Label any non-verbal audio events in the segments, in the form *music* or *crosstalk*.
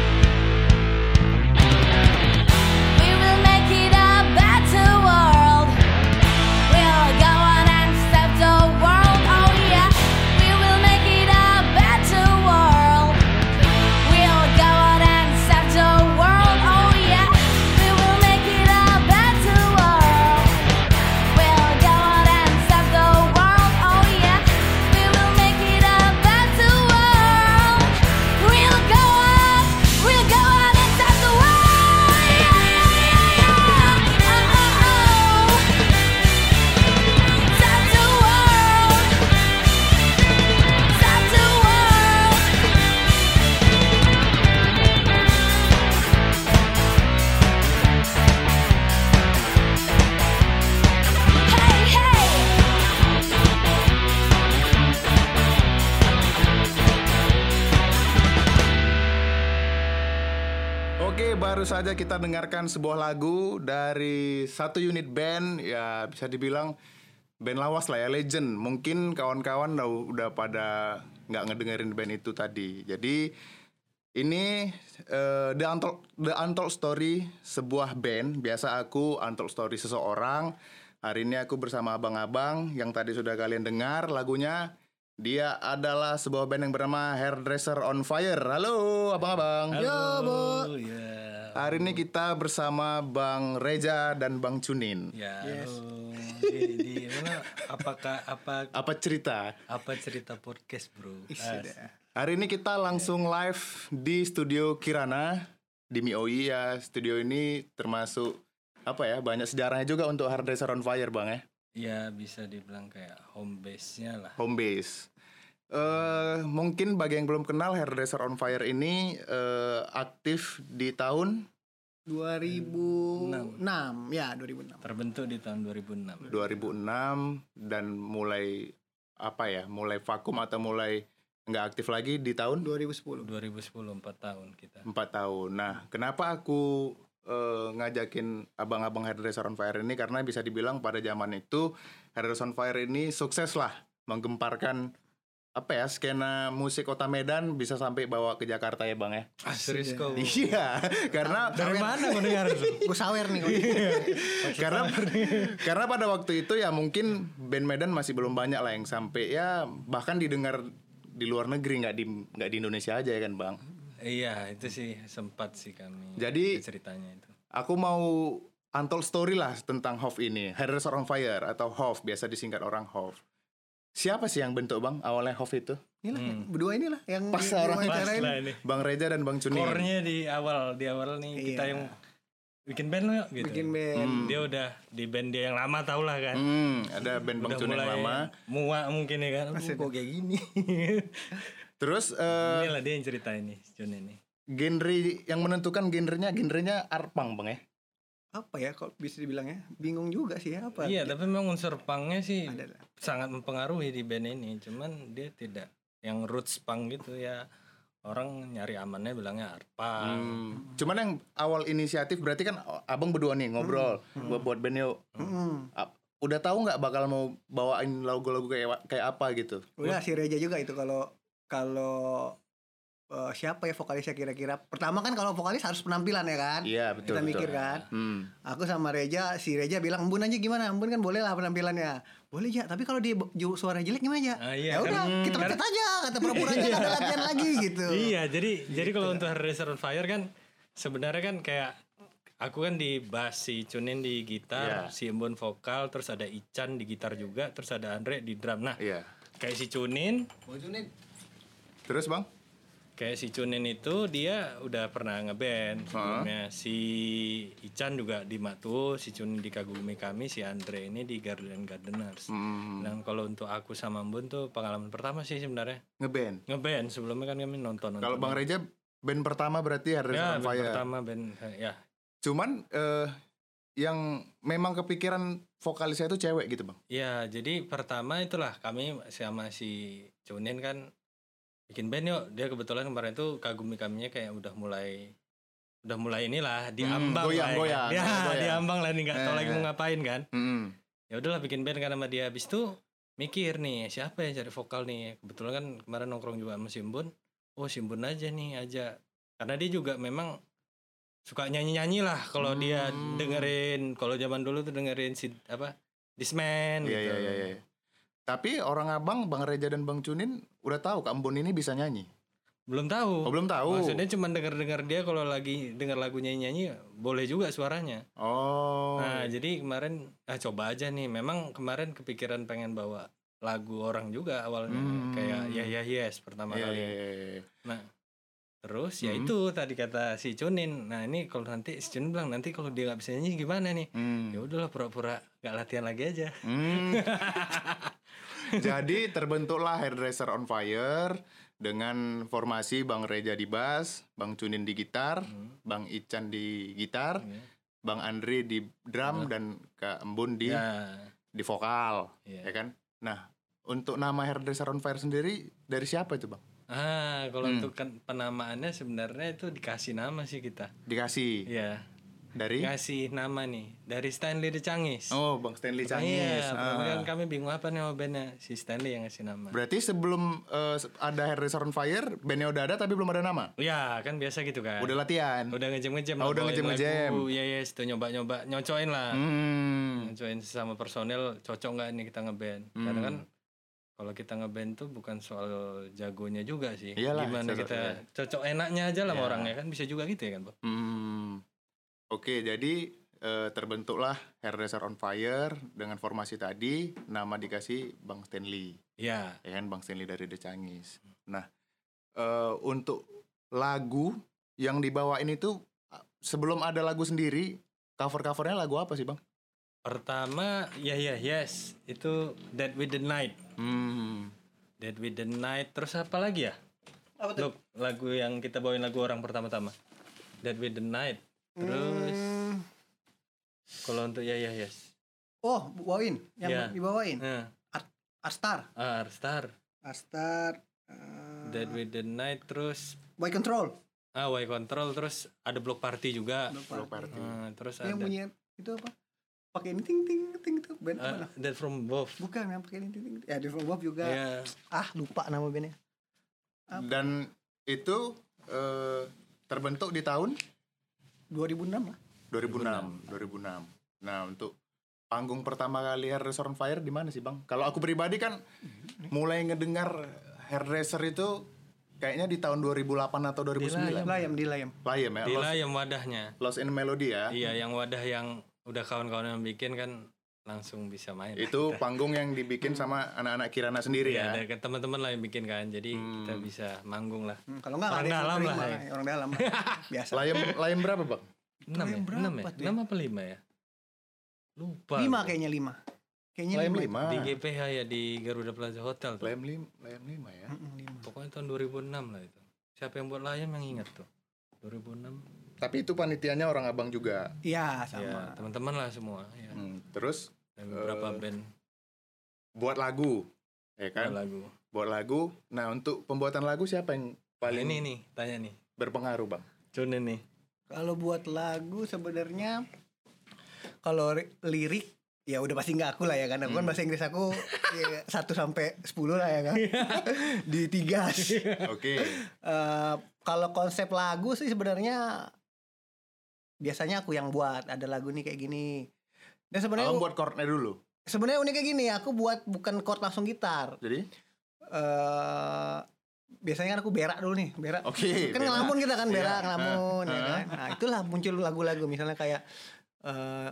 Ah, ah, oh. Uh-uh, Oh, Oh, Oh, Oke, baru saja kita dengarkan sebuah lagu dari satu unit band ya bisa dibilang band lawas lah ya legend. Mungkin kawan-kawan udah, udah pada nggak ngedengerin band itu tadi. Jadi ini eh, the untold the untold story sebuah band. Biasa aku untold story seseorang. Hari ini aku bersama abang-abang yang tadi sudah kalian dengar lagunya. Dia adalah sebuah band yang bernama Hairdresser on Fire. Halo, abang-abang. Halo, ya. Hari ini kita bersama Bang Reja dan Bang Cunin. Ya, halo. Di, di mana apakah apa Apa cerita? apa cerita podcast, Bro? As- Hari ini kita langsung live di studio Kirana di MIOI ya. Studio ini termasuk apa ya? Banyak sejarahnya juga untuk Hairdresser on Fire, Bang ya. ya bisa dibilang kayak home base-nya lah. Home base. Eh, mungkin bagi yang belum kenal Hairdresser on Fire ini eh, aktif di tahun Hmm, 2006 ya 2006 Terbentuk di tahun 2006. 2006 dan mulai apa ya? Mulai vakum atau mulai nggak aktif lagi di tahun 2010 2010 4 tahun kita. empat tahun. Nah, kenapa aku eh, ngajakin abang-abang Hairdresser on Fire ini karena bisa dibilang pada zaman itu Hairdresser on Fire ini sukses lah menggemparkan apa ya skena musik kota Medan bisa sampai bawa ke Jakarta ya bang ya. Ah, serius *laughs* kau. Iya, karena Dari mana mendengar *laughs* itu? Iya. gue sawer nih kalau gitu. karena *laughs* karena pada waktu itu ya mungkin band Medan masih belum banyak lah yang sampai ya bahkan didengar di luar negeri nggak di nggak di Indonesia aja ya kan bang. Iya, itu sih sempat sih kami. Jadi- Itu ceritanya itu. Aku mau untold story lah tentang Hof ini. Hairdresser on Fire atau Hof, biasa disingkat orang Hof. Siapa sih yang bentuk bang awalnya Hof itu? inilah Hmm. berdua inilah Oh, yang Pas di- orang- diwawancarain. lah ini. Bang Reja dan Bang Cunin. Core-nya di awal, di awal nih kita Iya. yang bikin band lo gitu. bikin band Dia udah di band dia yang lama tau lah kan. Hmm, ada band Bang udah Cunin mulai lama. muak mungkin ya kan Aduh, kok kayak gini Terus eh, inilah dia yang cerita ini Jun ini genre yang menentukan genrenya, genrenya arpang bang ya. apa ya kalau bisa dibilang ya bingung juga sih ya apa Hmm. iya tapi memang unsur punknya sih Ada lah. sangat mempengaruhi di band ini cuman dia tidak yang roots punk gitu ya orang nyari amannya bilangnya arpa Hmm. Cuman yang awal inisiatif berarti kan abang berdua nih ngobrol Hmm. buat buat band yuk. Mm-mm. Ap- Udah tahu nggak bakal mau bawain lagu-lagu kayak wa- kayak apa gitu? udah si Reja juga itu kalau kalau eh, siapa ya vokalisnya kira-kira pertama kan kalau vokalis harus penampilan ya kan Iya betul. kita betul. mikir kan Hmm. Aku sama Reja, si Reja bilang Embun aja gimana? Embun kan boleh lah penampilannya. Boleh ya, tapi kalau dia ju- suara jelek gimana ya? Ah, iya, ya udah, kan- kita pecat aja, kata pura-pura aja nggak ada latihan lagi gitu. iya jadi jadi kalau untuk Hairdresser on Fire kan sebenarnya kan kayak aku kan di bass si Cunin di gitar Iya. si Embun vokal terus ada Ican di gitar juga terus ada Andre di drum nah Iya. kayak si Cunin Terus bang? Kayak si Cunin itu dia udah pernah ngeband sebelumnya. Si Ican juga di Matu, si Cunin di Kagumi Kami, si Andre ini di Garden Gardeners. Hmm. Dan kalau untuk aku sama Mbun tuh pengalaman pertama sih sebenarnya Ngeband. ngeband. Sebelumnya kan kami nonton. Kalau Bang Reja band pertama berarti Hairdresser Hmm. on ya, band Fire. pertama band ya. Cuman eh, yang memang kepikiran vokalisnya itu cewek gitu bang. Ya, jadi pertama itulah kami sama si Cunin kan bikin band yuk. Dia kebetulan kemarin tuh Kagumi Kaminya kayak udah mulai udah mulai inilah diambang Hmm, goyang, lah ya kan. goyang, ya, goyang. diambang lah nih nggak tahu Eh, lagi mau ngapain kan Mm-mm. ya udahlah bikin band kan sama dia habis itu mikir nih siapa yang cari vokal nih kebetulan kan kemarin nongkrong juga sama Simbun oh Simbun aja nih aja karena dia juga memang suka nyanyi nyanyi lah kalau dia Hmm. dengerin kalau zaman dulu tuh dengerin si apa Disman Iya gitu iya iya. iya. Tapi orang abang Bang Reja dan Bang Cunin udah tahu Kak Embun ini bisa nyanyi. belum tahu Oh belum tahu. maksudnya cuma denger dengar dia kalau lagi denger lagu nyanyi nyanyi boleh juga suaranya Oh. nah jadi kemarin ah coba aja nih memang kemarin kepikiran pengen bawa lagu orang juga awalnya Hmm. kayak ya ya yes pertama Iya, kali iya, iya, iya. Nah, terus ya Hmm. itu tadi kata si Cunin. Nah, ini kalau nanti si Cunin bilang nanti kalau dia nggak bisa nyanyi gimana nih? Hmm. Ya udahlah pura-pura nggak latihan lagi aja. Hmm. Jadi terbentuklah Hairdresser on Fire dengan formasi Bang Reja di bass, Bang Cunin di gitar, Hmm, Bang Ican di gitar, Iya. Bang Andre di drum dan Kak Embun di Ya, di vokal, Iya. Eh. ya kan? Nah, untuk nama Hairdresser on Fire sendiri dari siapa itu, Bang? Ah, kalau untuk ken- penamaannya sebenarnya itu dikasih nama sih kita. Dikasih Iya. dari Kasih nama nih dari Stanley De Cangis. Oh, Bang Stanley Cangis. Iya, Ah. kemudian kami bingung apa nih sama bandnya. Si Stanley yang ngasih nama. Berarti sebelum eh, ada Harry on Fire, bandnya udah ada tapi belum ada nama. Iya, kan biasa gitu kan. Udah latihan. udah ngejam-ngejam Oh, udah ngejam-ngejam. Iya, iya, itu nyoba-nyoba, nyocoin lah. Hmm. Nyocoin sesama personel cocok nggak nih kita ngeband. Karena Hmm. kan kalau kita ngeband tuh bukan soal jagonya juga sih. Iyalah, Gimana cocok, kita iya. cocok enaknya aja lah sama orangnya kan bisa juga gitu ya kan, Bob. Hmm. Oke, jadi eh, terbentuklah Hairdresser on Fire dengan formasi tadi, nama dikasih Bang Stanley, Iya. ya kan Bang Stanley dari The Cangis. Nah, eh, untuk lagu yang dibawain itu eh, sebelum ada lagu sendiri, cover-covernya lagu apa sih, Bang? Pertama, ya ya yes, itu Dead with the Night. Hmm. Dead with the Night. Terus apa lagi ya? Apa tuh? Loh, lagu yang kita bawain lagu orang pertama-tama. Dead with the Night. Terus Hmm. kalau untuk ya ya yes. Oh, bawain yang Iya. dibawain. Nah, Astar, ah, Star, Astar. eh, Dead with the Night terus Boy Control. ah Y Control terus ada Block Party juga. Block Party. Ah, terus Yang ada bunyi itu apa? Pakai ini ting ting ting itu band apa? ah, nah? Dead from Above. Bukan yang pakai ini ting ting. Ya, Devil Bob juga. Ya, Ah, lupa nama bandnya. Apa? Dan itu eh, terbentuk di tahun 2006 lah. 2006, 2006. Nah, untuk panggung pertama kali Hairdresser on Fire di mana sih, Bang? Kalau aku pribadi kan mulai ngedengar Hairdresser itu kayaknya di tahun 2008 atau Iya, 2009. Dilayam, dilayam. Layem ya, Lost, Dila yang wadahnya. Lost in Melody ya. Iya, yang wadah yang udah kawan-kawan yang bikin kan langsung bisa main. Itu panggung yang dibikin sama anak-anak Kirana sendiri ya. Iya, Hmm. ada ke- teman-teman lah yang bikin kan. Jadi kita bisa manggung lah. Hmm, kalau enggak Orang ada yang dalam terima, lah, ya. orang dalam. *laughs* lah. Biasa. Layem layem berapa, Bang? 6 ya? yang 6 ya? berapa tuh ya? 6 apa 5 ya? Lupa. 5 kayaknya 5. Kayaknya Layem 5. 5. Di GPH ya di Garuda Plaza Hotel tuh. Layem 5, layem 5 ya. Pokoknya tahun 2006 lah itu. Siapa yang buat layam yang ingat tuh? 2006. Tapi itu panitianya orang Abang juga. Iya, sama. Ya, teman-teman lah semua ya. Hmm, terus Dan beberapa band buat lagu. Ya buat kan? lagu. Buat lagu. Nah, untuk pembuatan lagu siapa yang Nah, paling ini nih, tanya nih. berpengaruh, *laughs* Bang? Cun nih. Kalau buat lagu sebenarnya kalau ri- lirik ya udah pasti nggak aku lah ya kan. Aku kan bahasa Inggris aku ya, 1 sampai 10 lah ya kan. Di tiga. Oke. Eh, kalau konsep lagu sih sebenarnya biasanya aku yang buat. Ada lagu nih kayak gini. Dan sebenarnya Abang buat chordnya dulu. sebenarnya uniknya gini, aku buat bukan chord langsung gitar. Jadi, eh biasanya kan aku berak dulu nih berak Oke, kan berak. ngelamun kita kan berak Iya. ngelamun ya Ah, kan nah itulah muncul lagu-lagu misalnya kayak eh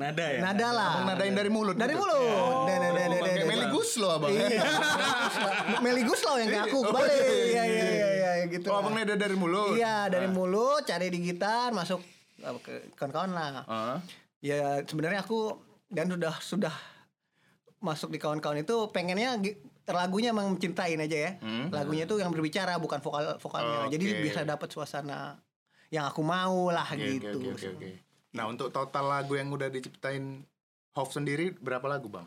Nada ya? nada lah abang nadain dari mulut. dari gitu? mulut Dari- dari- dari- Pakai dari- Meli Guslo abang. *laughs* Iya. Meli Guslo yang kayak aku kebalik iya iya iya iya, gitu Oh Nah. lah. abang nada dari mulut. iya dari mulut cari di gitar masuk eh, ke kawan-kawan lah Ah. ya sebenarnya aku dan sudah sudah masuk di kawan-kawan itu pengennya gi- lagunya emang mencintain aja ya lagunya itu yang berbicara bukan vokal vokalnya jadi Hmm. Oke. bisa dapat suasana yang aku mau lah Oke, oke, gitu oke, oke, oke. Nah untuk total lagu yang udah diciptain Hof sendiri berapa lagu bang?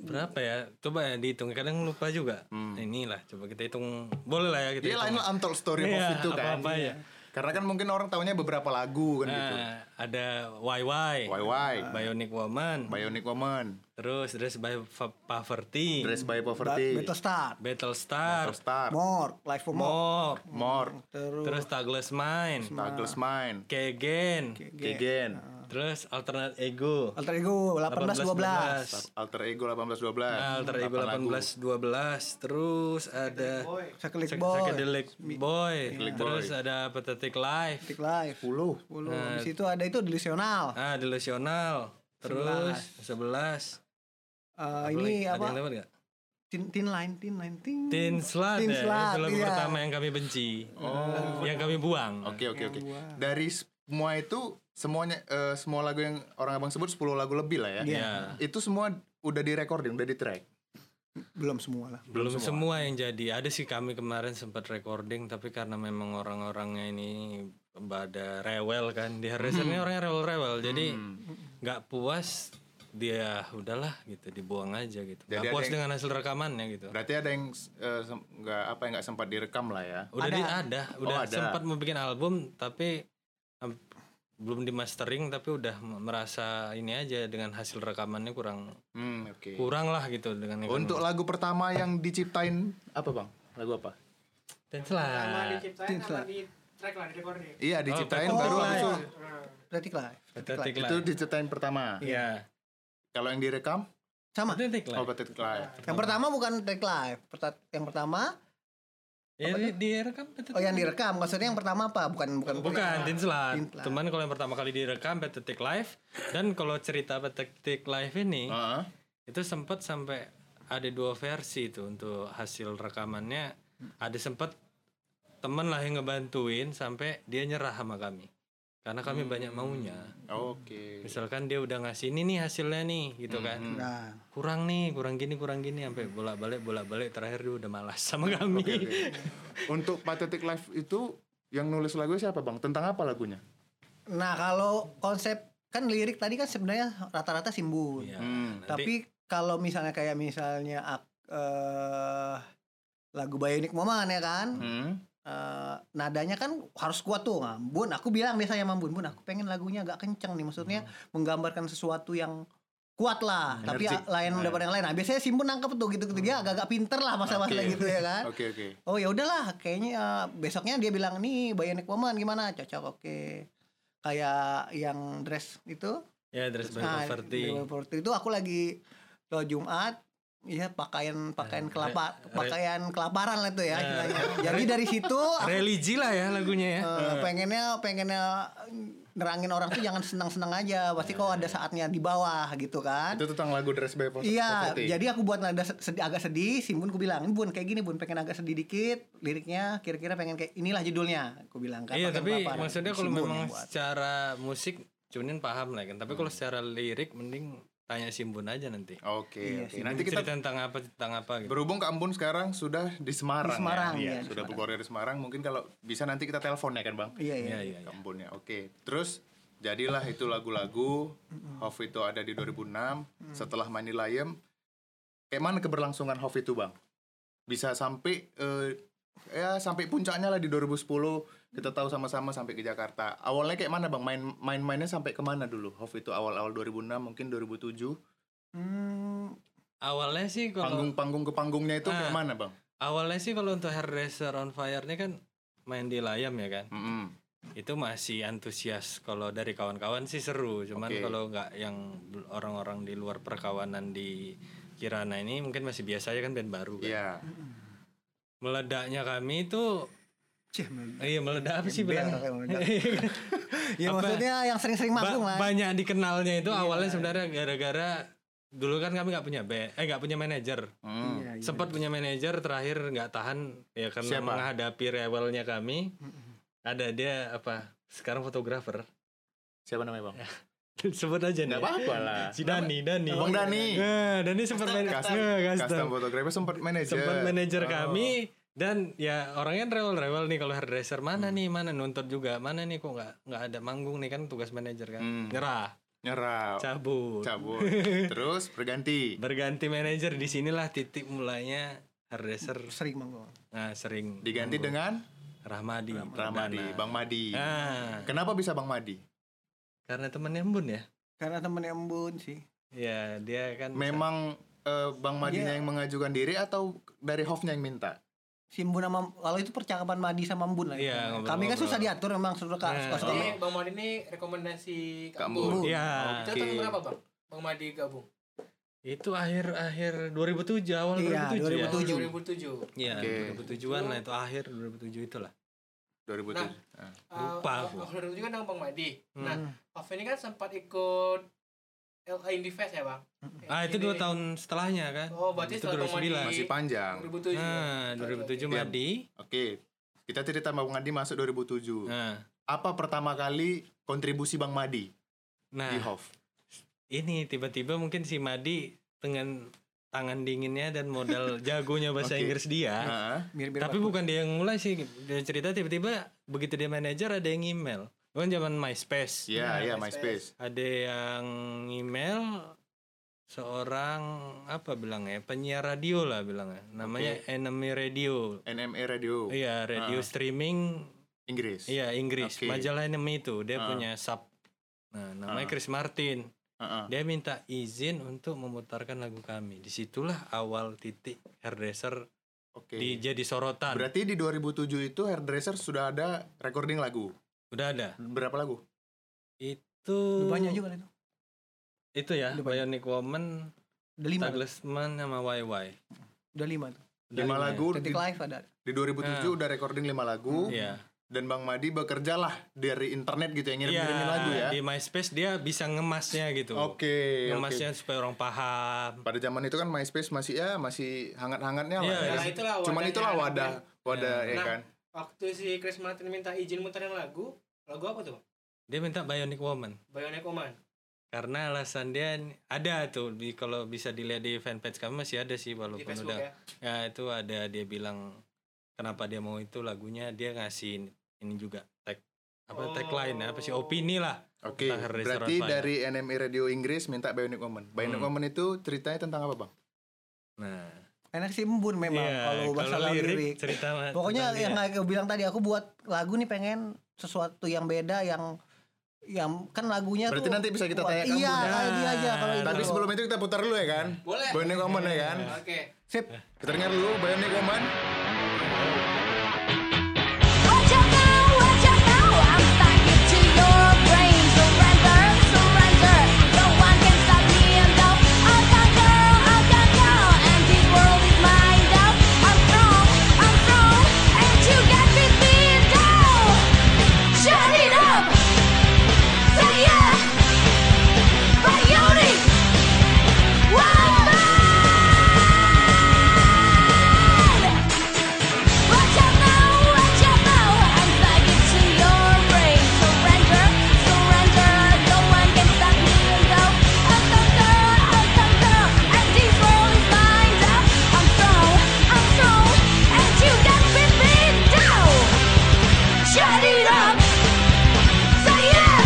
Berapa ya? Coba ya dihitung. Kadang lupa juga. Nah, Inilah, coba kita hitung. Boleh lah ya kita Dia hitung. Iya, lain lah untold story Hof Iya, itu kan. apa-apa ya. Karena kan mungkin orang taunya beberapa lagu kan gitu. Nah, iya. ada YY, Why Why, Bionic Woman, Bionic Woman, terus Dress by Fa- Poverty, Dress by Poverty, Betul start Battlestar, Star, more life for more More, More, terus terus Tagless Mind, Douglas Mine, Kegen, Kegen, terus Alternate Ego, alter ego 1812 Alter Ego 1812, Nah, Alter Ego 1812, terus ada Sakit Sek- boy Psychedelic Boy, terus ada Pathetic Life, Tick life 10 10 Nah, di situ ada itu delusional ah Delusional, terus 11, Eh, ini ada yang apa dapat nggak? tin tin line tin line tin Tin Slut Tin ya, Slut, itu lagu iya. pertama yang kami benci Yang kami buang Oke oke oke. Dari semua itu semuanya eh, semua lagu yang orang abang sebut 10 lagu lebih lah ya. Iya. Itu semua udah di recording, udah di track. belum semua lah Belum semua. yang jadi Ada sih kami kemarin sempat recording Tapi karena memang orang-orangnya ini Hmm. Pada rewel kan Di Harrison ini orangnya rewel-rewel Jadi nggak puas dia udahlah gitu dibuang aja gitu. Jadi ada Jadi yang- Puas Nah, dengan hasil rekamannya gitu. Berarti ada yang eh, sem- nggak apa yang nggak sempat direkam lah ya. Udah di- ada, udah Oh, ada. sempat mau bikin album tapi em, belum di mastering tapi udah m- merasa ini aja dengan hasil rekamannya kurang Hmm, oke. kurang lah gitu dengan ekonomi. Untuk lagu pertama yang diciptain apa bang? Lagu apa? Dance lah. Sama diciptain Tinsel. sama di track lah di recording. Oh, Iya diciptain Pathetic baru Oh, Life. abis itu, Nah, Pathetic Life. Pathetic itu Life. diciptain pertama. Iya. Kalau yang direkam, Sama. Pathetic oh Life. Pathetic Life. Yang pertama bukan Pathetic Life. Perta- yang pertama Ya, di, direkam Pathetic oh yang Oh, Life. direkam. Maksudnya yang pertama apa? Bukan bukan Bukan, Dance lah. Dance lah. Cuman kalau yang pertama kali direkam Pathetic Life dan kalau cerita Pathetic Life ini Oh. Heeh. itu sempat sampai ada dua versi itu untuk hasil rekamannya Hmm. ada sempat teman lah yang ngebantuin sampai dia nyerah sama kami karena kami Hmm. banyak maunya Oke. misalkan dia udah ngasih ini nih hasilnya nih gitu kan Nah, kurang nih kurang gini kurang gini sampai bolak balik bolak balik terakhir dia udah malas sama kami Untuk Pathetic Life itu yang nulis lagu siapa bang? Tentang apa lagunya? nah kalau konsep kan lirik tadi kan sebenarnya rata-rata simbun. Iya, Hmm. nanti- Tapi kalau misalnya kayak misalnya ak- eh, lagu Bionic Woman ya kan, Hmm. eh, nadanya kan harus kuat tuh. Nah, Bun, aku bilang biasanya sama Bun, Bun aku pengen lagunya agak kenceng nih, maksudnya Hmm. menggambarkan sesuatu yang kuat lah, tapi Energik. a- lain ya. daripada yang lain. Nah, biasanya Simbun nangkep tuh gitu-gitu Hmm. dia agak-agak pinter lah masalah-masalah Oke. gitu ya *laughs* kan. Oke oke. Oh ya udahlah, kayaknya eh, besoknya dia bilang nih Bionic Woman gimana? Cocok, oke. Kayak yang dress itu ya dress by Nah, Poverty. Dewa Properti itu aku lagi lo Jumat Iya pakaian pakaian Eh, re- kelapa re- pakaian kelaparan lah itu ya Eh, istilahnya. Jadi dari *laughs* situ aku, religi lah ya lagunya ya *laughs* eh, pengennya pengennya nerangin orang tuh jangan senang-senang aja. Pasti kok ada saatnya di bawah gitu kan. Itu tentang lagu Dress by Poverty. Iya, jadi aku buat nada sedih, agak sedih, Simbun ku bilang, "Bun, kayak gini, Bun, pengen agak sedih dikit, liriknya kira-kira pengen kayak inilah judulnya." Aku bilang kan. Iya pakai tapi kelapa. maksudnya kalau Simbun memang yang buat. secara musik Cunin paham lah kan Tapi kalau secara lirik mending tanya Simbun aja nanti Oke Iya, oke. sih. Oh, Nanti kita Cerita tentang apa tentang apa gitu Berhubung Kak Ambon sekarang sudah di Semarang. Di Semarang, ya? Iya, iya, di sudah Semarang. berkeluarga di Semarang. Mungkin kalau bisa nanti kita telepon ya kan, Bang? Iya, iya. Iya iya Kak iya. Ambon ya. Oke. Terus jadilah itu lagu-lagu Hof itu ada di 2006. Setelah Mani Layem kayak mana keberlangsungan Hof itu, Bang? Bisa sampai eh, ya sampai puncaknya lah di 2010 kita tahu sama-sama sampai ke Jakarta. Awalnya kayak mana, Bang? Main main-mainnya sampai kemana dulu? Hof itu awal-awal 2006, mungkin 2007. Hmm, Awalnya sih kalau Panggung-panggung ke panggungnya itu kayak Ah. mana, Bang? awalnya sih kalau untuk Hairdresser on Fire ini kan main di layam ya kan Mm-mm. itu masih antusias kalau dari kawan-kawan sih seru cuman Oke. kalau nggak yang bel- orang-orang di luar perkawanan di Kirana ini mungkin masih biasa ya kan band baru kan Iya. meledaknya kami itu cih, meledak. eh, iya meledak apa sih Band bilang kayak *laughs* meledak. Ya Apa? maksudnya yang sering-sering Ba- manggung lah. banyak dikenalnya itu Iya. awalnya sebenarnya gara-gara dulu kan kami nggak punya band eh nggak punya manajer Mm. Iya, iya. sempat punya manajer terakhir nggak tahan ya karena Siapa? menghadapi rewelnya kami ada dia apa sekarang fotografer *laughs* Siapa namanya, Bang? sebut aja nih Nggak apa-apa lah. si Dani Dani Bang Dani. Nah, Dani sempat main Custom, Nah, custom. custom fotografer sempat manajer. sempat manajer Oh. kami dan ya orangnya rewel-rewel nih kalau hairdresser mana Hmm. nih mana nuntut juga mana nih kok nggak nggak ada manggung nih kan tugas manajer kan Hmm. nyerah Nyerah. cabut *laughs* Hmm. Cabut. Terus berganti. berganti manajer di sinilah titik mulanya hairdresser sering manggung. nah, sering Diganti dengan Rahmadi Ramadi, Perdana. Bang Madi. Ah, Kenapa bisa Bang Madi? karena temennya Embun ya Karena temennya Embun sih. ya dia kan Memang eh, Bang Madinya Iya. yang mengajukan diri atau dari Hofnya yang minta? Si Embun sama kalau itu percakapan Madi sama Embun lah. Iya, ya. ngobrol-ngobrol. Kami kan susah diatur memang Nah. suruh kak. Jadi Suka Bang Madi ini rekomendasi Kak Kabung. Mbun. ya Itu Oke. tahun berapa Bang? Bang Madi gabung. itu akhir akhir 2007 awal Iya, 2007 ya. 2007. 2007. Iya, Oke. 2007-an lah itu akhir 2007 itulah. 2007. Nah. Ah. Lupa aku. aku. 2007 kan sama Bang Madi. Hmm. Nah, Off ini kan sempat ikut LA Indie Fest ya Bang? Ah, itu dua tahun setelahnya kan? Oh, berarti itu setelah Bang Madi. 2009. Masih panjang. 2007. Nah, 2007 Iya. Madi. Oke. Kita cerita Bang Madi masuk 2007. Nah, Apa pertama kali kontribusi Bang Madi nah di Hof? ini tiba-tiba mungkin si Madi dengan tangan dinginnya dan *laughs* modal jagonya bahasa Oke. Inggris dia. Ah. mirip-mirip. Tapi bukan dia yang mulai sih. Dia cerita tiba-tiba begitu dia manajer ada yang email. Bukan zaman Nah, MySpace. Iya, iya MySpace. MySpace. Ada yang email seorang apa bilangnya penyiar radio lah bilangnya namanya Enemy Radio NME E Radio Ah. iya radio streaming Inggris. iya Inggris Oke. Ah. majalah Enemy itu dia punya sub nah namanya Chris Martin Heeh. dia minta izin untuk memutarkan lagu kami disitulah awal titik hairdresser Oke. di, jadi sorotan Berarti di 2007 itu hairdresser sudah ada recording lagu. udah ada Berapa lagu? itu Udah banyak juga itu. itu ya Udah banyak. Bionic Woman Udah lima. tuh. Douglas Mann sama YY Udah lima tuh. Udah Lima lima lagu di, Detik live ada. di 2007 Iya. Nah. udah recording lima lagu. ya Dan Bang Madi bekerjalah dari internet gitu yang Iya, ngirim-ngirimin lagu ya. di MySpace dia bisa ngemasnya gitu. Oke, oke. ngemasnya supaya orang paham. Pada zaman itu kan MySpace masih ya masih hangat-hangatnya lah. Iya, ya. iya. Nah, itulah Cuman wadahnya itulah anak wadah, wadah ya Nah. kan. Waktu si Chris Martin minta izin muterin lagu, lagu apa tuh? Dia minta Bionic Woman Bionic Woman. karena alasan dia n- ada tuh di kalau bisa dilihat di fanpage kami masih ada sih Di walaupun Facebook udah ya. ya itu ada dia bilang kenapa dia mau itu lagunya dia ngasih ini juga tag apa Oh. tagline apa sih opini lah Oke, Tentang Hairdresser berarti on Fire. dari NME Radio Inggris minta Bionic Woman. Bionic Hmm. Woman itu ceritanya tentang apa, Bang? nah Enak sih embun memang iya, kalau masalah lirik. cerita ma- Pokoknya tentang yang dia. aku bilang tadi aku buat lagu nih pengen sesuatu yang beda yang yang kan lagunya Berarti tuh nanti bisa kita Wah, tanya ke Iya, Embun. kayak dia aja Nah, kalau itu. Tapi Kalau- sebelum itu kita putar dulu ya kan? Boleh. Bionic Woman ya kan? Oke. sip. Kita dengar dulu Bionic Woman. Watch out now, watch out now, I'm talking to your brain. Surrender, surrender. No one can stop me and go. I can go, I can go, and this world is mine now. I'm strong, I'm strong, and you can beat me down. Shut it up, say yeah. Bionic, woman. Watch out now, watch out now, I'm plugging to your brain. Surrender, surrender, no one can stop me and go. I'm thunder, I'm thunder, and this world is mine now. I'm strong, I'm strong, and you can beat me down. Shut it up, say yeah,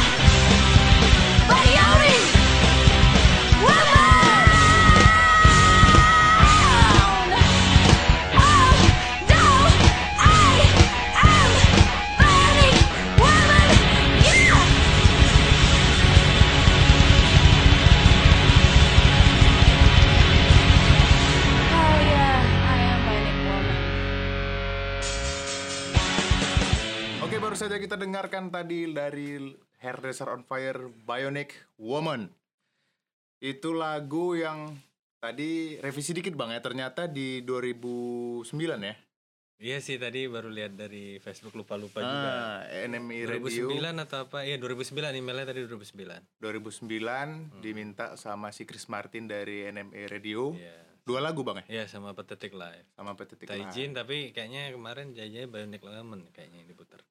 bionic woman. Oh no, I am burning woman. Yeah. Oh yeah, I am burning woman. Oke, baru saja kita dengarkan tadi dari Hairdresser on Fire Bionic Woman. Itu lagu yang tadi revisi dikit Bang ya, ternyata di 2009 ya. iya sih tadi baru lihat dari Facebook lupa-lupa Ah, juga NME Radio 2009 atau apa? Iya 2009 emailnya tadi 2009. 2009 Hmm. diminta sama si Chris Martin dari NME Radio. Iya. Dua lagu Bang ya Iya sama Pathetic Live. sama Petit Kita izin tapi kayaknya kemarin jajanya Bionic Lemon kayaknya yang diputar.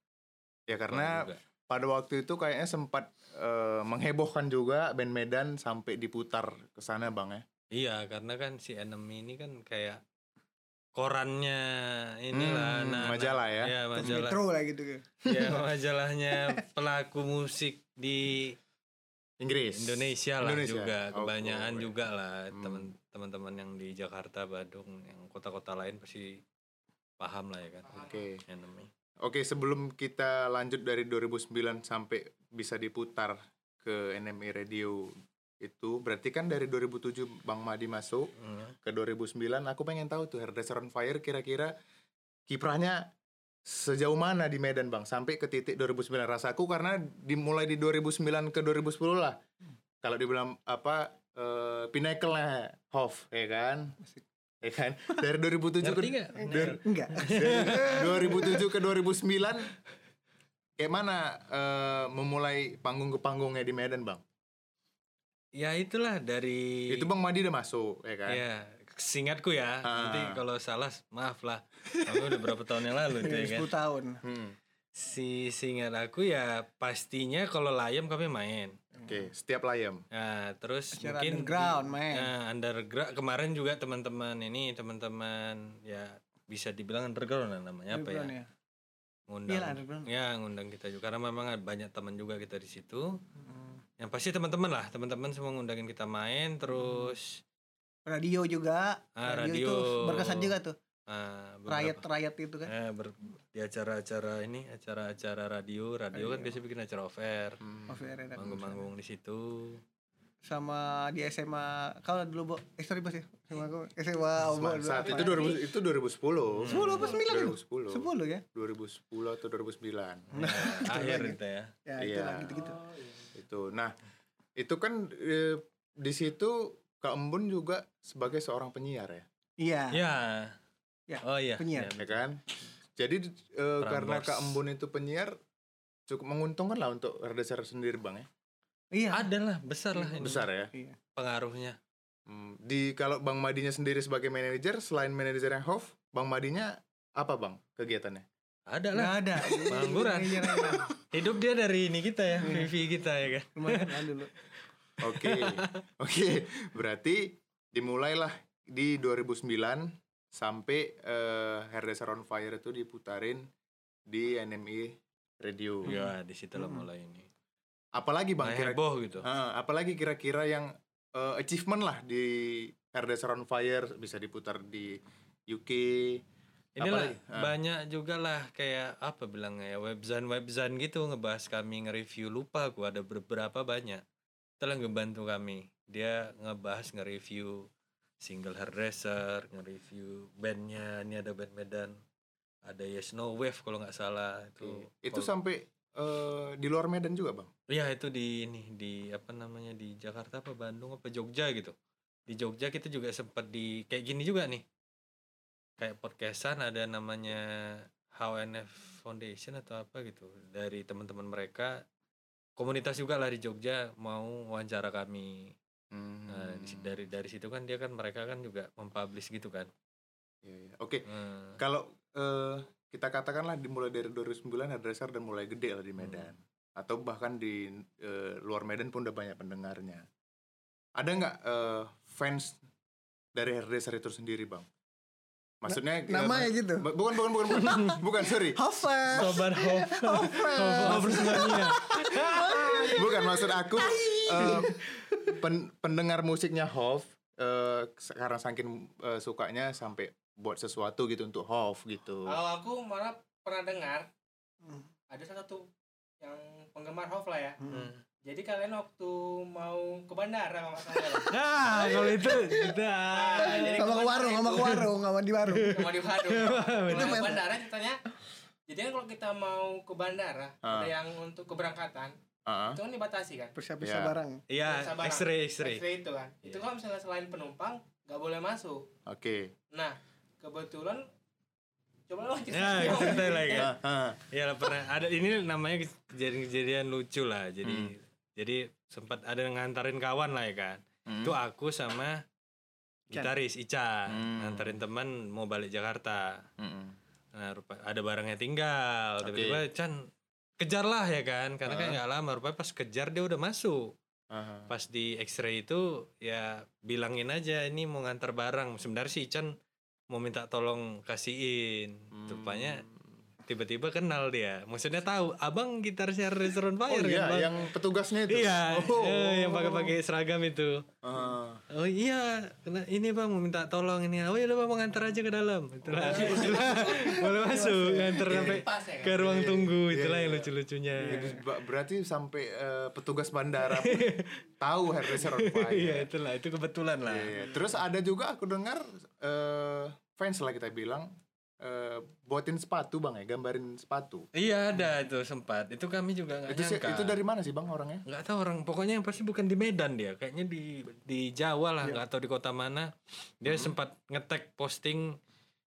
Ya karena juga. pada waktu itu kayaknya sempat eh, menghebohkan juga band Medan sampai diputar ke sana Bang ya. Iya, karena kan si Enemy ini kan kayak korannya inilah Hmm, majalah ya. Iya, majalah. Metro lah gitu. Iya, majalahnya pelaku musik di Inggris. Indonesia lah Indonesia. juga Oh, kebanyakan oh, juga lah teman teman-teman yang di Jakarta, Badung, yang kota-kota lain pasti paham lah ya kan. Oke. Enemy. Oke, sebelum kita lanjut dari 2009 sampai bisa diputar ke NME Radio itu berarti kan dari 2007 Bang Madi masuk Hmm. ke 2009 aku pengen tahu tuh Hairdresser on Fire kira-kira kiprahnya sejauh mana di Medan Bang sampai ke titik 2009 rasaku karena dimulai di 2009 ke 2010 lah kalau dibilang apa eh pinnacle lah Hof ya kan ya kan dari 2007 Ngerti ke nggak? dari- *laughs* Enggak. dari 2007 ke 2009 kayak mana eh, memulai panggung ke panggungnya di Medan Bang Ya itulah dari itu Bang Madi udah masuk ya kan Ya, singkatku ya. Nanti Ah. kalau salah maaf lah. Aku udah berapa tahun yang *laughs* lalu itu ya kan. 10 tahun. Hmm. Si singkat aku ya pastinya kalau layam kami main. Oke, setiap layam. Nah, terus Acara mungkin underground, ya. main. Nah, underground kemarin juga teman-teman ini teman-teman ya bisa dibilang underground lah namanya apa ya? Underground ya. Ngundang. Iya lah, underground. Hmm. ya, ngundang kita juga karena memang ada banyak teman juga kita di situ. yang pasti teman-teman lah teman-teman semua ngundangin kita main terus radio juga Ah, itu radio. Hmm. gitu, berkesan juga tuh ah, rakyat beberapa- rakyat itu kan eh, ber- di acara-acara ini acara-acara radio radio kan biasanya bikin acara off air Hmm. Off air enak. manggung-manggung di *laughs* situ sama di SMA kalau dulu bo eh, sorry bos ya SMA aku SMA obo Saat- dulu Saat apa itu 2000, ya? itu 2010. 10 apa 9 2010. itu? 10 ya 2010 atau 2009. Ya, akhir kita ya Nah, ya Iya. itu gitu-gitu itu nah itu kan eh, di situ Kak Embun juga sebagai seorang penyiar ya iya ya Ya, oh iya penyiar. ya, ya kan jadi eh, karena Prambors. Kak Embun itu penyiar cukup menguntungkan lah untuk Radasar sendiri bang ya iya ada lah besar lah ini besar ya Iya. pengaruhnya Hmm, di kalau Bang Madinya sendiri sebagai manajer selain manajernya Hof Bang Madinya apa bang kegiatannya ada lah nggak ada Pengangguran. Nah, Iya, iya, iya. *laughs* hidup dia dari ini kita ya Vivi kita ya kan lumayan kan dulu oke *laughs* oke berarti dimulailah di 2009 sampai eh, Hairdresser on Fire itu diputarin di NMI Radio ya di situ lah mulai ini apalagi bang Mulai kira heboh gitu Ah, apalagi kira-kira yang eh, achievement lah di RDS on Fire bisa diputar di UK Inilah Apalagi? Ah. banyak juga lah kayak apa bilangnya ya webzan webzan gitu ngebahas kami nge-review lupa gua ada beberapa banyak telah ngebantu kami dia ngebahas nge-review single hairdresser nge-review bandnya ini ada band Medan ada Yes No Wave kalau nggak salah itu Iya. itu Kalau- sampai eh, di luar Medan juga bang Iya itu di ini di apa namanya di Jakarta apa Bandung apa Jogja gitu. Di Jogja kita juga sempat di kayak gini juga nih. Kayak podcastan ada namanya HNF Foundation atau apa gitu dari teman-teman mereka komunitas juga lah di Jogja mau wawancara kami. Nah, di- Hmm, dari dari situ kan dia kan mereka kan juga mempublish gitu kan. iya, iya. oke Hmm. kalau eh, kita katakanlah dimulai dari 2009 RDS dan mulai gede lah di Medan atau bahkan di eh, luar Medan pun udah banyak pendengarnya ada nggak eh, fans dari RDS itu sendiri bang maksudnya eh, namanya gitu Bu- bukan bukan bukan bukan bukan sorry Hover Sobat Hofer, *laughs* Hofer semuanya. bukan maksud aku eh, pen- pendengar musiknya Hof eh, karena saking eh, sukanya sampai buat sesuatu gitu untuk Hof gitu Kalau aku malah pernah dengar Hmm. ada salah satu yang penggemar Hof lah ya. Hmm. Jadi kalian waktu mau ke bandara kalau nggak *laughs* salah. ya, Nah, kalau itu kita Ah, jadi sama ke kemarin warung sama ke itu- warung sama di warung Iya. sama di Iya, warung. Itu Kalau memang- bandara ceritanya jadi kan kalau kita mau ke bandara Ah. ada yang untuk keberangkatan Ah, itu kan dibatasi kan. persiapan Iya. barang Iya, Sabarang. X-ray, X-ray. X-ray itu kan. Itu kalau misalnya selain penumpang nggak boleh masuk. oke Nah kebetulan coba lo *laughs* Ya, kita ceritain lagi. Ah, ah. Ya lah, pernah ada ini namanya kejadian-kejadian lucu lah. Jadi jadi sempat ada yang ngantarin kawan lah ya kan. Hmm. Itu aku sama gitaris Ica Hmm. ngantarin teman mau balik Jakarta. Mm-mm. Nah, rupa, ada barangnya tinggal. Oke. Tiba-tiba Chan kejarlah ya kan. Karena kan Ah. nggak lama rupanya pas kejar dia udah masuk. Ah, Pas di X-ray itu ya bilangin aja ini mau ngantar barang. Sebenarnya si Ican mau minta tolong kasihin. Hmm. Hmm. Rupanya tiba-tiba kenal dia maksudnya tahu abang gitarisnya Restoran oh Fire iya kan, Bang? yang petugasnya itu iya Oh. eh, yang pakai-pakai seragam itu Ah. oh iya kena ini bang mau minta tolong ini oh iya udah bang mau ngantar aja ke dalam itulah Oh, iya. *laughs* itulah boleh masuk ngantar sampai Pas ya kan? ke ruang tunggu itulah iya, yang iya. lucu-lucunya Ba- berarti sampai eh, petugas bandara pun tahu hairdresser *laughs* on fire iya itulah itu kebetulan lah Iya. Terus ada juga aku dengar eh, fans lah kita bilang eh, buatin sepatu bang ya, gambarin sepatu. iya ada itu sempat itu kami juga nggak Itu sih- nyangka itu dari mana sih bang orangnya? nggak tahu orang pokoknya yang pasti bukan di Medan dia kayaknya di di Jawa lah Iya. nggak tahu di kota mana dia Mm-hmm. sempat ngetek posting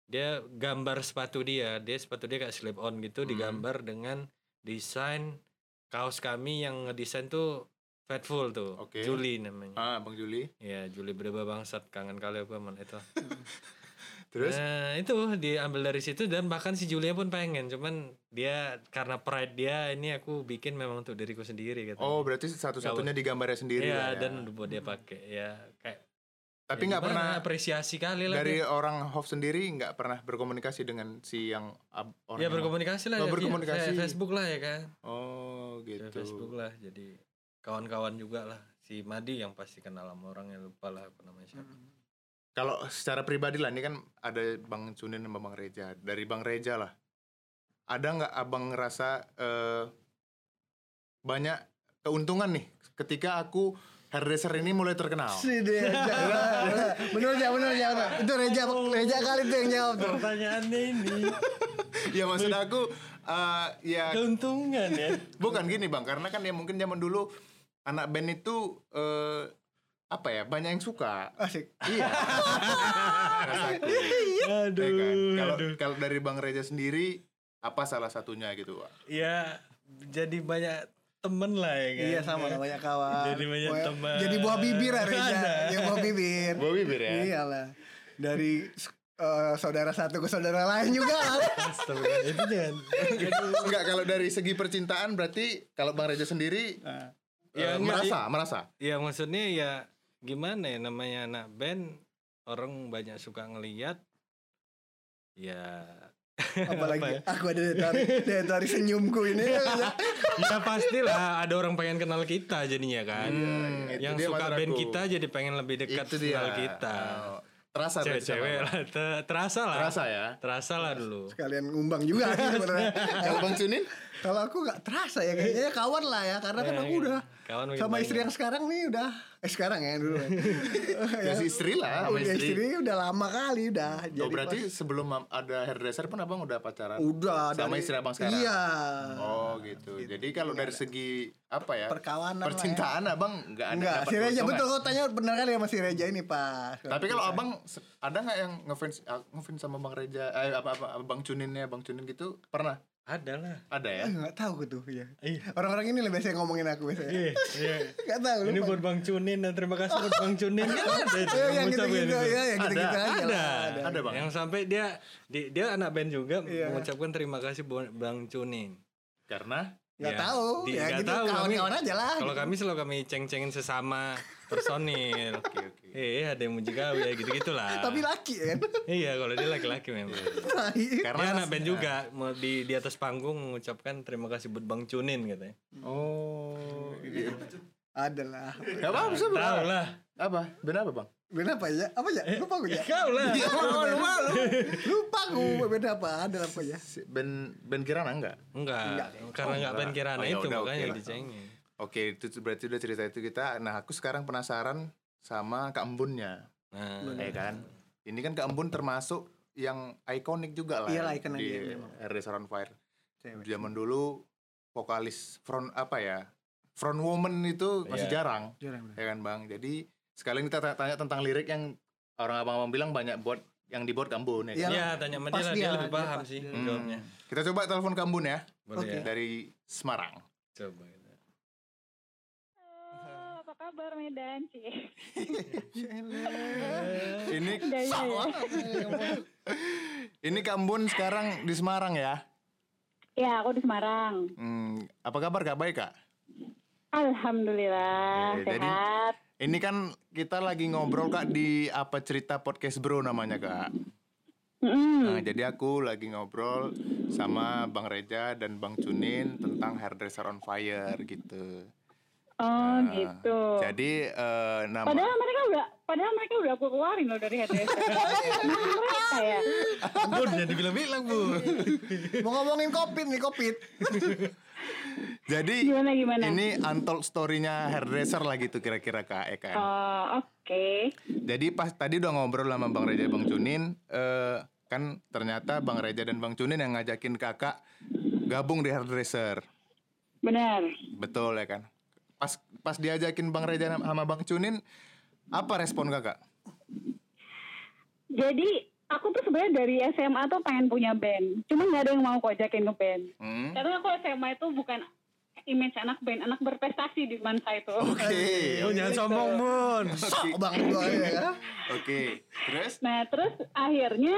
dia gambar sepatu dia dia sepatu dia kayak slip on gitu Mm-hmm. digambar dengan desain kaos kami yang ngedesain tuh Fatful tuh Oke. Juli namanya Ah, bang Juli. ya Juli berapa bangsat kangen kali apa man itu Terus Nah, itu diambil dari situ dan bahkan si Julia pun pengen cuman dia karena pride dia ini aku bikin memang untuk diriku sendiri katanya oh berarti satu-satunya digambarnya sendiri Eh, Iya lah ya. dan buat dia pakai ya kayak Tapi ya nggak gimana, pernah apresiasi kali lah dari Iya, dia. orang Hof sendiri nggak pernah berkomunikasi dengan si yang ab- orang. ya yang- berkomunikasi Oh, lah ya, via- berkomunikasi. via Facebook lah ya kan Oh Via gitu. Facebook lah jadi kawan-kawan juga lah si Madi yang pasti kenal sama orang yang lupa lah apa namanya siapa Hmm. Kalau secara pribadi lah ini kan ada Bang Cunin sama Bang Reja. Dari Bang Reja lah. Ada nggak Abang ngerasa eh, banyak keuntungan nih ketika aku hairdresser ini mulai *laughs* terkenal? Si Reja. *laughs* Bener ya, bener ya. bener. Itu Reja, Reja kali itu yang jawab tuh. pertanyaannya ini ya maksud aku eh, ya keuntungan ya Bukan gini bang, karena kan ya mungkin zaman dulu anak band itu eh, apa ya banyak yang *laughs* suka. Asik. Iya. Rasaku. Ya aduh kan? Kalau aduh. kalau dari bang Reza sendiri apa salah satunya gitu? Pak? ya jadi banyak temen lah ya kan Iya sama lah banyak kawan. Jadi banyak Pokoknya- teman. Jadi buah bibir ya Reja. Ada. Ya buah bibir. Buah bibir ya? Iya. Iyalah. Dari eh, saudara satu ke saudara lain juga. kan. *laughs* Astaga, *laughs* itu jangan Enggak kalau dari segi percintaan berarti kalau bang Reza sendiri eh, Ya, enggak, merasa merasa. ya maksudnya ya gimana ya namanya anak band orang banyak suka ngeliat ya ya? Apalagi aku ada daya tarik, daya tarik senyumku ini. ya pastilah ada orang pengen kenal kita jadinya kan Iya, itu yang dia suka maksud band aku. kita jadi pengen lebih dekat Itu dia. kenal kita Oh, terasa Ah, berarti sama, cewek-cewek Bang. lah te- terasa lah Terasa ya. terasa lah dulu Kalian ngumbang juga sih sebenarnya. Kalau bang *laughs* Cunin? Kalau aku nggak terasa ya kayaknya ya kawan lah ya karena Iya, kan Ya, aku ya. udah Kawan makin sama istri banyak. yang sekarang nih udah eh sekarang ya *laughs* dulu. Ya, si istri Iya, lah, sama udah istri. istri udah lama kali udah. Oh, berarti sebelum ada hairdresser pun abang udah pacaran? pas- udah sama dari- istri abang sekarang? Iya. Oh gitu. Jadi Iya, kalau dari segi apa ya? Perkawanan lah percintaan abang nggak ada Enggak, dapat si ya Reja keuntungan. betul kau tanya benar kali sama si Reja ini pas. Tapi kalau abang se- ada nggak yang ngefans ah, ngefans sama bang Reja? Eh, apa apa abang Cuninnya, bang Cunin gitu pernah? ada lah Ada ya? Eh, nggak tahu gitu ya. Iya. Orang-orang ini lebih biasa ngomongin aku biasanya. Iya, *laughs* iya. Enggak tahu ini lupa. buat Bang Cunin dan terima kasih buat Bang Cunin Kan ada itu Eh, yang yang ngucapin gitu-gitu itu. ya, yang Ada, gitu-gitu aja ada, lah, ada. Ada, Bang. yang sampai dia di- dia anak band juga Iya. mengucapkan terima kasih buat Bang Cunin Karena Ya, Nggak tahu, di- ya nggak gitu tahu, kawan-kawan kami- aja lah. gitu. Kalau kami selalu kami ceng-cengin sesama *laughs* personil. Eh ada yang muji kau ya gitu-gitu lah. Tapi laki kan. Iya kalau dia laki-laki memang. karena Tai. Iya. Dia anak band Iya, nah, juga mau di di atas panggung mengucapkan terima kasih buat Bang Cunin katanya. Oh. Iya. Adalah. Gak apa-apa, Sob. Tahu lah. Apa? Band apa, Bang? Beda apa ya? Apa ya? Lupa *laughs* gue ya. Kau lah. lupa, lupa, lupa gue beda apa? Adalah apa ya? Si- Band band Kirana enggak? Enggak, karena Oh, enggak band enggak. Kirana Oh, ya itu udah, makanya oke lah. dicengin. Oke, itu tuh berarti udah cerita itu kita. Nah, aku sekarang penasaran sama Kak Embunnya. Nah, ya kan ini kan Kak Embun termasuk yang ikonik iya, juga lah Iyalah, icon di lagi, memang. Race on Fire zaman dulu vokalis front apa ya front woman itu masih Iya. jarang ya kan bang jadi sekalian kita ta- tanya tentang lirik yang orang abang-abang bilang banyak buat yang dibuat Kak Embun ya kan? Iya. ya tanya sama dia Pas lah, dia dia, lebih dia paham pas, sih dia. Hmm. jawabnya. kita coba telepon Kak Embun ya Boleh ya. dari Semarang Coba. Halo, apa kabar Medan *laughs* sih? ini *laughs* Dari ini Kak Embun sekarang di Semarang ya ya aku di Semarang. hmm, apa kabar Kak baik Kak Alhamdulillah Oke, Iya, jadi- sehat. Ini kan kita lagi ngobrol kak di apa cerita podcast bro namanya kak. Mm-mm. Nah jadi aku lagi ngobrol sama Bang Reja dan Bang Cunin tentang hairdresser on fire gitu. Oh Nah, gitu. Jadi eh, nama Padahal mereka udah, padahal mereka udah aku keluarin loh dari *laughs* HDS. Nah, mereka ya. Bun, jadi bilang-bilang, Bu. Mau ngomongin kopit nih kopit. jadi Gimana gimana? ini untold story-nya hairdresser lah gitu kira-kira kak ya kan. Oh oke. Jadi pas tadi udah ngobrol sama Bang Reja Bang Cunin eh, kan ternyata Bang Reja dan Bang Cunin yang ngajakin kakak gabung di hairdresser. Benar. Betul ya kan. Pas pas diajakin Bang Reja nam- sama Bang Cunin, apa respon kakak? Jadi aku tuh sebenarnya dari SMA tuh pengen punya band. Cuma nggak ada yang mau aku ajakin ke band. Hmm? Karena aku SMA itu bukan image anak band, anak berprestasi di masa itu. Oke, Bun, Oh, jangan sombong, Bun. Eh, Sok bang gue ya Iya. kan. oke. Terus? Nah, terus akhirnya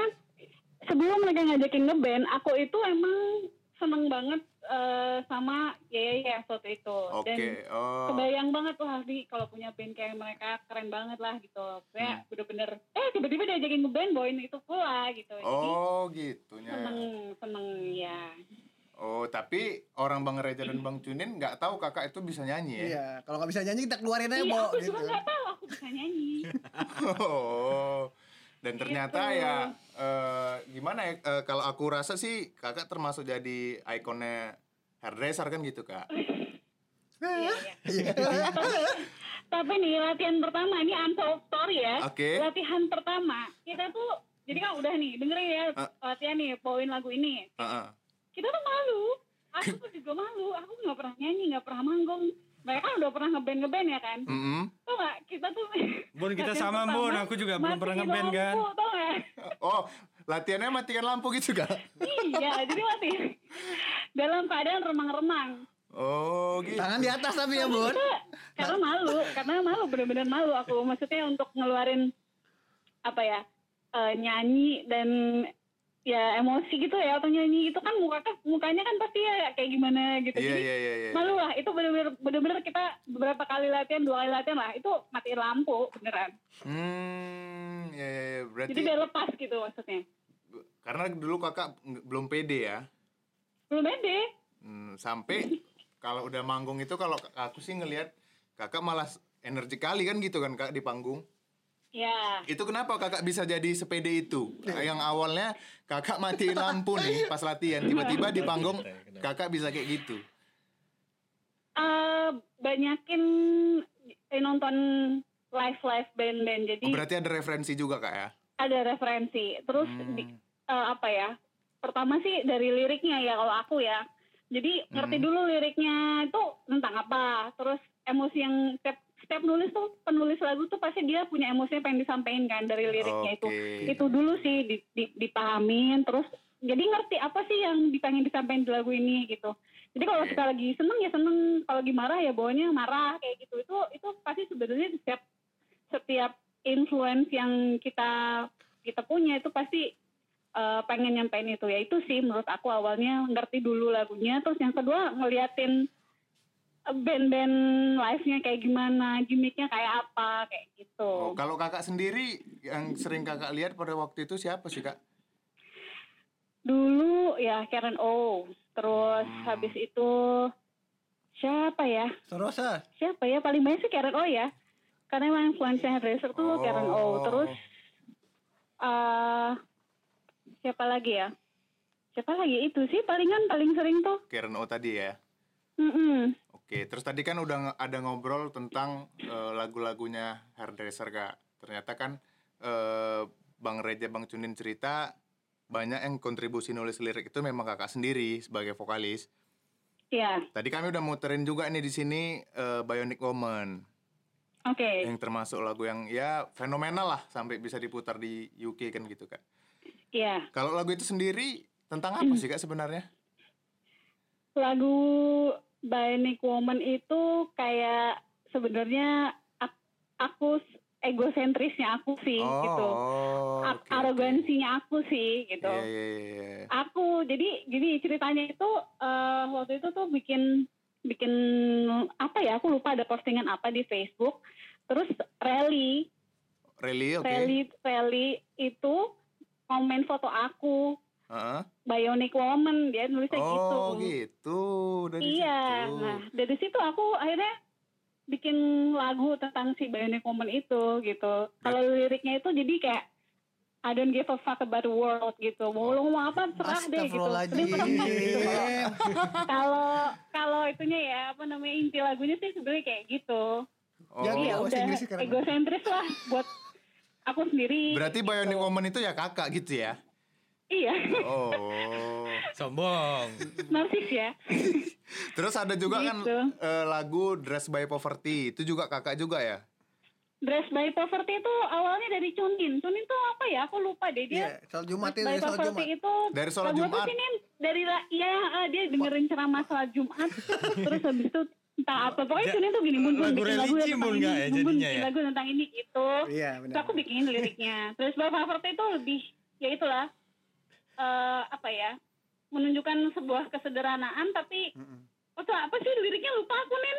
sebelum mereka ngajakin ngeband, aku itu emang seneng banget eh, sama Yeye waktu itu. Dan Oke, oh. kebayang banget wah nih kalau punya band kayak mereka keren banget lah gitu. Kayak Hmm. bener-bener eh tiba-tiba diajakin nah ngeband bawain itu pula gitu. Jadi Oh, gitunya. seneng seneng ya. Oh, tapi orang Bang Reza dan Bang Cunin nggak tahu kakak itu bisa nyanyi ya? Iya, kalau nggak bisa nyanyi kita keluarin aja, Iya, Bo. aku Gitu. juga nggak tahu aku bisa nyanyi. *laughs* *laughs* Oh. Dan ternyata Gitu. ya eh, gimana ya eh, kalau aku rasa sih kakak termasuk jadi ikonnya hairdresser kan gitu kak. Iya. Tapi nih latihan pertama ini unsolved story ya. Oke. Latihan pertama kita tuh jadi kan udah nih dengerin ya Ah. latihan nih poin lagu ini. Heeh. Kita tuh malu. Aku tuh juga malu. Aku nggak pernah nyanyi, nggak pernah manggung. Mereka kan udah pernah ngeband ngeband ya kan. Mm-mm. Tau gak? Kita tuh. Hmm. Bun, kita latihan sama, pertama, Bun. Aku juga belum matiin pernah ngeband, kan? lampu, Tau gak? Oh latihannya matikan lampu gitu kak? iya, jadi latihan dalam keadaan remang-remang. Oh gitu. Tangan di atas tapi ya, Bun. Karena- Nah. karena malu karena malu bener-bener malu aku maksudnya untuk ngeluarin apa ya eh, nyanyi dan ya emosi gitu ya atau nyanyi itu kan muka mukanya kan pasti ya kayak gimana Iya gitu Jadi iya iya. iya. malu lah itu bener-bener bener-bener kita beberapa kali latihan dua kali latihan lah itu matiin lampu beneran Hmm iya iya iya. berarti jadi biar lepas gitu maksudnya karena dulu kakak nggak- belum pede ya. belum pede Hmm, sampai *laughs* kalau udah manggung itu kalau aku sih ngelihat kakak malah energi kali kan gitu kan kak di panggung. ya Itu kenapa kakak bisa jadi sepede itu? Iya. Yang awalnya kakak matiin lampu nih pas latihan, tiba-tiba di panggung kakak bisa kayak gitu. eh, banyakin eh, nonton live live band-band jadi Oh, berarti ada referensi juga kak ya? ada referensi. Terus Hmm. di- eh, apa ya? Pertama sih dari liriknya ya kalau aku ya. Jadi ngerti Hmm. dulu liriknya itu tentang apa. Terus emosi yang setiap setiap nulis tuh penulis lagu tuh pasti dia punya emosinya pengen disampaikan kan dari liriknya itu. Oke. Itu dulu sih di- di- dipahamin terus jadi ngerti apa sih yang dipengen disampaikan di lagu ini gitu. Jadi kalau Oke. kita lagi seneng ya seneng, kalau lagi marah ya bawanya marah kayak gitu. Itu itu pasti sebenarnya setiap setiap influence yang kita kita punya itu pasti eh, pengen nyampein itu ya itu sih menurut aku awalnya ngerti dulu lagunya terus yang kedua ngeliatin eh, band-band live-nya kayak gimana gimmicknya kayak apa kayak gitu Oh, kalau kakak sendiri yang sering kakak lihat pada waktu itu siapa sih kak? dulu ya Karen O terus habis itu siapa ya ah. Sorosa. siapa ya paling banyak sih Karen O ya karena emang influencer hairdresser tuh Karen O terus eh siapa lagi ya siapa lagi itu sih palingan paling sering tuh Karen O tadi ya. Mm-mm. Oke, terus tadi kan udah nge- ada ngobrol tentang eh, lagu-lagunya hairdresser kak. Ternyata kan eh, Bang Reja, Bang Cunin cerita banyak yang kontribusi nulis lirik itu memang kakak sendiri sebagai vokalis. Iya, Tadi kami udah muterin juga nih di sini eh, Bionic Woman oke. yang termasuk lagu yang ya fenomenal lah sampai bisa diputar di UK kan gitu kak. Iya. Kalau lagu itu sendiri tentang apa sih kak sebenarnya? Lagu Bionic Woman itu kayak sebenarnya ak- aku s- egosentrisnya aku sih gitu. Oh. A- oke, oke. arogansinya aku sih gitu. Iya iya iya. iya. Aku jadi gini ceritanya itu eh, waktu itu tuh bikin bikin apa ya aku lupa ada postingan apa di Facebook. Terus rally Really oke. Rally Rally itu komen foto aku Heeh. Bionic Woman dia nulisnya gitu. Oh gitu. Dari Iya. situ. Nah, dari situ aku akhirnya bikin lagu tentang si Bionic Woman itu gitu. Kalau liriknya itu jadi kayak I don't give a fuck about the world gitu. Mau lo ngomong apa serah deh Iya. gitu. Jadi serah gitu. Astagfirullahaladzim. Kalau kalau itunya ya apa namanya inti lagunya sih sebenarnya kayak gitu. Oh. Jadi Jadi ya bahasa udah Inggrisnya keren banget. egosentris lah buat aku sendiri. Berarti Bionic Woman itu ya kakak gitu ya? Iya. *laughs* Oh. Sombong. narsis ya Terus ada juga kan Gitu. eh, lagu Dress by Poverty itu juga kakak juga ya? dress by poverty itu awalnya dari Cunin Cunin tuh apa ya aku lupa deh Iya, dia soal Jumat ya, dress dari by soal poverty Jumat. itu Dari sholat lagu apa Jumat. sih, Nin? dari la- ya eh, dia dengerin ceramah sholat *laughs* Jumat terus habis itu entah apa pokoknya Cunin tuh gini bun bun Lagu bikin lagu religi, tentang Bun, ini nggak ya bun bun jadinya ya? bikin lagu tentang ini gitu Iya, benar. terus aku bikin liriknya dress by poverty itu lebih ya itulah eh, apa ya menunjukkan sebuah kesederhanaan tapi *laughs* Oh, tuh apa sih liriknya lupa aku nen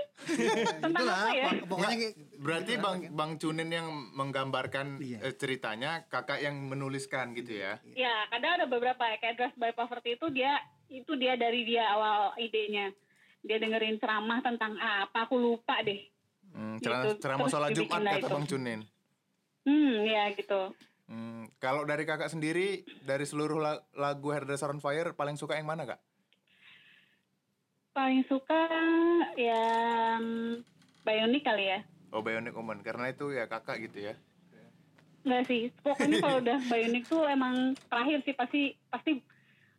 tentang Itulah, apa ya? pok- pokoknya Nggak, kayak- berarti Bang Bang Cunin yang menggambarkan Iya. eh, ceritanya, kakak yang menuliskan gitu ya. Ya, kadang ada beberapa ya, kayak Dress by Poverty itu dia itu dia dari dia awal idenya dia dengerin ceramah tentang apa aku lupa deh Hmm, ceramah, Gitu, ceramah terus sholat dibikin Jumat lah kata itu. Bang Cunin. hmm ya gitu Hmm, kalau dari kakak sendiri, dari seluruh la- lagu Hairdresser on Fire, paling suka yang mana kak? paling suka yang Bionic kali ya Oh Bionic Woman, karena itu ya kakak gitu ya. Enggak sih, pokoknya *laughs* kalau udah Bionic tuh emang terakhir sih pasti pasti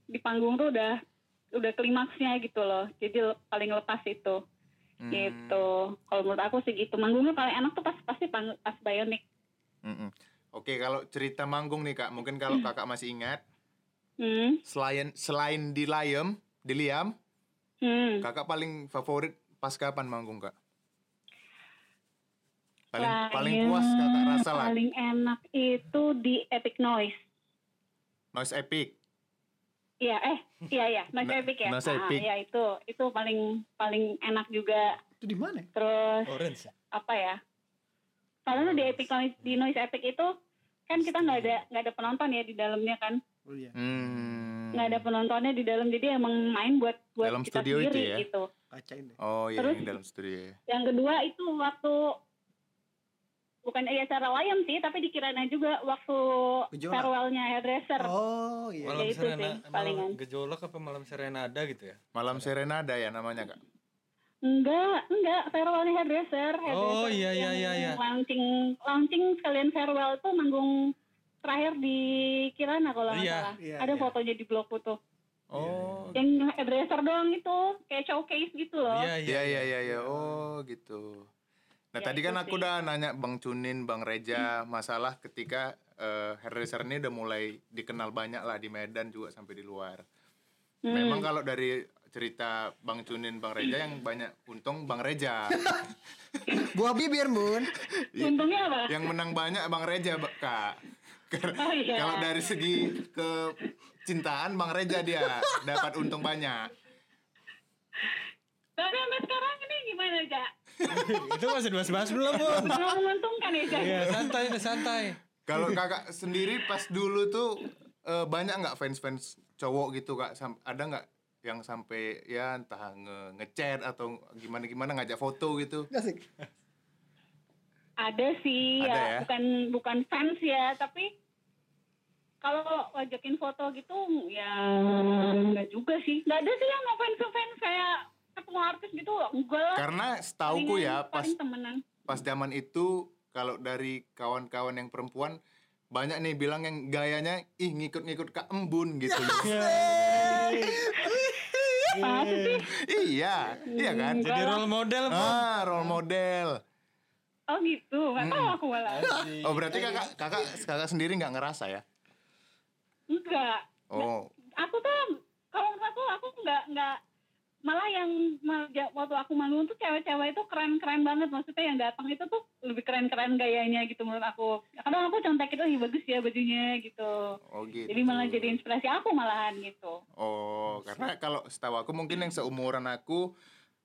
di panggung tuh udah udah klimaksnya gitu loh. Jadi le- paling lepas itu. Hmm, Gitu. Kalau menurut aku sih gitu. Manggungnya paling enak tuh pas pasti pang- pas Bionic. mm-mm. Oke, kalau cerita manggung nih kak, mungkin kalau kakak masih ingat, Hmm. selain selain di Liam, di Liam, Hmm. kakak paling favorit pas kapan manggung kak? Paling paling Saya puas kakak rasa lah. Paling enak itu di Epic Noise. Noise Epic. Iya, eh, iya iya, Noise Na- Epic ya. Noise Ah, Epic. iya itu itu paling paling enak juga. Itu di mana? ya? Terus Orange. apa ya soalnya di epic noise di noise epic itu kan kita nggak Iya. ada nggak ada penonton ya di dalamnya kan Oh iya. Hmm. nggak ada penontonnya di dalam jadi emang main buat buat Dalam kita studio itu sendiri ya? gitu Kacain deh. Oh iya, Terus- yang dalam studio ya. yang kedua itu waktu bukan ya acara wayang sih tapi di Kirana juga waktu Gejolak. farewellnya hairdresser Oh iya. Walau- Malam Ya itu sih, serena, palingan. malam gejolak apa malam serenada gitu ya? Malam Serenada ya namanya kak. enggak enggak farewellnya hairdresser, hairdresser Oh, iya, iya, yang iya, iya. launching launching sekalian farewell tuh manggung terakhir di Kirana kalau nggak Iya, salah iya, ada iya. fotonya di blog foto Oh. yang hairdresser doang itu kayak showcase gitu loh Iya, Iya iya iya iya. Oh gitu. Nah Ya, tadi itu kan aku sih. Hmm. udah nanya Bang Cunin, Bang Reja masalah ketika eh, hairdresser ini udah mulai dikenal banyak lah di Medan juga sampai di luar. Memang Hmm. kalau dari cerita Bang Cunin, Bang Reja yang banyak untung Bang *laughs* Reja. Buah bibir, Bun. Iya. untungnya apa yang menang banyak Bang Reja, Ba- Kak. Karena- Oh, iya. Kalau dari segi kecintaan Bang Reja dia dapat untung banyak. tapi sampai sekarang ini gimana ja *laughs* Itu masih dibahas-bahas belum, Bun? *laughs* belum menguntungkan ya ja Iya, santai deh, santai. Kalau kakak sendiri pas dulu tuh eh, banyak nggak fans-fans cowok gitu kak? Sam- ada nggak yang sampai ya entah nge ngechat atau gimana gimana ngajak foto gitu? Asik. ada sih Ada ya. ya, bukan bukan fans ya tapi kalau wajakin foto gitu ya nggak juga sih nggak ada sih yang mau fans fans kayak ketemu artis gitu enggak lah. Karena setauku Palingan- ya pas paling temenan pas zaman itu kalau dari kawan-kawan yang perempuan banyak nih bilang yang gayanya ih ngikut-ngikut kak embun gitu *laughs* Iya. loh. *laughs* Hmm. Masa sih? iya iya kan Jadi role model, Bun. ah role model oh gitu nggak tahu aku malah Iya. oh berarti Iya. kakak kakak kakak sendiri nggak ngerasa ya Hmm. enggak oh aku tuh kalau menurut aku aku nggak nggak malah yang mal- ja- waktu aku manggung tuh cewek-cewek itu keren-keren banget maksudnya yang datang itu tuh lebih keren-keren gayanya gitu menurut aku kadang aku contek itu "Ih, bagus ya bajunya gitu oh gitu jadi malah jadi inspirasi aku malahan gitu Oh, karena kalau setahu aku mungkin yang seumuran aku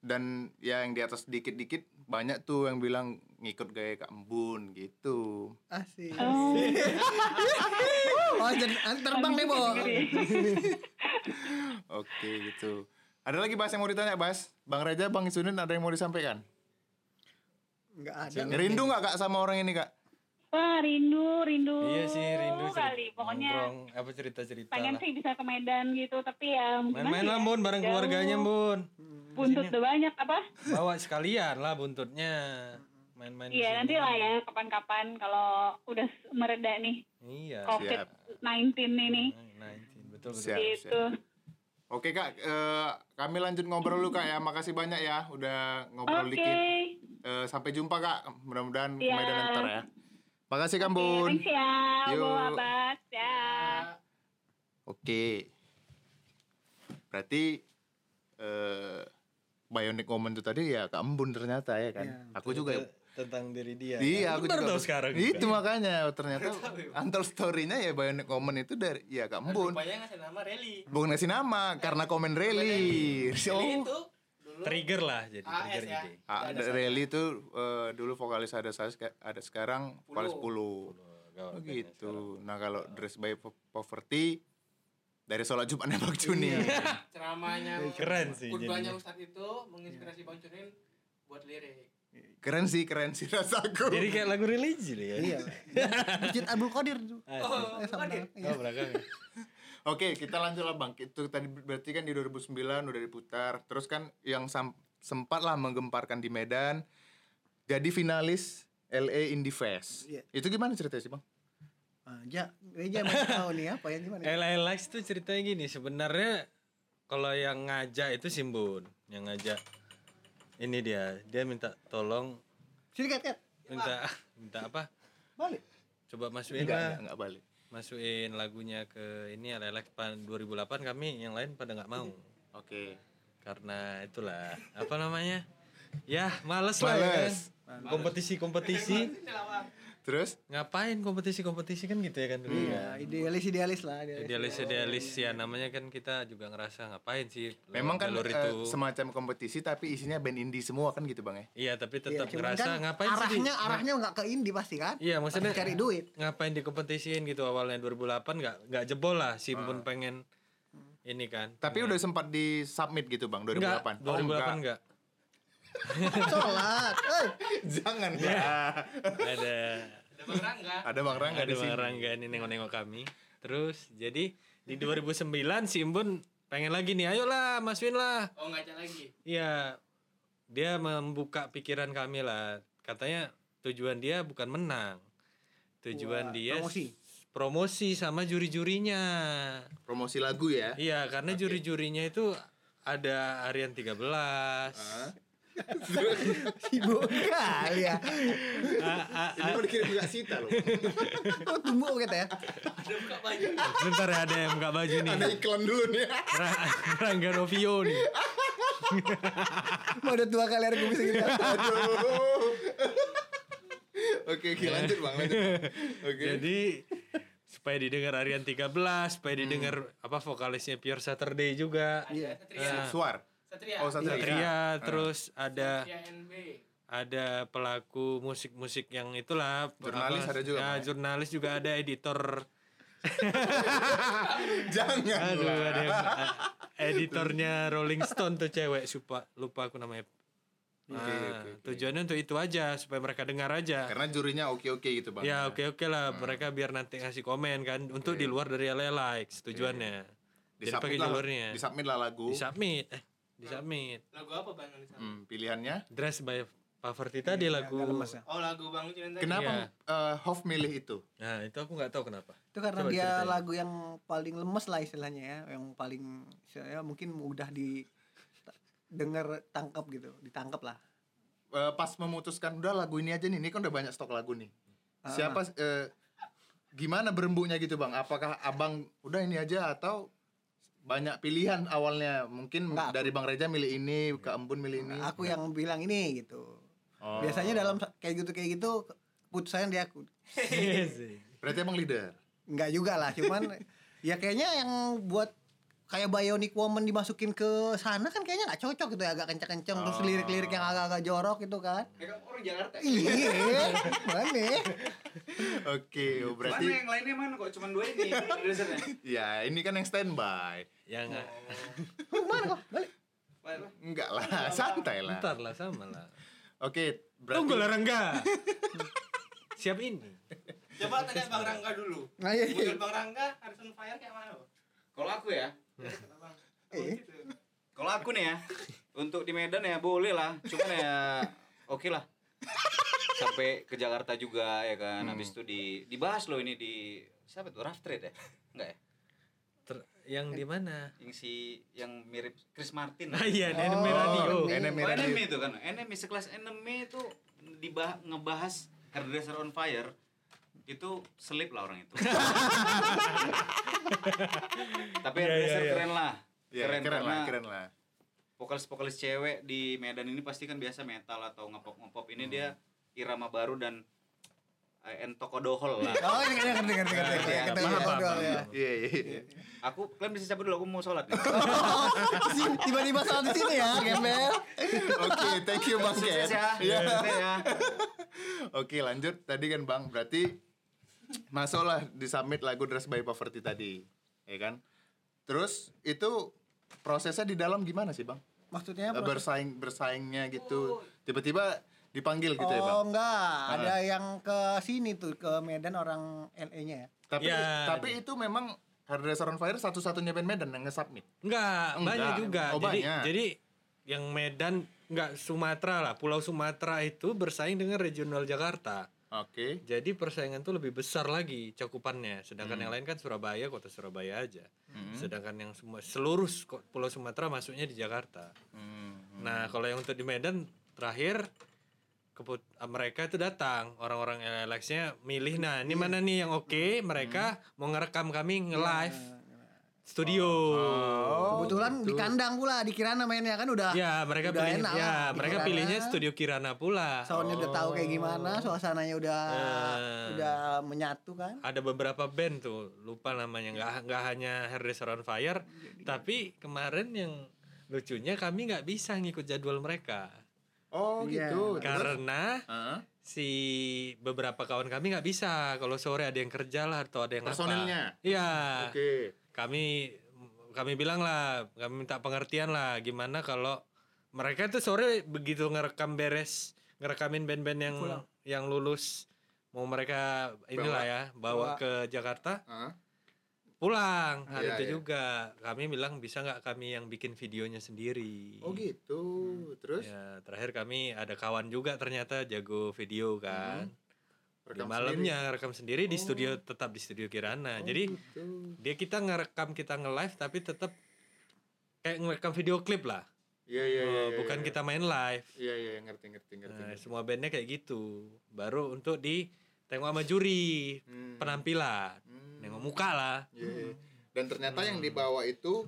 dan ya yang di atas dikit-dikit banyak tuh yang bilang ngikut gaya Kak Embun gitu. Asik. Iya oh, gitu Oh, jadi terbang deh, Bo. Oke, gitu. Ada lagi Bas yang mau ditanya, Bas? Bang Reja, Bang Sunin ada yang mau disampaikan? Enggak ada. Rindu nggak Kak sama orang ini, Kak? wah rindu rindu Iya sih, rindu cerita- kali pokoknya nongkrong, apa cerita-cerita lah. pengen sih bisa ke Medan gitu tapi ya gimana Main-main ya, lah, Bun, bareng jauh. keluarganya, Bun. buntut udah banyak apa Bawa sekalian lah buntutnya. Main-main. di iya sini. nanti lah ya kapan-kapan kalau udah mereda nih Iya. Siap. COVID-19 ini Nah, betul betul. Siap, gitu. siap. Oke, Kak. eh, kami lanjut ngobrol dulu, Kak ya. Makasih banyak ya udah ngobrol Oke. dikit. Eh, sampai jumpa, Kak. Mudah-mudahan ke Iya. Medan ntar ya. Makasih, Kak Bun. Thanks ya, Yuk. Bu Abbas. Ya. Oke. Berarti eh Bionic Woman itu tadi ya Kak Embun ternyata ya kan. aku juga Tentang diri dia. Iya, Kan? aku Baru juga. tahu sekarang. Itu makanya ternyata antar story-nya ya Bionic Woman itu dari ya Kak Embun. Rupanya ngasih nama Rally. Bukan ngasih nama karena komen rally. Rally Oh. itu dulu Trigger gitu lah jadi AS trigger ya. ide. Ah, ada rally itu eh, dulu vokalis ada saya ada sekarang vokalis Gitu. 10. Gawat. kan ya Oh gitu. Nah, kalau Dress by Po- Poverty dari sholat Jumatnya Bang Juni. ceramahnya Keren sih khutbahnya jadinya. Ustadz itu menginspirasi Bang Cunin buat lirik keren sih, keren sih *laughs* rasaku. Jadi kayak lagu religi loh ya. Iya. Masjid Abdul Qadir tuh. Asik. Eh, sama. Iya. Oh, belakang. Oke, kita lanjut lah Bang. Itu tadi berarti kan di 2009 udah diputar. Terus kan yang sam- sempat lah menggemparkan di Medan jadi finalis LA Indie Fest. Iya. Itu gimana ceritanya sih, Bang? Ah, Ja, Reja masih tahu nih apa ya gimana? LA Likes Eh, tuh ceritanya gini sebenarnya kalau yang ngajak itu Simbun yang ngajak ini dia dia minta tolong Sini kat kat. minta minta apa Balik. coba masukin Enggak, lah enggak, enggak balik. masukin lagunya ke ini LA Likes pa- 2008 kami yang lain pada nggak mau Oke. karena itulah apa namanya ya males lah ya kan. Males. kompetisi kompetisi Terus ngapain kompetisi kompetisi kan gitu ya kan dulu Iya, idealis idealis lah idealis. Iya, idealis idealis ya namanya kan kita juga ngerasa ngapain sih lewat memang kan jalur eh, itu semacam kompetisi tapi isinya band indie semua kan gitu, Bang ya? iya tapi Iya, tetap cuman ngerasa kan ngapain sih arahnya di- arahnya nggak ke indie pasti kan? iya maksudnya Cari duit. ngapain dikompetisiin gitu awalnya 2008 nggak nggak jebol lah simpun pengen Hmm. ini kan Ah. Tapi udah sempat di submit gitu, Bang, 2008. enggak Oh, 2008 enggak. *laughs* enggak Sholat. Eh, Jangan lah. ada ada Bang Rangga Ada Bang Rangga ada di sini. Bang Rangga ini nengok-nengok kami terus jadi di 2009 Simbun pengen lagi nih ayolah masukin lah oh ngajak lagi Iya, dia membuka pikiran kami lah. Katanya tujuan dia bukan menang, tujuan Wah, dia s- promosi. promosi sama juri-jurinya. Promosi lagu ya. Iya, karena juri-jurinya itu ada Aryan 13, sibuk kali ya. A- a- Ini mau dikirim juga Sita loh. Oh, tumbuh kita ya. Bentar ya ada yang nggak baju nih. Ada iklan dulu nih. *laughs* Ra- Rangga Novio nih. Mau ada dua kali aku bisa gitu. Aduh. Oke, oke, lanjut Bang, lanjut. Bang. Oke. Jadi supaya didengar Aryan 13, supaya Hmm. didengar apa vokalisnya Pure Saturday juga. Iya. Nah. Satria Suar. Satria Oh, Satria. Satria, terus Ah. ada Satria NB ada pelaku musik-musik yang itulah Jurnalis apa, ada juga, ya, Bang, ya? jurnalis juga ada *laughs* editor *laughs* Jangan. aduh lah. ada yang- a- editornya Rolling Stone tuh cewek lupa lupa aku namanya Nah, oke, oke. tujuannya untuk itu aja supaya mereka dengar aja Karena jurinya oke-oke gitu, Bang. ya oke oke Ah. lah mereka biar nanti ngasih komen kan untuk di luar dari LA likes tujuannya jadi pakai lah, jalurnya disubmit lah lagu. disubmit eh disubmit lagu apa Bang yang disana? Hmm, pilihannya. dress by Poverty tadi lagu oh lagu Bang Cunin Iya. tadi Kenapa eh, Hoff milih itu? nah itu aku nggak tahu kenapa Itu karena Coba dia ceritain. lagu yang paling lemes lah istilahnya ya, yang paling saya mungkin mudah di ta- dengar tangkap gitu, ditangkap lah. Eh, pas memutuskan udah lagu ini aja nih, ini kan udah banyak stok lagu nih. Ah. Siapa eh, gimana berembuknya gitu, Bang? Apakah Abang udah ini aja atau banyak pilihan awalnya? Mungkin Nggak, aku- dari Bang Reja milih ini, Kak Embun milih ini. Aku yang bilang ini gitu. Oh. Biasanya dalam sa- kayak gitu kayak gitu putusannya dia aku. *laughs* Iya sih. Berarti Abang leader. Enggak juga lah, cuman *laughs* ya kayaknya yang buat kayak Bionic Woman dimasukin ke sana kan kayaknya nggak cocok gitu ya agak kenceng-kenceng terus Oh. lirik-lirik yang agak-agak jorok gitu kan. mereka Ya, orang Jakarta Iya, mana? Oke, oh, mana berarti yang lainnya mana kok cuman dua *laughs* ini produsernya ya ini kan yang standby. Ya nggak. Mana kok? Balik. Baiklah. Enggak lah, santai lah. Bentar lah sama lah. Oke, berarti Tunggu lah Rangga. *laughs* Siap ini. Coba tanya Bang Rangga dulu. Nah, iya, iya. Menurut Bang Rangga, Harrison Fire kayak mana, Bang? Iya, Kalau aku ya, Bang, Eh. gitu. kalau aku nih ya, untuk di Medan ya boleh lah, cuman ya oke lah. Sampai ke Jakarta juga ya kan. Habis itu di dibahas loh ini di siapa tuh Rough Trade ya? Enggak ya? Ter- yang di *laughs* mana? Yang si yang mirip Chris Martin. Nah iya, di NME Radio. enemy Oh, radio. enemy itu kan. Enemy sekelas enemy itu dibah ngebahas hairdresser on fire itu selip *laughs* lah orang itu. Tapi Iya, iya, hairdresser iya. keren lah. Ya, keren, lah, karena keren lah. vokalis-vokalis cewek di Medan ini pasti kan biasa metal atau ngepop-ngepop. Ini dia irama baru dan eh, entokodohol lah. Oh, ini kan dengar dengar dengar iya, paham, kita ya, paham, ngobrol paham. ya. Iya, iya, iya. Aku kalian bisa cabut dulu aku mau sholat nih. Si- Tiba-tiba soal di sini ya, gembel. Oke, thank you Bang Ken. Sukses ya. Iya. Sukses ya. Oke, lanjut. Tadi kan Bang, berarti masuklah di summit lagu Dress by Poverty tadi. Ya kan? Terus itu prosesnya di dalam gimana sih bang? Maksudnya Eh, proses- Bersaing bersaingnya gitu. Tiba-tiba dipanggil gitu ya bang. Oh enggak, ada yang ke sini tuh ke Medan orang LA-nya ya. Tapi Ya. tapi itu memang Hardress on Fire satu-satunya band Medan yang nge-submit. Enggak, Enggak. banyak juga. Oh, jadi banyak. jadi yang Medan enggak Sumatera lah, Pulau Sumatera itu bersaing dengan regional Jakarta. Oke. Jadi persaingan tuh lebih besar lagi cakupannya. Sedangkan yang lain kan Surabaya, kota Surabaya aja. Sedangkan yang semua seluruh ko- Pulau Sumatera masuknya di Jakarta. Hmm. Nah, kalau yang untuk di Medan terakhir keput- ah, mereka itu datang orang-orang LLX-nya milih nah ini mana nih yang oke mereka mau ngerekam kami nge-live studio Nah, Oh, Kebetulan di kandang pula di Kirana mainnya kan udah Ya, mereka udah pilih enak ya, lah di mereka Kirana. pilihnya studio Kirana pula. soundnya udah tahu kayak gimana, Oh. suasananya udah Eh. udah menyatu kan. Ada beberapa band tuh, lupa namanya. Nggak nggak hanya Hairdresser on Fire, tapi kemarin yang lucunya kami nggak bisa ngikut jadwal mereka. Oh Iya. gitu. Terus- Karena Heeh. si beberapa kawan kami nggak bisa kalau sore ada yang kerja lah atau ada yang apa. Personilnya? Iya. Oke. kami kami bilang lah kami minta pengertian lah gimana kalau mereka tuh sore begitu ngerekam beres ngerekamin band-band yang yang lulus mau mereka inilah ya bawa ke Jakarta Heeh. pulang hari Iya, itu iya. juga kami bilang bisa nggak kami yang bikin videonya sendiri Oh gitu. Terus ya terakhir kami ada kawan juga ternyata jago video kan di Hmm. rekam malamnya rekam sendiri Oh. di studio tetap di studio Kirana sendiri. jadi Oh, gitu. Tuh. dia kita ngerekam kita nge-live tapi tetap kayak ngerekam video klip lah Iya iya iya. Oh, iya, bukan iya. kita main live Iya iya ngerti ngerti ngerti. nah, ngerti. semua bandnya kayak gitu baru untuk di tengok sama juri Hmm. penampilan nengok muka Hmm. lah Iya, iya. Dan ternyata yang dibawa itu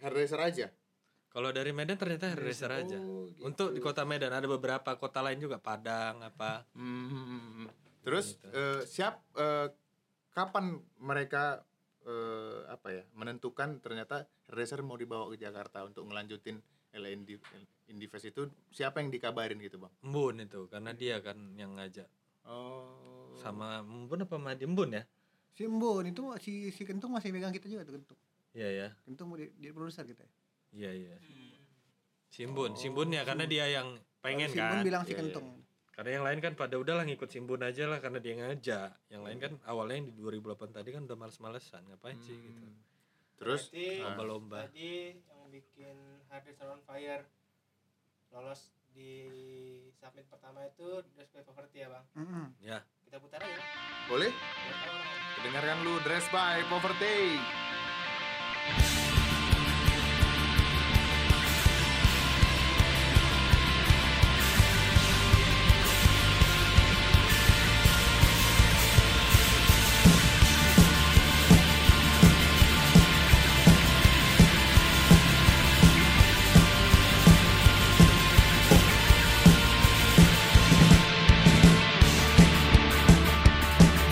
Hairdresser aja. kalau dari Medan ternyata Iya, hairdresser oh, aja gitu. untuk di kota Medan ada beberapa kota lain juga Padang apa Hmm. Terus eh, siap eh, kapan mereka eh, apa ya menentukan ternyata Racer mau dibawa ke Jakarta untuk ngelanjutin LND Indie Fest itu siapa yang dikabarin gitu bang? Embun itu karena dia kan yang ngajak Oh. sama Embun apa Madi Embun ya Si Mbun itu si si Kentung masih megang kita juga tuh Kentung. iya ya Kentung mau di, di produser kita. ya. iya iya Hmm. Simbun Simbun Oh, ya karena dia yang pengen si kan Mbun bilang si Iya, iya. Kentung. Karena yang lain kan pada udahlah ngikut Simbun aja lah karena dia ngajak. Yang lain kan awalnya yang di 2008 tadi kan udah males-malesan ngapain sih Hmm. gitu. Terus Berarti- ah, Lomba-lomba. Tadi yang bikin Hardest on Fire lolos di submit pertama itu Dress Play Poverty ya bang. Mm-mm. Ya. Kita putar aja. boleh Biar tahu orang. dengarkan lu Dress by Poverty.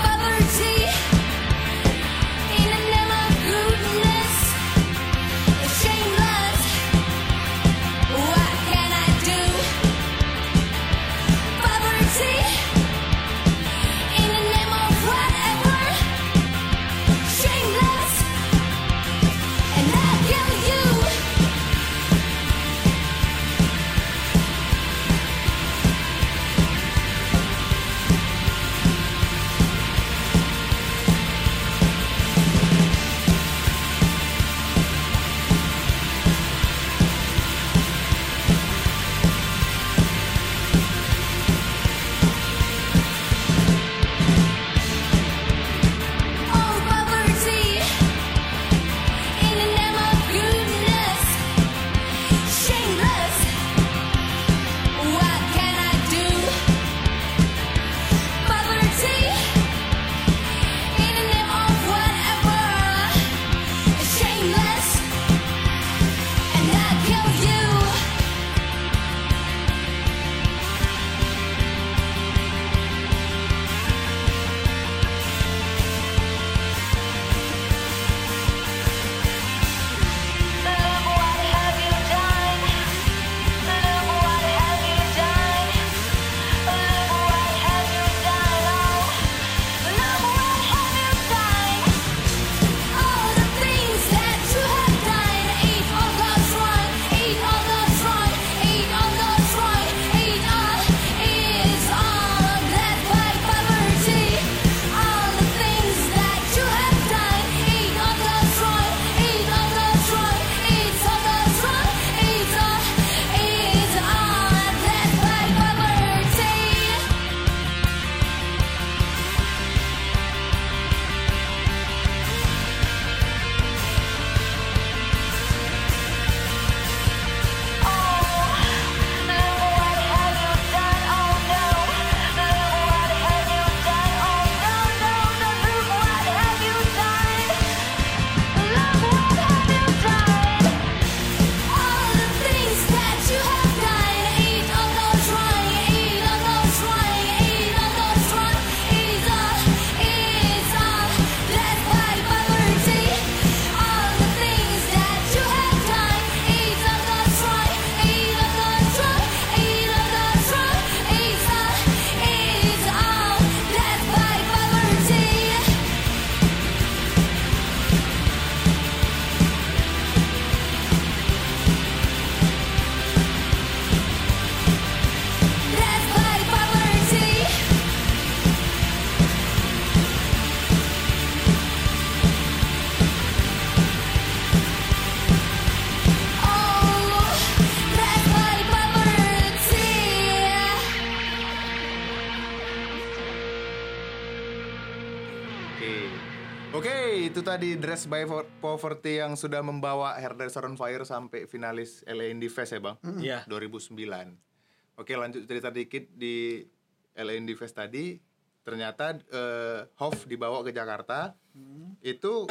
Poverty in the name of Oh, Oke, itu tadi Dress by Po- Poverty yang sudah membawa Hairdresser on Fire sampai finalis LA Indie Fest ya bang? Iya. 2009. Oke lanjut cerita dikit di LA Indie Fest tadi. Ternyata eh, Hof dibawa ke Jakarta. Hmm. Itu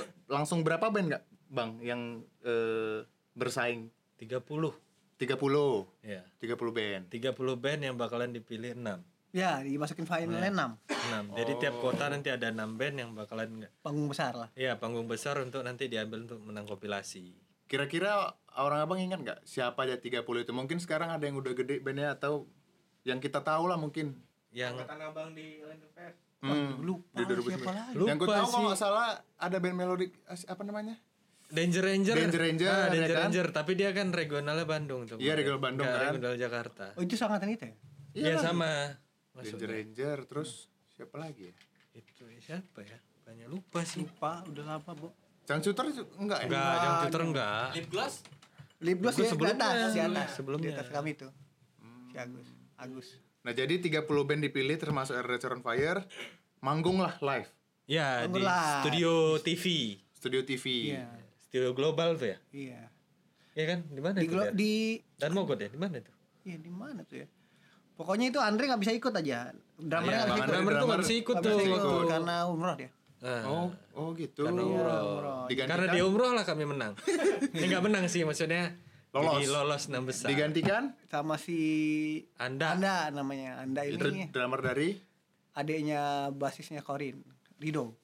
eh, langsung berapa band nggak bang yang eh, bersaing? 30. 30. Ya. 30 band. 30 band yang bakalan dipilih 6. Ya, dimasukin finalnya 6. 6 Jadi tiap kota nanti ada 6 band yang bakalan Panggung besar lah. ya panggung besar untuk nanti diambil untuk menang kompilasi. Kira-kira orang abang ingat nggak siapa aja 30 itu? Mungkin sekarang ada yang udah gede bandnya atau yang kita tahu lah mungkin. Yang Angkatan abang di Land Fair. Hmm, Lupa di 2009. siapa lagi. yang gue Lupa tahu kalau sih. nggak salah ada band melodic as- apa namanya? Danger Ranger. Danger Ranger, Ah, ya Danger kan? Ranger, tapi dia kan regionalnya Bandung tuh. Iya, kemarin. regional Bandung Nggak kan. regional Jakarta. Oh, itu sangat itu ya? Iya sama. Danger Maksudnya Ranger terus Hmm. siapa lagi ya? itu siapa ya? Banyak lupa sih. Lupa, udah lama, Bu. Cang Suter itu enggak ya? Enggak, jangan Twitter enggak. Lip gloss? Lip gloss Itu ya, di sebelumnya. atas, di atas. Sebelumnya. Di atas kami tuh. Si Agus. Agus. Nah, jadi 30 band dipilih termasuk Hairdresser on Fire manggung lah live Ya, di Enggak. studio TV, studio TV. Iya. studio global tuh ya. Iya. Iya kan? Di mana Di itu? glo- Dan di Dan Mogot ya, di mana itu? Iya di mana tuh ya? Pokoknya itu Andre nggak bisa ikut aja. Bang Iya, Drummernya nggak bisa ikut. Andre drummer tuh nggak bisa ikut Nggak tuh bisa waktu. ikut karena iya, umroh dia. Ah. Oh, oh gitu. Karena umroh. Digantikan, Karena di umroh lah kami *laughs* menang. Ya enggak menang sih maksudnya. Lolos. Jadi lolos enam besar. digantikan Sama si Anda. Anda namanya. Anda dr- ini drummer dari adiknya basisnya Korin, Rido.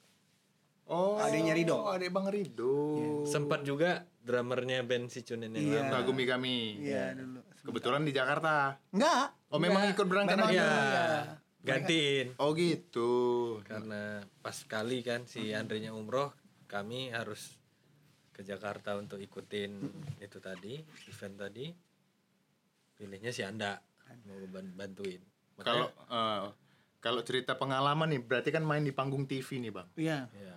Oh, Adiknya Rido. Oh, adik Bang Rido. Sempat juga drummernya band si Cunin yang Iya. lama. Kagumi kami. Iya dulu. Kebetulan di Jakarta. Enggak. Oh, memang Enggak. ikut berangkat Memang aja. Iya. Iya. Gantiin. Oh, gitu. Karena pas kali kan si Andrenya umroh, kami harus ke Jakarta untuk ikutin itu tadi, event tadi. Pilihnya si Anda mau ban- bantuin. Kalau Makanya- eh, kalau cerita pengalaman nih, berarti kan main di panggung TV nih, Bang. Iya. ya.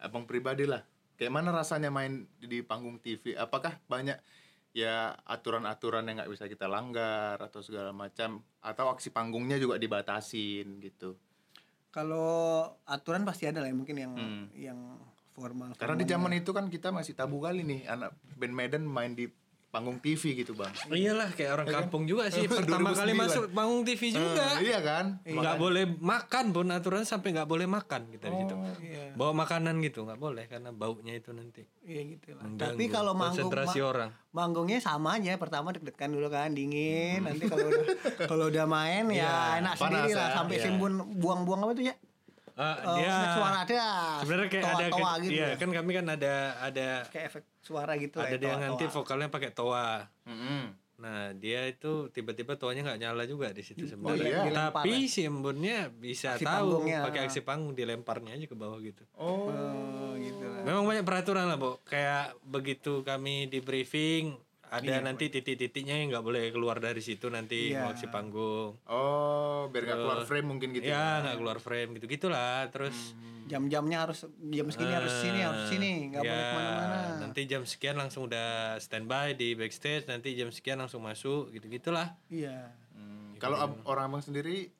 abang pribadi lah kayak mana rasanya main di panggung TV apakah banyak ya aturan-aturan yang nggak bisa kita langgar atau segala macam atau aksi panggungnya juga dibatasin gitu Kalau aturan pasti ada lah ya, mungkin yang Hmm. yang formal. karena di zaman itu kan kita masih tabu kali nih anak band Medan main di panggung TV gitu bang Oh Iyalah kayak orang kampung juga sih. Pertama kali 2009. masuk panggung TV Eh, juga. iya kan nggak boleh makan pun aturan sampai nggak boleh makan gitu gitu. Bawa makanan gitu nggak boleh karena baunya itu nanti. Iya gitu lah. Mengganggu Tapi kalau manggung konsentrasi ma- orang. Manggungnya sama aja. Pertama deg-degan dulu kan dingin. Hmm. Nanti kalau *laughs* udah kalau udah main ya panas enak sendiri lah ya, sampai iya. timbun buang-buang apa tuh ya? Ah, Eh, dia efek suara ada. sebenarnya kayak ada toa ke- gitu. iya, ya. kan kami kan ada ada Kayak efek suara gitu lah. ada ya, dia toa-toa. nanti vokalnya pakai toa. Mm-mm. Nah, dia itu tiba-tiba toanya nggak nyala juga di situ iya. sebenarnya. Dilempar Tapi si embunnya bisa Aksi tahu panggungnya. pakai aksi panggung dilemparnya aja ke bawah gitu. Oh, gitu lah. Memang banyak peraturan lah, Bu. Kayak begitu kami di briefing ada nanti titik-titiknya yang nggak boleh keluar dari situ nanti mau Iya. aksi panggung. oh biar nggak keluar frame mungkin gitu kan. ya, nggak keluar frame gitu gitulah. Terus Jam-jamnya harus jam segini Hmm. harus sini harus sini nggak boleh ya, kemana-mana. Eh, Nanti jam sekian langsung udah standby di backstage, nanti jam sekian langsung masuk gitu gitulah. Iya. Hmm. kalau ab- orang abang sendiri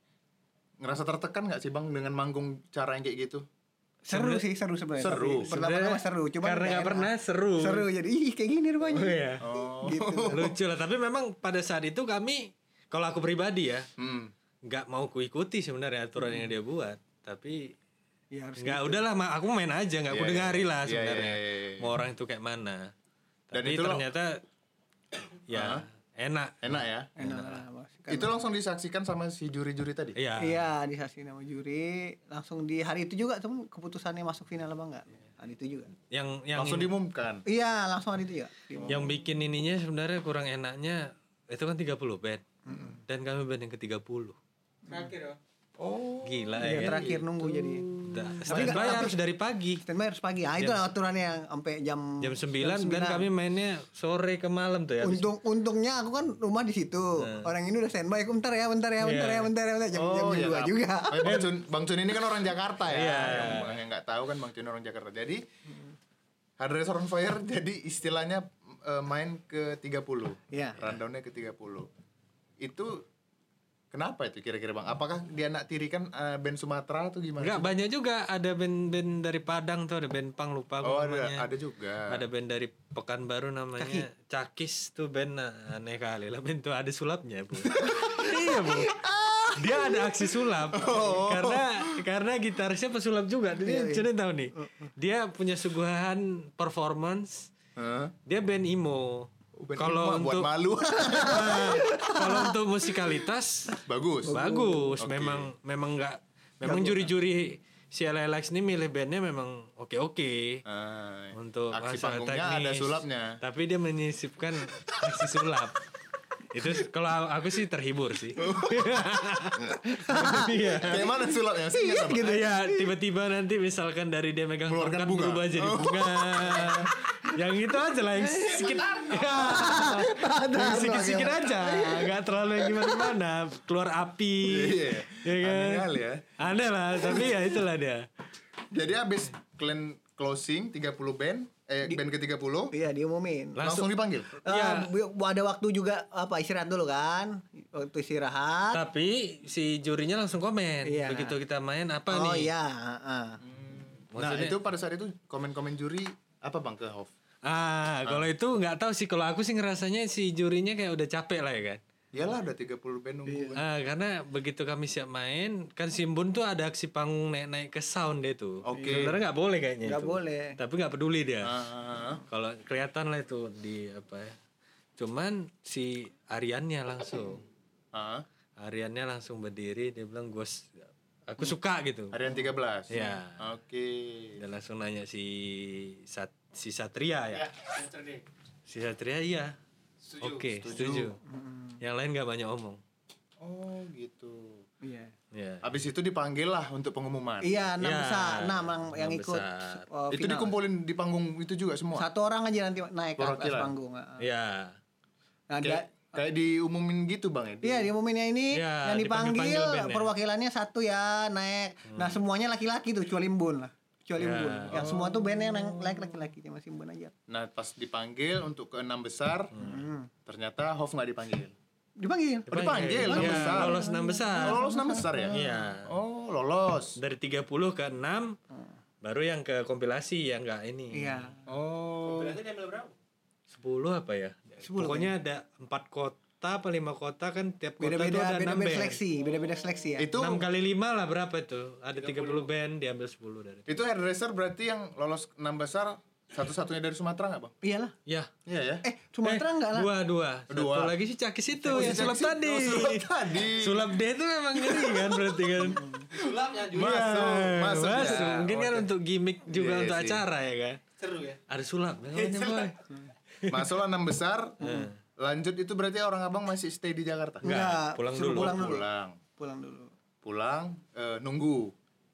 ngerasa tertekan nggak sih bang dengan manggung cara yang kayak gitu Seru sih seru sebenarnya. Seru. Tapi Pertama-tama Sebenarnya seru. Cuma karena nggak pernah seru. Seru jadi ih kayak gini rupanya. Oh, iya. oh Gitu. Lucu lah, tapi memang pada saat itu kami kalau aku pribadi ya, Hmm. nggak mau kuikuti sebenarnya aturan yang dia buat tapi Ya harus nggak udahlah Ma, aku main aja nggak aku gitu. Iya, iya. dengari lah Iya, sebenarnya iya, iya, iya. mau orang itu kayak mana Dan tapi itu lo- ternyata ya Hah? enak enak ya enak lah. Mas. Karena- itu langsung disaksikan sama si juri-juri tadi iya Iya, disasih nama juri langsung di hari itu juga tuh keputusannya masuk final apa enggak? Hari itu juga. yang yang langsung diumumkan Iya, langsung hari itu juga. Di- yang bikin ininya sebenarnya kurang enaknya itu kan 30 band dan kami band yang ke 30 Terakhir ya. oh gila Iya, ya, kan? terakhir nunggu jadi. Udah, standby harus dari pagi Standby harus pagi. Ah, itu aturannya yang sampai jam jam 9 dan kami mainnya sore ke malam tuh ya Oh, iya, habis Nah. Untung untungnya aku kan rumah di situ. Orang ini udah standby aku bentar ya, bentar Iya. ya, bentar ya, bentar ya, bentar. Jam, jam Oh, iya, 2 Kak. juga. Oh, *laughs* ya, Bang Cun, Bang Cun ini kan orang Jakarta ya. Iya. Yang- Yang nggak tahu kan Bang Cun orang Jakarta. Jadi Hardress on Fire *laughs* jadi istilahnya eh, main ke 30. Iya. Rundownnya ke 30. Itu Kenapa itu kira-kira bang? Apakah dia nak tirikan eh, band Sumatera atau gimana? Enggak banyak juga ada band-band dari Padang tuh ada band Pang lupa Oh ada, gua namanya. ada juga. Ada band dari Pekanbaru namanya Cakis tuh band nah, aneh kali lah band tuh ada sulapnya *laughs* bu. iya bu. Oh. Dia ada aksi sulap karena karena gitarisnya pesulap juga. Iya, Jadi Cunin tahu nih. Oh, Dia punya suguhan performance. Hah? Dia band emo. Band Kalau Irma Oh, buat untuk malu *laughs* Nah, kalau untuk musikalitas bagus. bagus Oke. memang memang nggak memang juri-juri si LLX ini milih bandnya memang oke oke Ah, untuk aksi masalah panggungnya ada sulapnya. tapi dia menyisipkan aksi sulap itu s- kalau aku sih *laughs* terhibur sih iya Kayak mana sulapnya? Saya Iya, ingat sama. gitu ya tiba-tiba nanti misalkan dari dia megang Keluarkan tongkat bunga. Oh. berubah jadi bunga yang itu aja lah yang Iya. sedikit *laughs* Nah, yang sedikit-sedikit Iya, aja nggak terlalu yang gimana-gimana keluar api Iya. ya Aneh kan kali ya. aneh lah tapi ya itulah dia Jadi abis kalian closing 30 band, eh band ke 30 langsung, Iya dia mau main. dipanggil. Iya. Eh, bu- ada waktu juga apa istirahat dulu kan? Waktu istirahat. tapi si jurinya langsung komen Iya. begitu kita main apa Hmm. oh nih iya, heeh. Nah Maksudnya- itu pada saat itu komen-komen juri apa bang ke Hof? ah kalau itu nggak tahu sih kalau aku sih ngerasanya si jurinya kayak udah capek lah ya kan Iyalah udah 30 band Iya. nunggu. Ah, karena begitu kami siap main, kan Simbun tuh ada aksi panggung naik-naik ke sound dia tuh. Oke. Sebenarnya nggak boleh kayaknya. Nggak itu. boleh. Tapi nggak peduli dia. Ah, Kalau kelihatan lah itu di apa ya. Cuman si Ariannya langsung, ah, Ariannya langsung berdiri dia bilang gue aku suka gitu. Harian 13. Iya. Oke. Dia langsung nanya si Sat, si Satria ya. ya Mister D Si Satria iya. Oke, setuju. Yang lain nggak banyak omong. Oh gitu. Iya. Ya. Abis itu dipanggil lah untuk pengumuman. Iya, enam Iya, besar, enam yang, yang enam ikut. besar. oh, itu final. dikumpulin di panggung itu juga semua. Satu orang aja nanti naik ke atas Perwakilan. panggung. heeh. Ya. Nah, Kayak, dia- kayak diumumin gitu bang ya. di- Iya, di momennya ini Iya, yang dipanggil, dipanggil-panggil band ya. Hmm. perwakilannya satu ya naik. Nah, semuanya laki-laki tuh kecuali Mbun lah. Kecuali Iya. Mbun. Yang semua tuh bandnya yang naik laki-laki cuma si Mbun aja. Nah pas dipanggil untuk ke enam besar, Hmm. ternyata Hof nggak dipanggil. Dipanggil. Oh, dipanggil, enam Iya, besar. lolos enam besar. Oh, lolos enam besar ya? Iya. Oh lolos. Dari 30 ke 6 Hmm. baru yang ke kompilasi yang enggak ini. Iya. Oh. berarti dia ambil berapa 10 apa ya? Pokoknya ada 4 kota apa 5 kota kan tiap kota itu Beda-beda ada 6 beda-beda band. seleksi, beda-beda seleksi ya. Itu 6 Iya, kali 5 lah berapa itu? Ada 30, band diambil 10 dari. itu hairdresser berarti yang lolos enam besar satu-satunya dari Sumatera nggak bang? Iyalah. Ya. Iya ya. Eh, Sumatera enggak lah. Dua, dua. Dua. Satu lagi si Cakis itu yang sulap Jackson- tadi. Oh, sulap tadi. Sulap D itu memang ngeri kan berarti kan. sulapnya juga Masuk, Iya, masuk, ya. Mungkin kan untuk gimmick juga Iya untuk sih. acara ya kan. seru ya Ada sulap namanya boy. Masuklah enam besar. Iya. Lanjut itu berarti orang abang masih stay di Jakarta. Enggak, pulang suruh dulu. Pulang dulu. Pulang, Pulang dulu. pulang, eh, nunggu.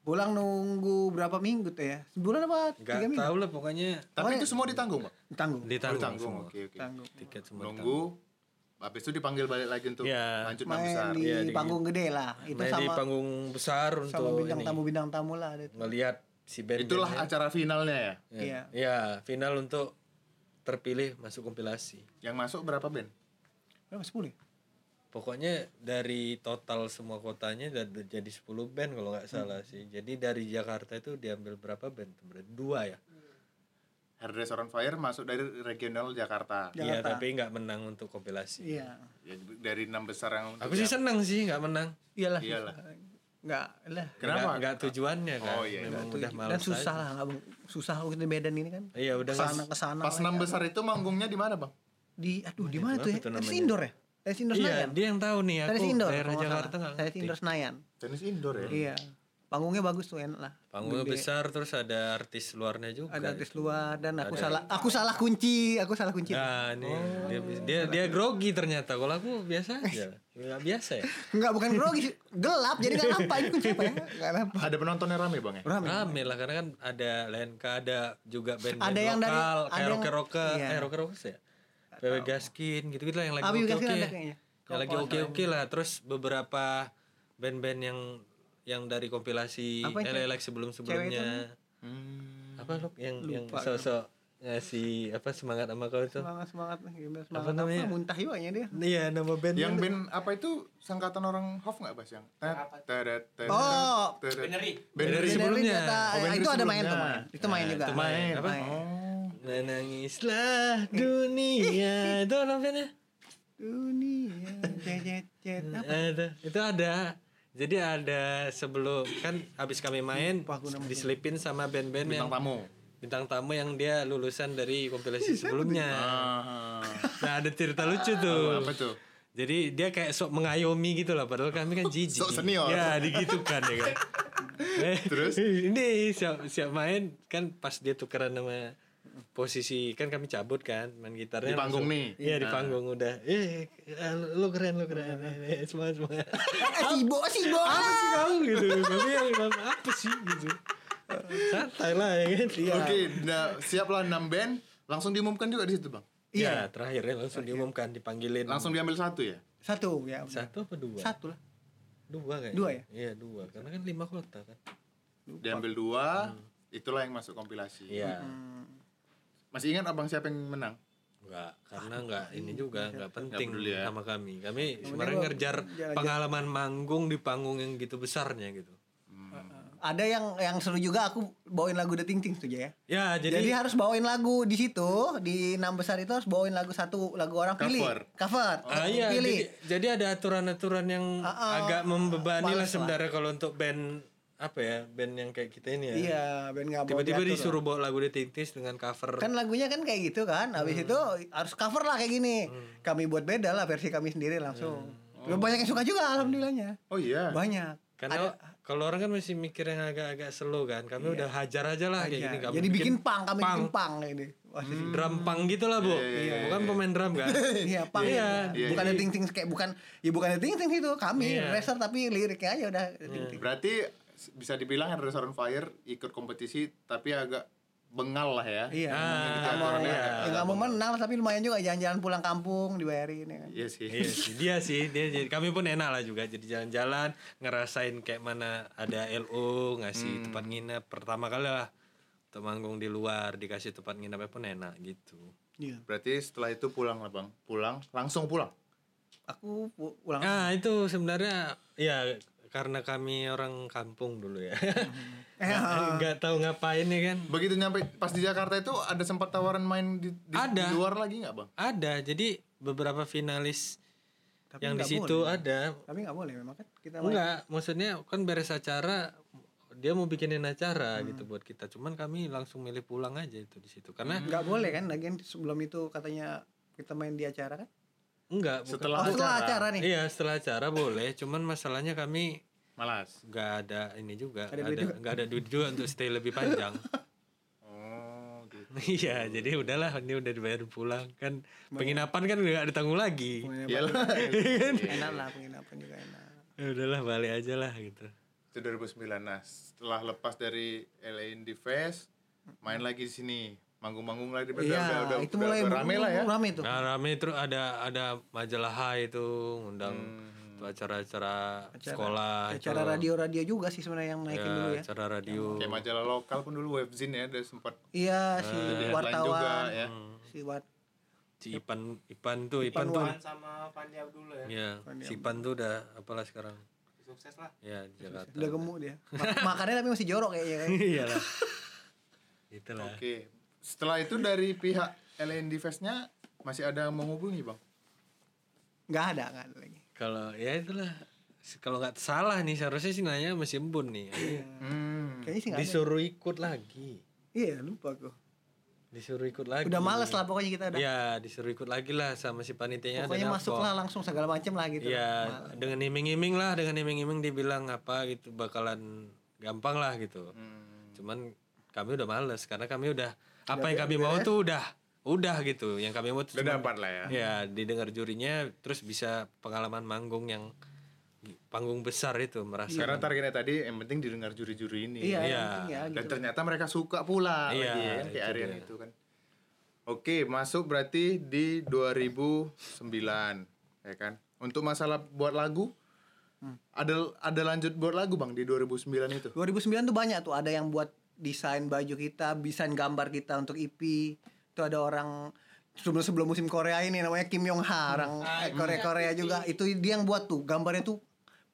Pulang nunggu berapa minggu tuh ya? Sebulan apa? Gak Tiga minggu? tahu lah pokoknya Tapi itu semua ditanggung bang? Tanggung. ditanggung, Ditanggung. semua. Oke oke. Tanggung. tiket semua ditanggung. Nunggu. Habis itu dipanggil balik lagi untuk Iya. lanjut enam besar. Main di Iya, di- panggung gede lah. Itu Main di sama panggung besar sama untuk bintang ini, tamu bintang tamu lah ada tuh. ngelihat si band Itulah acara finalnya ya. Iya. ya. ya final untuk terpilih masuk kompilasi Yang masuk berapa band? Berapa 10 ya? pokoknya dari total semua kotanya udah udah jadi 10 band kalau nggak Hmm. salah sih jadi dari Jakarta itu diambil berapa band Berarti dua ya Hairdresser on Fire masuk dari regional Jakarta. iya Jakarta. tapi nggak menang untuk kompilasi Iya. Ya, dari enam besar yang untuk aku sih seneng sih nggak menang Iyalah. Iyalah. Enggak lah. ya. Kenapa? nggak nggak tujuannya kan Oh, iya, iya. memang Kan udah Dan malas susah lah, nggak mau- susah waktu di Medan ini kan. iya udah nggak- Kesana kesana. Pas enam besar itu manggungnya di mana bang? Di aduh di mana tuh ya? itu Tenis namanya? indoor ya? Tenis indoor iya Senayan. dia yang tahu nih aku Tenis indoor. daerah kalau nggak Jakarta salah. nggak Hmm. Tenis ngerti. indoor Senayan. Tenis indoor ya. Iya. Panggungnya bagus tuh enak lah. Panggungnya Gede. besar terus ada artis luarnya juga. Ada artis itu. luar dan aku salah aku salah kunci, aku salah kunci. Nah, ini Oh. dia, dia dia grogi ternyata. Kalau aku Eh. biasa aja. Enggak biasa ya. Enggak bukan grogi, gelap jadi nggak nampak itu kunci apa ya? Nggak nampak. Ada penontonnya rame bang ya? Rame. Rame lah karena kan ada LNK, ada juga band, Ada yang dari- lokal, ada kayak yang- Rocker Rocker, iya. eh Rocker Rocker ya. PW Gaskin gitu-gitu lah yang lagi Abi oke-oke. Gaskin ada kayaknya. Yang lagi oke-oke lah. Terus beberapa band-band yang yang dari kompilasi Apa yang LLX sebelum-sebelumnya. Apa lu yang yang sosok Ya, si apa semangat sama kau itu? semangat semangat gimana semangat apa, namanya? muntah yuk aja dia Iya nama band Yang band apa itu sangkatan orang Hof nggak Bas yang? tet, Apa? teret, teret, Oh. teret. Beneri. Beneri Beneri sebelumnya. ternyata, Oh, eh, Beneri itu ada main sebelumnya. tuh main itu main Nah, juga itu main. Apa? Oh. Menangislah dunia itu apa bandnya? dunia cet cet cet apa Eh, itu, itu ada. Jadi ada sebelum kan habis kami main Lupa aku namanya. diselipin sama band-band yang Bintang tamu. bintang tamu yang dia lulusan dari kompilasi sebelumnya. Ah. Nah ada cerita lucu Oh, tuh. apa tuh? Jadi dia kayak sok mengayomi gitu lah padahal kami *laughs* kan jijik. Sok senior. Ya, digitu kan ya *laughs* kan. Eh, Terus? ini siap siap main kan pas dia tukeran sama posisi kan kami cabut kan main gitarnya Di panggung langsung- nih. Ah. iya di panggung udah eh eh, lu keren lu keren eh, eh, semangat semangat *laughs* eh sibo sibo Ah. apa sih kau gitu kami yang bilang, apa sih gitu santai lah ya kan Oke, nah, siaplah 6 band, langsung diumumkan juga di situ, Bang. iya terakhirnya langsung diumumkan dipanggilin Langsung diambil satu ya. satu ya benar. satu apa dua satu lah dua kayaknya Dua ya? iya dua karena kan lima kota kan Diambil dua, itulah yang masuk kompilasi. iya Hmm. Masih ingat Abang siapa yang menang? Enggak, Ah, karena enggak ini iya, juga enggak penting peduli ya. sama kami. Kami sebenarnya gua ngerjar jalan-jalan. pengalaman manggung di panggung yang gitu besarnya gitu. ada yang yang seru juga aku bawain lagu The Ting Ting tuh ya Ya, jadi, jadi, harus bawain lagu di situ di enam besar itu harus bawain lagu satu lagu orang pilih Cover. cover Ah, iya, pilih jadi, jadi ada aturan-aturan yang Ah, ah, agak membebani males lah lah. sebenarnya kalau untuk band apa ya, band yang kayak kita ini ya. iya ben nggak mau Tiba-tiba diatur. disuruh bawa lagu di Tintis dengan cover. kan lagunya kan kayak gitu kan habis itu harus cover lah kayak gini Hmm. kami buat beda lah versi kami sendiri langsung Oh. banyak yang suka juga alhamdulillahnya Oh iya. banyak karena kalau orang kan masih mikir yang agak-agak slow kan. Kami udah hajar aja lah kayak gini. Ya, Kami Iya. jadi bikin pang kami punk. bikin pang kayak gini Wah, sih. drum punk gitu lah, Bu. Bukan pemain drum kan. *laughs* Iya, pang. Iya. Iya, bukan ting ting kayak bukan ya bukan ting ting itu kami Iya. Hmm. Nah, racer tapi liriknya aja udah ting ting. Berarti s- bisa dibilang Headless on Fire ikut kompetisi tapi agak bengal lah ya. Iya. Ah, Nggak mau- iya. ya nggak mau menang tapi lumayan juga jalan-jalan pulang kampung dibayarin ya kan. Iya sih. *laughs* Iya sih, dia sih, dia jadi kami pun enak lah juga jadi jalan-jalan ngerasain kayak mana ada LO Hmm. ngasih tempat nginep pertama kali lah untuk manggung di luar dikasih tempat nginepnya pun enak gitu. Iya. Berarti setelah itu pulang lah, Bang. Pulang, langsung pulang. Aku pu- pulang Nah itu sebenarnya ya karena kami orang kampung dulu *laughs* ya, Eh, oh. Nggak- nggak tahu ngapain ya kan. Begitu nyampe pas di Jakarta itu ada sempat tawaran main di, di- di Ada. luar lagi nggak, Bang? Ada jadi beberapa finalis Tapi yang di nggak situ Iya, boleh. ada Tapi nggak boleh memang kan kita main. Enggak, maksudnya kan beres acara dia mau bikinin acara Hmm. gitu buat kita. Cuman kami langsung milih pulang aja itu di situ. Karena nggak boleh kan lagian sebelum itu katanya kita main di acara kan. enggak bukan- Setelah Oh, setelah acara nih. Iya, setelah acara boleh, cuman masalahnya kami Malas. enggak ada ini juga, enggak Ada duit ada juga. enggak ada duit juga untuk stay lebih *laughs* panjang. Oh, gitu. Iya, jadi udahlah ini udah dibayar pulang kan penginapan kan enggak ditanggung lagi. Iya Iyalah. Iya. Enak lah penginapan juga enak. Ya udahlah balik aja lah gitu. itu 2009 nah setelah lepas dari LA Indie Fest main lagi di sini manggung-manggung lagi udah Iya, udah udah, itu udah- mulai udah rame lah ya Rame tuh. Nah, rame terus ada ada majalah Hai itu ngundang untuk acara-acara sekolah Hmm. itu. acara Iya, radio-radio juga sih sebenarnya yang naikin dulu ya. acara radio kayak majalah lokal pun dulu webzine ya udah sempat Iya Hmm. si Nah, headline juga wartawan, ya si wat si Ipan Ipan tuh Ipan tuh Tuan sama Pandi Abdul ya. ya iya. si Ipan tuh udah apalah sekarang Sukses lah. ya di Jakarta *laughs* udah gemuk dia. Mak- Makannya tapi masih jorok kayaknya kan. *laughs* iyalah itulah oke setelah itu dari pihak LA Indie Festnya masih ada yang menghubungi bang Enggak ada enggak ada lagi. kalau ya itulah Se- kalau nggak salah nih seharusnya sih nanya sama si Embun nih Iya. Iya. hmm. Kayaknya sih enggak ada. disuruh ikut lagi Iya, lupa aku. disuruh ikut lagi Udah males lah pokoknya kita udah. ya disuruh ikut lagi lah sama si panitianya pokoknya masuklah langsung segala macam lah gitu. Iya, dengan iming-iming lah, dengan iming-iming dibilang apa gitu bakalan gampang lah gitu. Hmm. Cuman kami udah males karena kami udah apa yang kami mau ya? tuh udah udah gitu. Yang kami mau udah tuh cuman- dapat lah ya ya didengar jurinya terus bisa pengalaman manggung yang panggung besar itu merasa Iya. karena targetnya tadi yang penting didengar juri-juri ini Iya, Iya. yang penting ya dan gitu. ternyata mereka suka pula lagi Iya, ya kan kayak itu Aryan dia. itu kan oke masuk berarti di 2009 ya kan untuk masalah buat lagu Hmm. ada ada lanjut buat lagu bang di 2009 itu 2009 tuh banyak tuh ada yang buat desain baju kita, desain gambar kita untuk EP, itu ada orang sebelum sebelum musim Korea ini namanya Kim Yong Ha orang Hmm. Ah, iya. Korea Korea juga itu dia yang buat tuh gambarnya tuh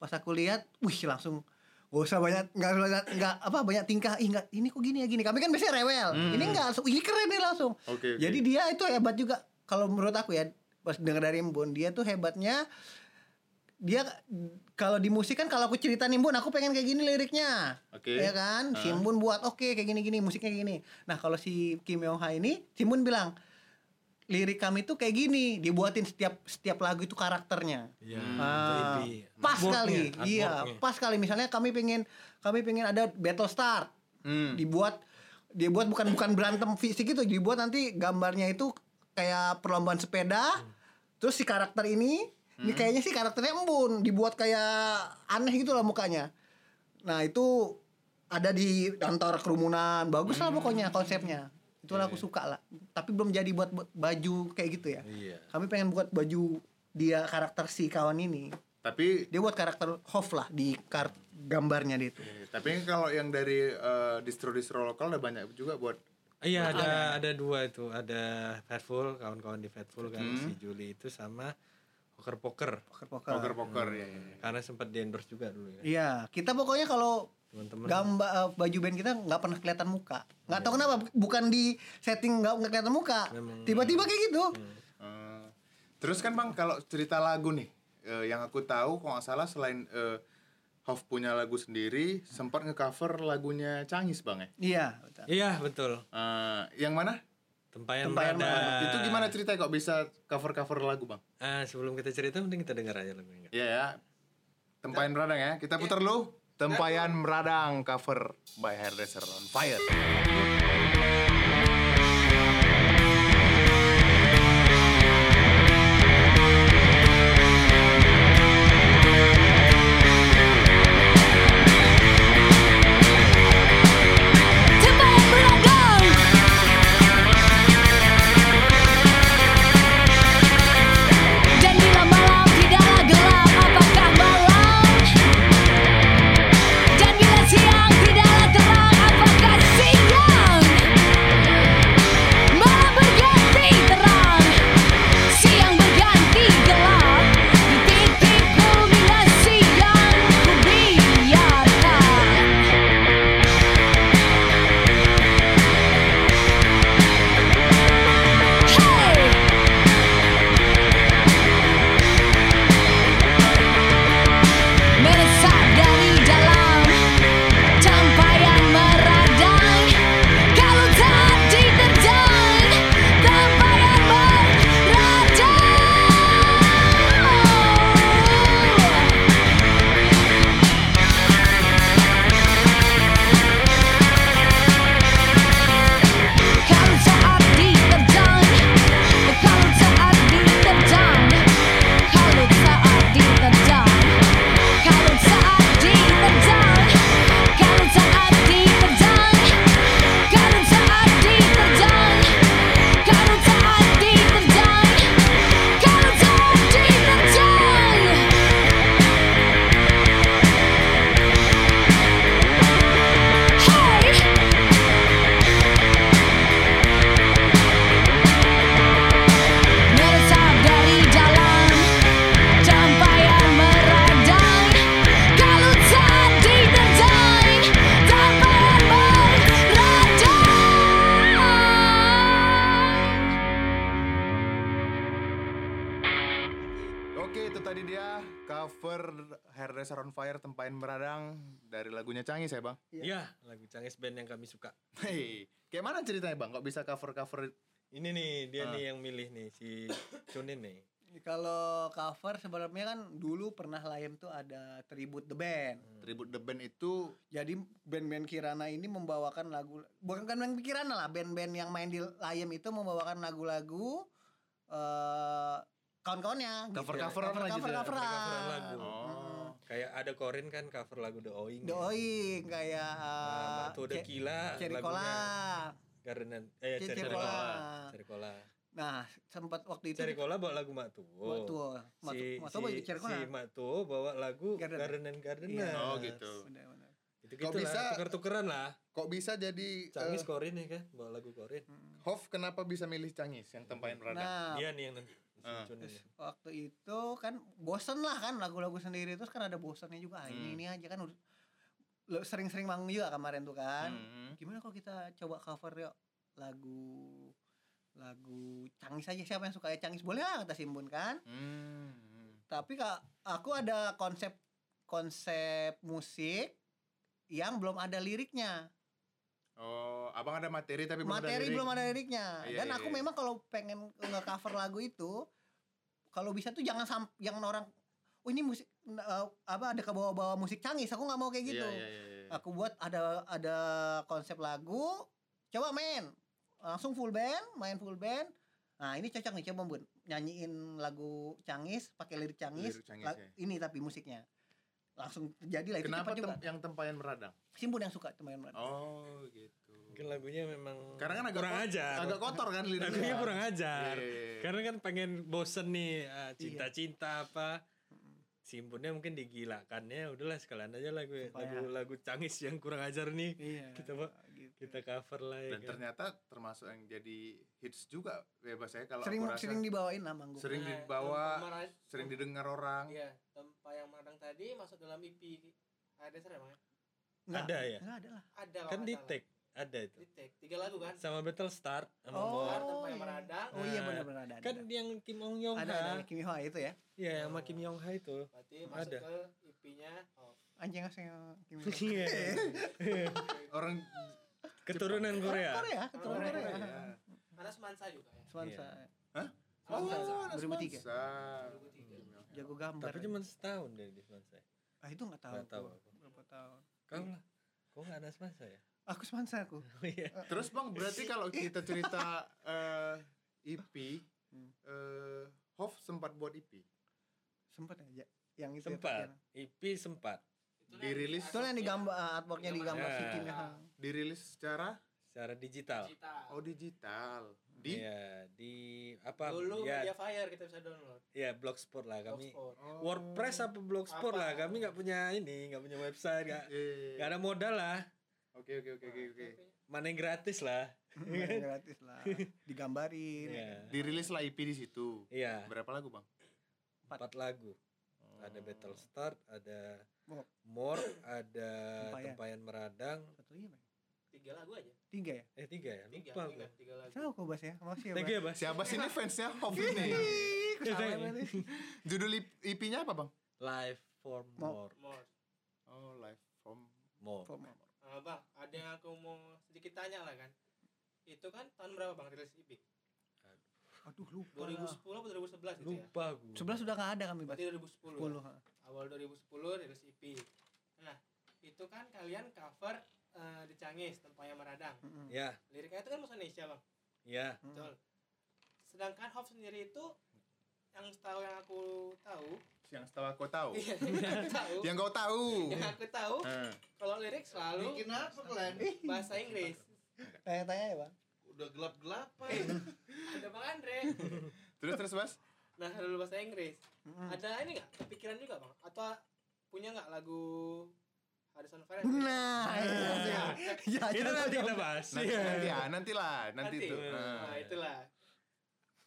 pas aku lihat wih langsung gak usah banyak nggak usah banyak- nggak apa banyak tingkah ih nggak ini kok gini ya gini kami kan biasanya rewel ini nggak langsung ini keren nih langsung Hmm. Oke, oke. jadi dia itu hebat juga kalau menurut aku ya pas dengar dari Embun dia tuh hebatnya dia kalau di musik kan kalau aku cerita Nimbun aku pengen kayak gini liriknya Oke. Ah. ya kan si Embun buat oke kayak gini gini musiknya kayak gini nah kalau si Kim Yong Ha ini si Embun bilang lirik kami tuh kayak gini dibuatin setiap setiap lagu itu karakternya Iya, Ah, jadi pas artworknya, kali iya artworknya. pas kali misalnya kami pengen kami pengen ada battle start dibuat dibuat bukan bukan berantem fisik itu dibuat nanti gambarnya itu kayak perlombaan sepeda terus si karakter ini ini kayaknya sih karakternya embun dibuat kayak aneh gitu lah mukanya nah itu ada di antar kerumunan bagus lah pokoknya konsepnya itulah aku suka lah tapi belum jadi buat buat baju kayak gitu ya Iya. kami pengen buat baju dia karakter si kawan ini Tapi dia buat karakter Hof lah di kart gambarnya dia itu eh, tapi kalau yang dari eh, distro-distro lokal udah banyak juga buat Iya ada ada dua itu ada Fatful kawan-kawan di Fatful kan Hmm. si Juli itu sama poker poker poker-poker poker-poker ya. ya, ya. karena sempat di endorse juga dulu ya iya kita pokoknya kalau teman-teman gambar eh, baju band kita nggak pernah kelihatan muka nggak tahu kenapa bu- bukan di setting nggak nggak kelihatan muka tiba-tiba kayak gitu Hmm. Eh, terus kan bang kalau cerita lagu nih eh, yang aku tahu kalau nggak salah selain eh, Hof punya lagu sendiri sempat ngecover lagunya Cangis bang ya. iya iya betul Eh, yang mana? tempayan, Tempayan Berada. Itu gimana ceritanya kok bisa cover-cover lagu bang? Ah, sebelum kita cerita mending kita dengar aja lagunya Iya ya. Tempayan Meradang ya. Kita putar lu. Tempayan Meradang cover by Hairdresser on Fire. Tempayan berlambang Dan bila malam tidaklah gelap apakah malam Dan bila siang tidaklah terang apakah siang Malam berganti terang Siang berganti gelap Di titik kulminasi yang kubiarkan Hey! Meresap dari dalam Tempayan meradang Kalau tak diterjang Tempayan meradang Kalau saat diterjang Kalau saat diterjang Kalau saat diterjang Kalau saat diterjang Kalau saat diterjang Kalau saat diterjang Kalau saat diterjang Kalau saat diterjang Hey! Meresap dari dalam Tempayan meradang Kalau tak diterjang Tempayan meradang Oke itu tadi dia cover Hairdresser on Fire Tempayan Meradang dari lagunya Cangis ya bang. iya lagu Cangis band yang kami suka *laughs* Hei, kayak mana ceritanya bang? Kok bisa cover-cover? ini nih dia Ah. nih yang milih nih si Chunin nih kalau cover sebelumnya kan dulu pernah Layem tuh ada tribute the band Hmm. Tribute the band itu jadi band-band Kirana ini membawakan lagu bukan bukan band Kirana lah band-band yang main di Layem itu membawakan lagu-lagu eh kawan-kawannya gitu. Cover-coveran lah gitu ya, Cover-coveran. cover-coveran lagu. Oh. kayak ada Korin kan cover lagu The ya? Oing The Oing kayak Nah, Batu eh, The Kila Cherry lagunya. Cola. Gardenan eh Cherry Cherry Cola. Cola Cherry Cola Nah, sempat waktu itu Cherry Cola bawa lagu Mak Tuwo. waktu Matu, Oh, si, Matu si, apa ya? Cherry Cola? si Mak Tuwo bawa lagu Gardener. Gardener Gardener. Iya. Oh gitu. Benar-benar. Itu gitu-gitu Kok bisa- lah tuker-tukeran lah Eh. Kok bisa jadi Cangis eh, Korin ya kan bawa lagu Korin Hof kenapa bisa milih Cangis yang tempain berada? Nah, dia nih yang nanti Sichun ini. waktu itu kan bosen lah kan lagu-lagu sendiri terus kan ada bosennya juga ah, Hmm. ini ini aja kan udah- lo- sering-sering manggung juga kemarin tuh kan Hmm, Hmm. gimana kalau kita coba cover yuk lagu lagu cangis aja siapa yang suka ya cangis boleh lah kata Simbun kan Hmm. tapi kak aku ada konsep konsep musik yang belum ada liriknya Oh, abang ada materi tapi belum materi ada belum ada liriknya Iya, dan iya, aku iya. memang kalau pengen nge-cover lagu itu kalau bisa tuh jangan sam jangan orang oh ini musik eh, apa ada ke bawa-bawa musik cangis aku nggak mau kayak gitu Iya, iya, iya, iya. aku buat ada ada konsep lagu coba main langsung full band main full band nah ini cocok nih coba bun nyanyiin lagu cangis pakai lirik cangis, Lirik Cangis, la- ya. ini tapi musiknya langsung terjadi lah itu Kenapa cepat juga tem- yang tempayan beradang? simpun yang suka teman teman Oh, gitu. Mungkin lagunya memang Karena kan agak kurang kot- ajar. agak kotor kan liriknya. Lagunya kurang ajar. Iya, iya, iya. Karena kan pengen bosen nih ah, cinta-cinta apa. Simpunnya mungkin digilakannya udahlah sekalian aja lagu lagu-lagu cangis yang kurang ajar nih. Iya, Kita ba- kita cover lah ya. Dan kan. ternyata termasuk yang jadi hits juga bebas saya kalau sering aku rasa sering dibawain lah manggung sering Nah, dibawa, kemarin- sering didengar orang. Iya, tempat yang meradang tadi masuk dalam IP. Ada serem ya? Nggak, Ada ya? nggak ada lah Ada kalau Kan nggak di salah. tag ada itu. Di tag. Tiga lagu kan? Sama Battle Start sama Oh, Bor. Keluar tempat yang iya. meradang. Oh iya benar-benar ada. Kan ada. yang Kim Ong Yong ada, ada, Ha. Kimi Hoa itu ya. Iya, sama Kim Yong Ha itu. Berarti masuk Ada. ke IP-nya. Oh, Anjing asing Kimi Hoa. *laughs* Iya. Orang Keturunan Korea. Korea. Iya. Korea, keturunan Orang Korea. ya. karena semansa juga ya. Swansa. Hah? Oh, Nas 2003. Mansa. Jago gambar. Tapi cuma setahun dari di saya. ah itu enggak tahu. Nggak tahu aku. aku. Berapa tahun? Iya. Ah, Kau lah. Kok nggak ada semasa ya? *laughs* Aku Swansa aku. Oh iya. Terus Bang, berarti kalau kita cerita eh EP eh Hof sempat buat EP. Sempat aja yang itu. ya, sempat. IP sempat. Dirilis Itu yang digambar ah, artworknya digambar si Kim Ya. *laughs* dirilis secara Secara digital. Kita. oh digital di Iya, di apa? Dulu ya, Media Fire kita bisa download. ya blogspot lah kami. Blogspot. Oh. WordPress apa blogspot lah kami nggak punya ini, nggak punya website, nggak Iya, iya, iya. nggak ada modal lah. Oke oke oke oke Nah, oke. Mana yang gratis lah. Iya, Gratis lah. Digambarin. ya kan? Iya. Dirilis lah EP di situ. Iya. Berapa lagu, Bang? Empat lagu. Oh. Ada Battle Oh. Start, ada Oh, More, ada Tempayan. Tempayan Meradang. satu iya, Bang. Tiga lagu aja. Tiga ya? Eh tiga ya, Tiga, lupa tiga, gue. tiga lagu. Tahu kok Bas ya. Makasih ya. Thank Bas. you ya, Bas. Siapa sih ini fansnya Hof ini? Ih, Thank kesalahan you. ini. Judul EP-nya apa, Bang? Live for More. More. Oh, Live from More. Gitu Ah, bang, ada yang aku mau sedikit tanya lah kan. Itu kan tahun berapa bang rilis IP? Aduh lupa. 2010 atau 2011 gitu ya? Lupa gue. Sebelas sudah enggak ada kami Bas. Berarti 2010. 10. ha. Awal 2010 rilis IP. Nah, itu kan kalian cover eh, di Cangis, tempatnya Meradang. Ya, Liriknya itu kan bahasa Indonesia bang, ya. betul. Sedangkan Hope sendiri itu yang setahu yang aku tahu, yang setahu aku tahu. iya, *laughs* yang aku tahu, yang kau tahu. *laughs* yang aku tahu, Oh. Eh. kalau lirik selalu Kenapa kalian? bahasa Inggris. Tanya-tanya ya, Bang. Udah gelap-gelapan. *laughs* Ada bang Andre. Terus terus, Mas? Nah, dulu bahasa Inggris. Hmm. Ada ini nggak kepikiran juga, Bang? Atau punya nggak lagu Harrison Fire? Nah, Iya, Iya, ya, *laughs* ya, Kita ya, nanti kita bahas. Nanti Iya. nanti ya, nantilah, nanti, Nanti. itu. Nah, itulah.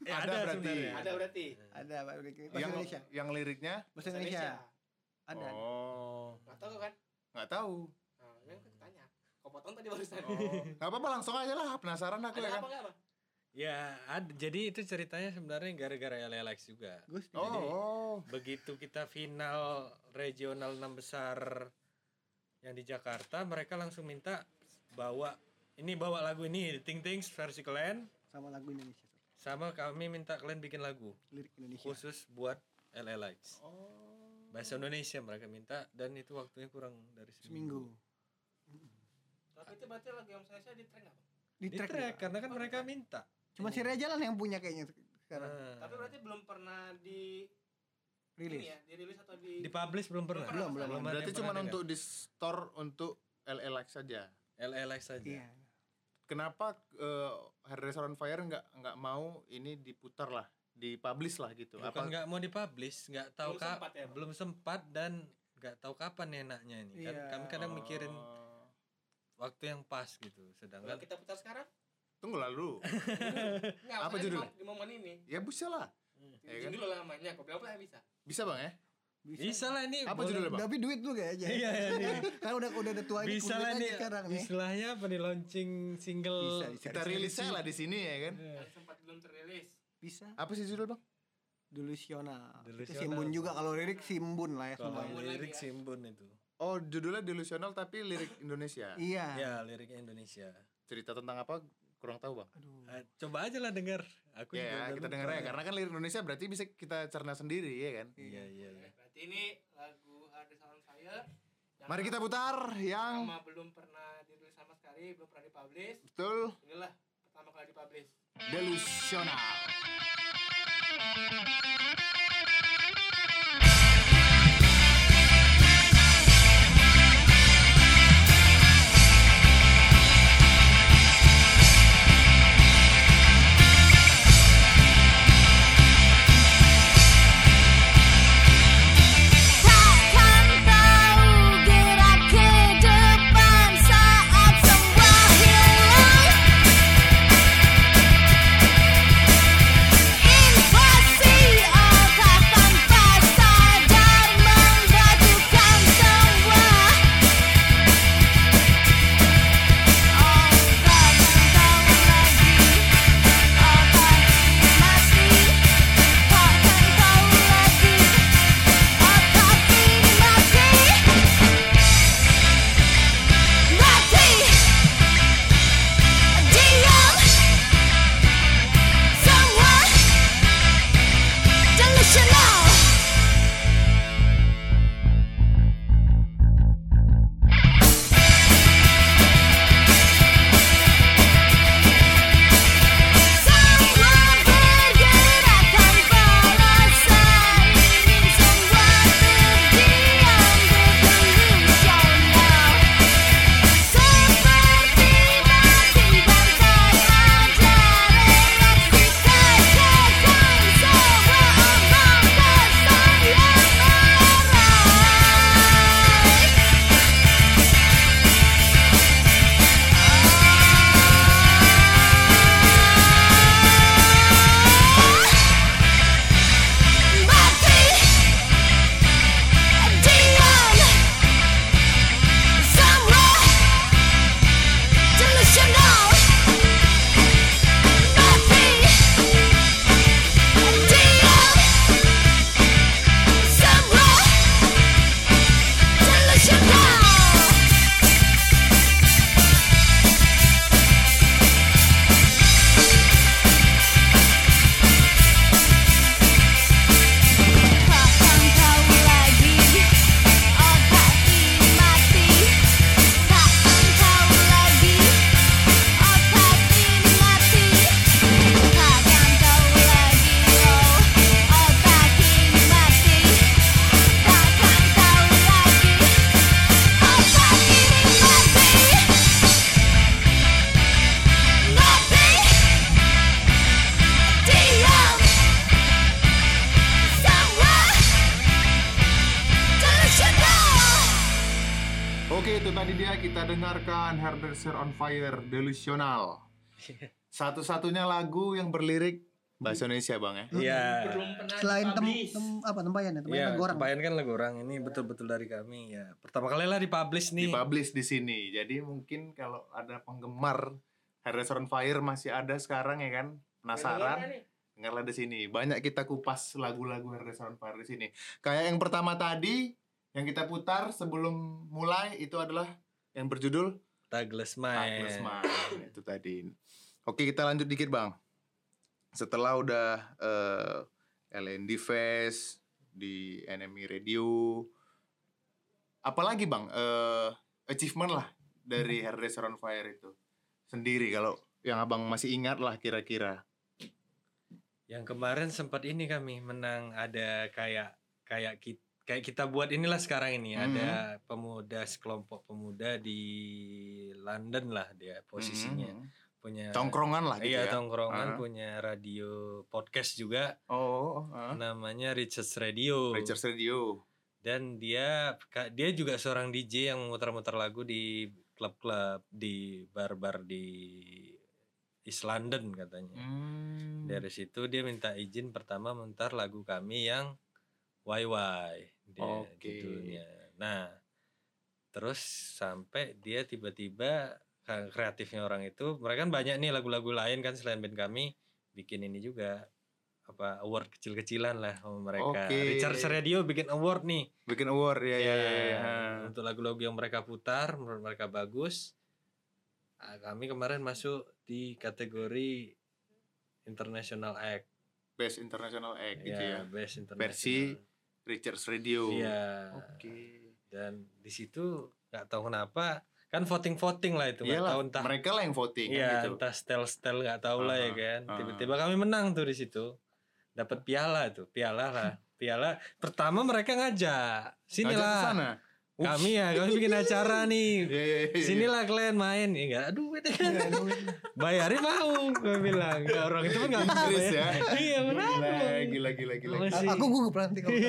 Eh, Ada berarti. sebenarnya. Ada berarti. ada Pak Riki. Eh, Bahasa Yang Indonesia. yang liriknya Bahasa Indonesia. Ada. ada. Oh, Nggak tahu kan? nggak tahu. Nah, yang aku tanya. Kau potong tadi barusan. Oh, nggak apa-apa langsung aja lah, penasaran aku Ada ya kan. apa nggak, Bang? Ya, ada. Jadi itu ceritanya sebenarnya gara-gara LLX juga. Gus. Oh, oh. Begitu kita final regional 6 besar yang di Jakarta, mereka langsung minta bawa ini bawa lagu ini Ting Tings versi kalian sama lagu Indonesia tuh. sama kami minta kalian bikin lagu lirik Indonesia khusus buat LLX. Oh. Bahasa Indonesia mereka minta dan itu waktunya kurang dari seminggu. seminggu Tapi itu berarti lagu yang saya saya di track nggak, Bang? di Di track, track juga. karena kan mereka minta. cuma si Ria Jalan yang punya kayaknya sekarang Nah. Tapi berarti belum pernah di ini rilis ya, dirilis atau di Dipublish belum pernah. Belum, belum. ada Berarti yang cuma pernah untuk di store untuk LLX saja. dengar. LLX saja. iya Kenapa eh, Hard Restaurant Fire nggak nggak mau ini diputar lah, dipublish lah gitu? Iya, Bukan nggak mau dipublish, nggak tahu Belum kak, sempat ya, Bang? belum sempat dan nggak tahu kapan enaknya ini kan Iya. kami kadang mikirin Oh. waktu yang pas gitu Kalau sedangkan kita putar sekarang? Tunggu lalu. Nggak, Apa maksudnya di judulnya? mom- Di momen ini. ya bisa lah. Ya kan? Judul lamanya, kok bilang apa bisa? Bisa bang ya? bisa lah ini Apa boleh- judulnya *laughs* bang? Iya. Tapi duit lu kayaknya. Iya, iya. *laughs* Karena udah udah ada tua ini bisa lah kulit aja nih sekarang nih. istilahnya apa nih launching single Iya. Bisa, bisa. Iya. Kita rilis aja lah di sini ya kan? Yang sempat belum terilis. Bisa. Apa sih judul bang? Delusional. Itu Delusional. simbun juga kalau lirik simbun lah ya Nah. kalau semuanya. lirik simbun itu Oh judulnya delusional tapi lirik Indonesia. Iya. ya liriknya Indonesia Cerita tentang apa? Kurang tahu bang. Eh, coba aja lah dengar aku juga Ya baru kita dengar tahu. ya karena kan lirik Indonesia berarti bisa kita cerna sendiri ya kan? iya iya iya. Berarti ini lagu Hardest on Fire yang Mari kita putar yang sama belum pernah dirilis sama sekali, belum pernah dipublish. betul Inilah pertama kali dipublish. delusional. Takkan tahu gerak ke depan saat semua hilang Inflasi otak tanpa sadar menggatukan semua Oh takkan tahu lagi otak mati Takkan tahu lagi Otak ini mati Mati Diam Semua Delusional Semua bergerak tanpa rasa ingin semua terdiam delusional Seperti mati bantai aja reaksikan kekang semua omong besar yang meraih Mati Diam Semua Delusional Mati Diam Semua Delusional Takkan tahu lagi otak ini mati Takkan tahu lagi otak ini mati Takkan tahu lagi otak ini mati Takkan tahu lagi otak ini mati Mati Diam Semua Delusional Oke itu tadi dia kita dengarkan Hairdresser on Fire Delusional *laughs* Satu-satunya lagu yang berlirik Bahasa Indonesia bang ya Iya. Selain tem, tem apa tempayan ya, tempayan Iya, yeah, goreng. kebayang kan lagu orang ini betul-betul dari kami ya. Pertama kali lah dipublish nih. Dipublish di sini Jadi mungkin kalau ada penggemar Hairdresser on Fire masih ada sekarang ya kan Iya, Penasaran Dengarlah di sini Banyak kita kupas lagu-lagu Hairdresser on Fire di sini Kayak yang pertama tadi Yang kita putar sebelum mulai Itu adalah yang berjudul Douglas Mine. Douglas Mine, itu tadi. Oke kita lanjut dikit bang. Setelah udah eh, LND Fest di NMI Radio, apalagi bang eh, achievement lah dari Hmm. Hairdresser on Fire itu sendiri kalau yang abang masih ingat lah kira-kira. Yang kemarin sempat ini kami menang ada kayak kayak kita kayak kita buat inilah sekarang ini Mhm. ada pemuda sekelompok pemuda di London lah dia posisinya Mhm. punya Tongkrongan lah gitu iya ya. tongkrongan Ah. punya radio podcast juga Oh, oh, oh, ah. namanya Richards Radio Richards Radio. dan dia ka- dia juga seorang DJ yang memutar-mutar lagu di klub-klub di bar-bar di East London katanya Hmm. dari situ dia minta izin pertama mentar lagu kami yang YY dia Oke. judulnya. Nah, terus sampai dia tiba-tiba ka- kreatifnya orang itu, mereka kan banyak nih lagu-lagu lain kan selain band kami bikin ini juga apa award kecil-kecilan lah sama mereka. Oke. Richard Radio bikin award nih. Bikin award ya ya ya. ya. Ya, Untuk lagu-lagu yang mereka putar menurut mereka bagus. Ah, Kami kemarin masuk di kategori International Act Iya, Best International Act gitu ya. best international. Versi Richards Radio. Iya. Oke. Dan di situ nggak tahu kenapa kan voting voting lah itu nggak Iyalah, tahu entah mereka lah yang voting kan iya gitu. Uh-huh. entah style style nggak tahu lah ya Aha, kan. aha. Tiba-tiba kami menang tuh di situ. Dapat piala tuh, piala lah. *laughs* Piala pertama mereka ngajak. Ngajak ke Sinilah. sana. Kami ya, kami bikin acara nih. *laughs* Iya iya iya. Sinilah kalian main. Ya enggak ada duit kan. Bayarin mau, gue bilang. Nggak, orang itu pun enggak mau. Inggris ya. Iya, benar. Nah, Gila gila gila. gila. Masih- Aku *laughs* gugup nanti kalau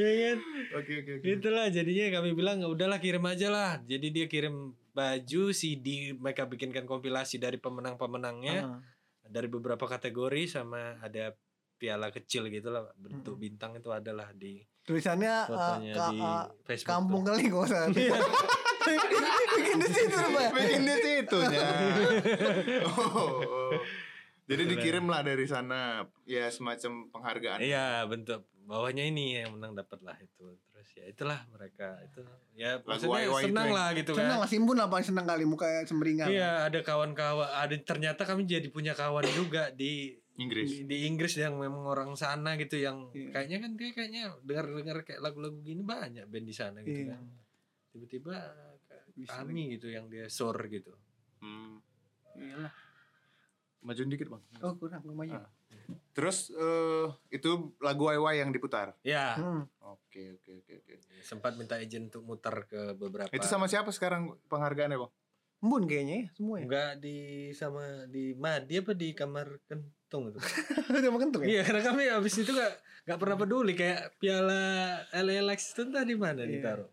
Iya kan? Oke oke oke. Itulah jadinya kami bilang "Ya udahlah kirim aja lah. Jadi dia kirim baju CD mereka bikinkan kompilasi dari Ah. pemenang-pemenangnya dari beberapa kategori sama ada piala kecil gitu lah bentuk bintang itu adalah di tulisannya eh, fotonya ka- di Iya. eh, Facebook. kampung kali gak *laughs* usah. Bikin di situ Iya. Pak. ya? Bikin di *laughs* situnya. Oh, oh. Jadi dikirim lah dari sana ya semacam penghargaan. Iya, bentuk bawahnya ini yang menang dapat lah itu. Terus ya itulah mereka itu ya maksudnya YY itu senang yang- lah gitu kan. Senang lah Simbun lah paling senang kali muka semeringan. Iya, ada kawan-kawan, ada ternyata kami jadi punya kawan juga di Inggris. di, di Inggris yang memang orang sana gitu yang Iya. kayaknya kan kayak kayaknya dengar-dengar kayak lagu-lagu gini banyak band di sana gitu Iya. kan. Tiba-tiba Bisa kami gitu yang dia sor gitu. Hmm. Iyalah. Majuin dikit bang. Oh kurang lumayan. Terus eh, itu lagu YY yang diputar. Ya, Hmm. Oke oke oke oke. sempat minta izin untuk muter ke beberapa. Itu sama siapa sekarang penghargaannya bang? Embun kayaknya ya semua *laughs* ya. enggak di sama di Madi apa di kamar kentung itu. Udah makan tuh ya. Iya, karena kami habis itu enggak enggak pernah peduli kayak piala LLX itu entah di mana Iya. ditaruh.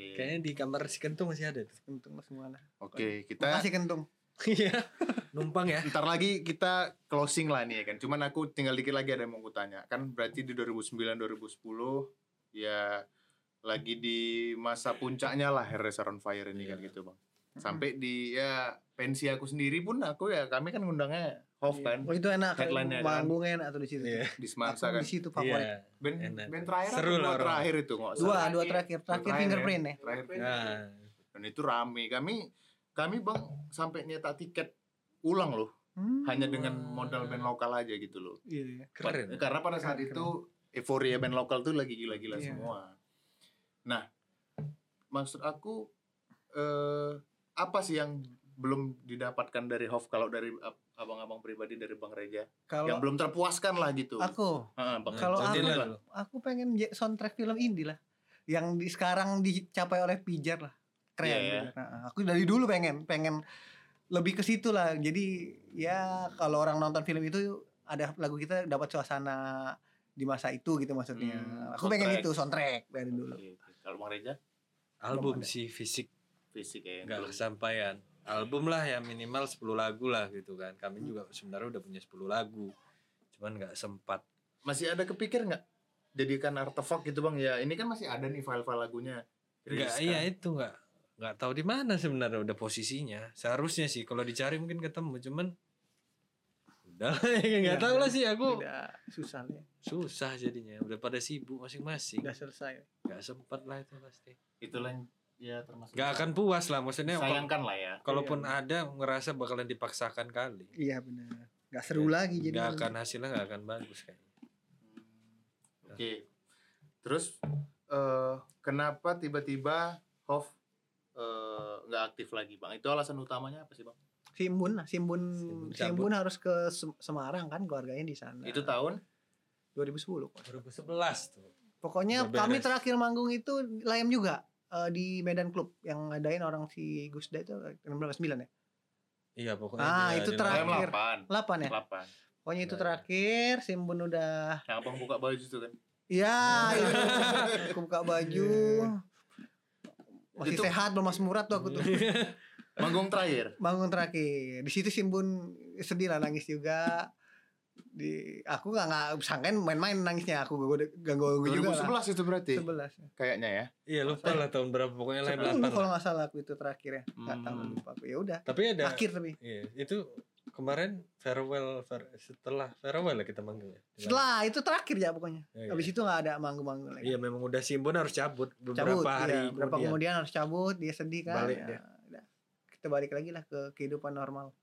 Kayaknya di kamar si kentung masih ada tuh. *laughs* Kentung lah semua lah. Oke kita Makasih kentung. Iya. Numpang ya. Ntar lagi kita closing lah nih ya kan. Cuman aku tinggal dikit lagi ada yang mau kutanya. Kan berarti di 2009 2010 ya lagi di masa puncaknya lah Hair Racer on Fire ini kan Iya. gitu, Bang. Sampai di ya pensi aku sendiri pun aku ya kami kan ngundangnya Hof kan Oh itu enak. Headline-nya kan. Manggungnya enak tuh di situ. Iya. di Semansa Aku kan. di situ favorit. Iya. Ben, Enak. ben terakhir Seru atau lah dua orang. terakhir itu nggak Dua, salah. dua terakhir. Terakhir fingerprint ya. Terakhir Nah, Dan itu rame. Kami kami Bang sampai nyetak tiket ulang loh Hmm. hanya dengan modal band lokal aja gitu loh. Iya, iya. keren. Karena pada saat itu euforia band lokal tuh lagi gila-gila Iya. semua. Nah, maksud aku eh, apa sih yang belum didapatkan dari Hof kalau dari ab- abang-abang pribadi dari Bang Reja yang Kalau belum terpuaskan lah gitu. aku, Heeh, Bang kalau Reja. aku- Jadilah Jadilah. dulu. aku pengen j- soundtrack film indie lah. Yang di, sekarang dicapai oleh Pijar lah. Keren. Iya, ya. bener. Nah, aku dari dulu pengen, pengen lebih ke situ lah. Jadi ya kalau orang nonton film itu ada lagu kita dapat suasana di masa itu gitu maksudnya. Hmm, aku pengen soundtrack. itu soundtrack dari dulu. Oke, oke. Iya, Kalau Bang Reja Album sih fisik fisik ya. yang nggak belum. kesampaian. Album lah ya minimal 10 lagu lah gitu kan. Hmm. Kami juga sebenarnya udah punya 10 lagu. Cuman nggak sempat. Masih ada kepikir nggak jadikan artefak gitu Bang ya. Ini kan masih ada nih file-file lagunya. Nggak, Rilis iya kan. itu nggak nggak tahu di mana sebenarnya udah posisinya. Seharusnya sih kalau dicari mungkin ketemu cuman udah *laughs* nggak Iya, tahu lah sih aku Udah susah lah ya. susah jadinya udah pada sibuk masing-masing Udah selesai. nggak sempat lah itu pasti Itulah yang ya termasuk. nggak akan puas lah maksudnya kalau- sayangkan lah ya. kalaupun ada ngerasa bakalan dipaksakan kali Iya benar. Gak seru lagi Iya, jadi. Iya, nggak akan hasilnya nggak akan bagus kayaknya Hmm. Oke. Terus eh kenapa tiba-tiba Hof eh, nggak aktif lagi, Bang? Itu alasan utamanya apa sih, Bang? Simbun lah, Simbun Simbun Simbun harus ke Sem- Semarang kan keluarganya di sana. Itu tahun 2010. 2011 tuh Pokoknya Udah beres. kami terakhir manggung itu Layam juga eh, di Medan Club yang ngadain orang si Gusda itu eh, berapa 9 ya? iya pokoknya Ah, dia- itu dia terakhir. nolak. 8. 8 ya. 8. Pokoknya itu Udah. terakhir Simbun udah Yang Abang buka baju itu kan. Iya, *laughs* iya. aku buka baju. Masih Itu- sehat belum Mas Murad tuh aku tuh. Manggung terakhir. Bangun terakhir. Di situ Simbun sedih lah nangis juga. Di aku nggak nggak sangkain main-main nangisnya aku ganggu ganggu juga lah. 2011 itu berarti. Sebelas. Kayaknya ya. *laughs* Iya lupa lah tahun berapa pokoknya lah Sepuluh belapan kalau lah. nggak salah aku itu terakhir ya. Nggak tahu Hmm. lupa aku. Ya udah. Tapi ada Akhir tapi. Iya, itu kemarin farewell fare- setelah farewell lah kita manggilnya. Setelah itu terakhir ya pokoknya. Iya, iya. Habis itu nggak ada manggung-manggung lagi. Iya memang udah Simbon harus cabut beberapa cabut hari iya, berapa kemudian. kemudian harus cabut dia sedih kan Balik ya, dia. udah. kita balik lagi lah ke kehidupan normal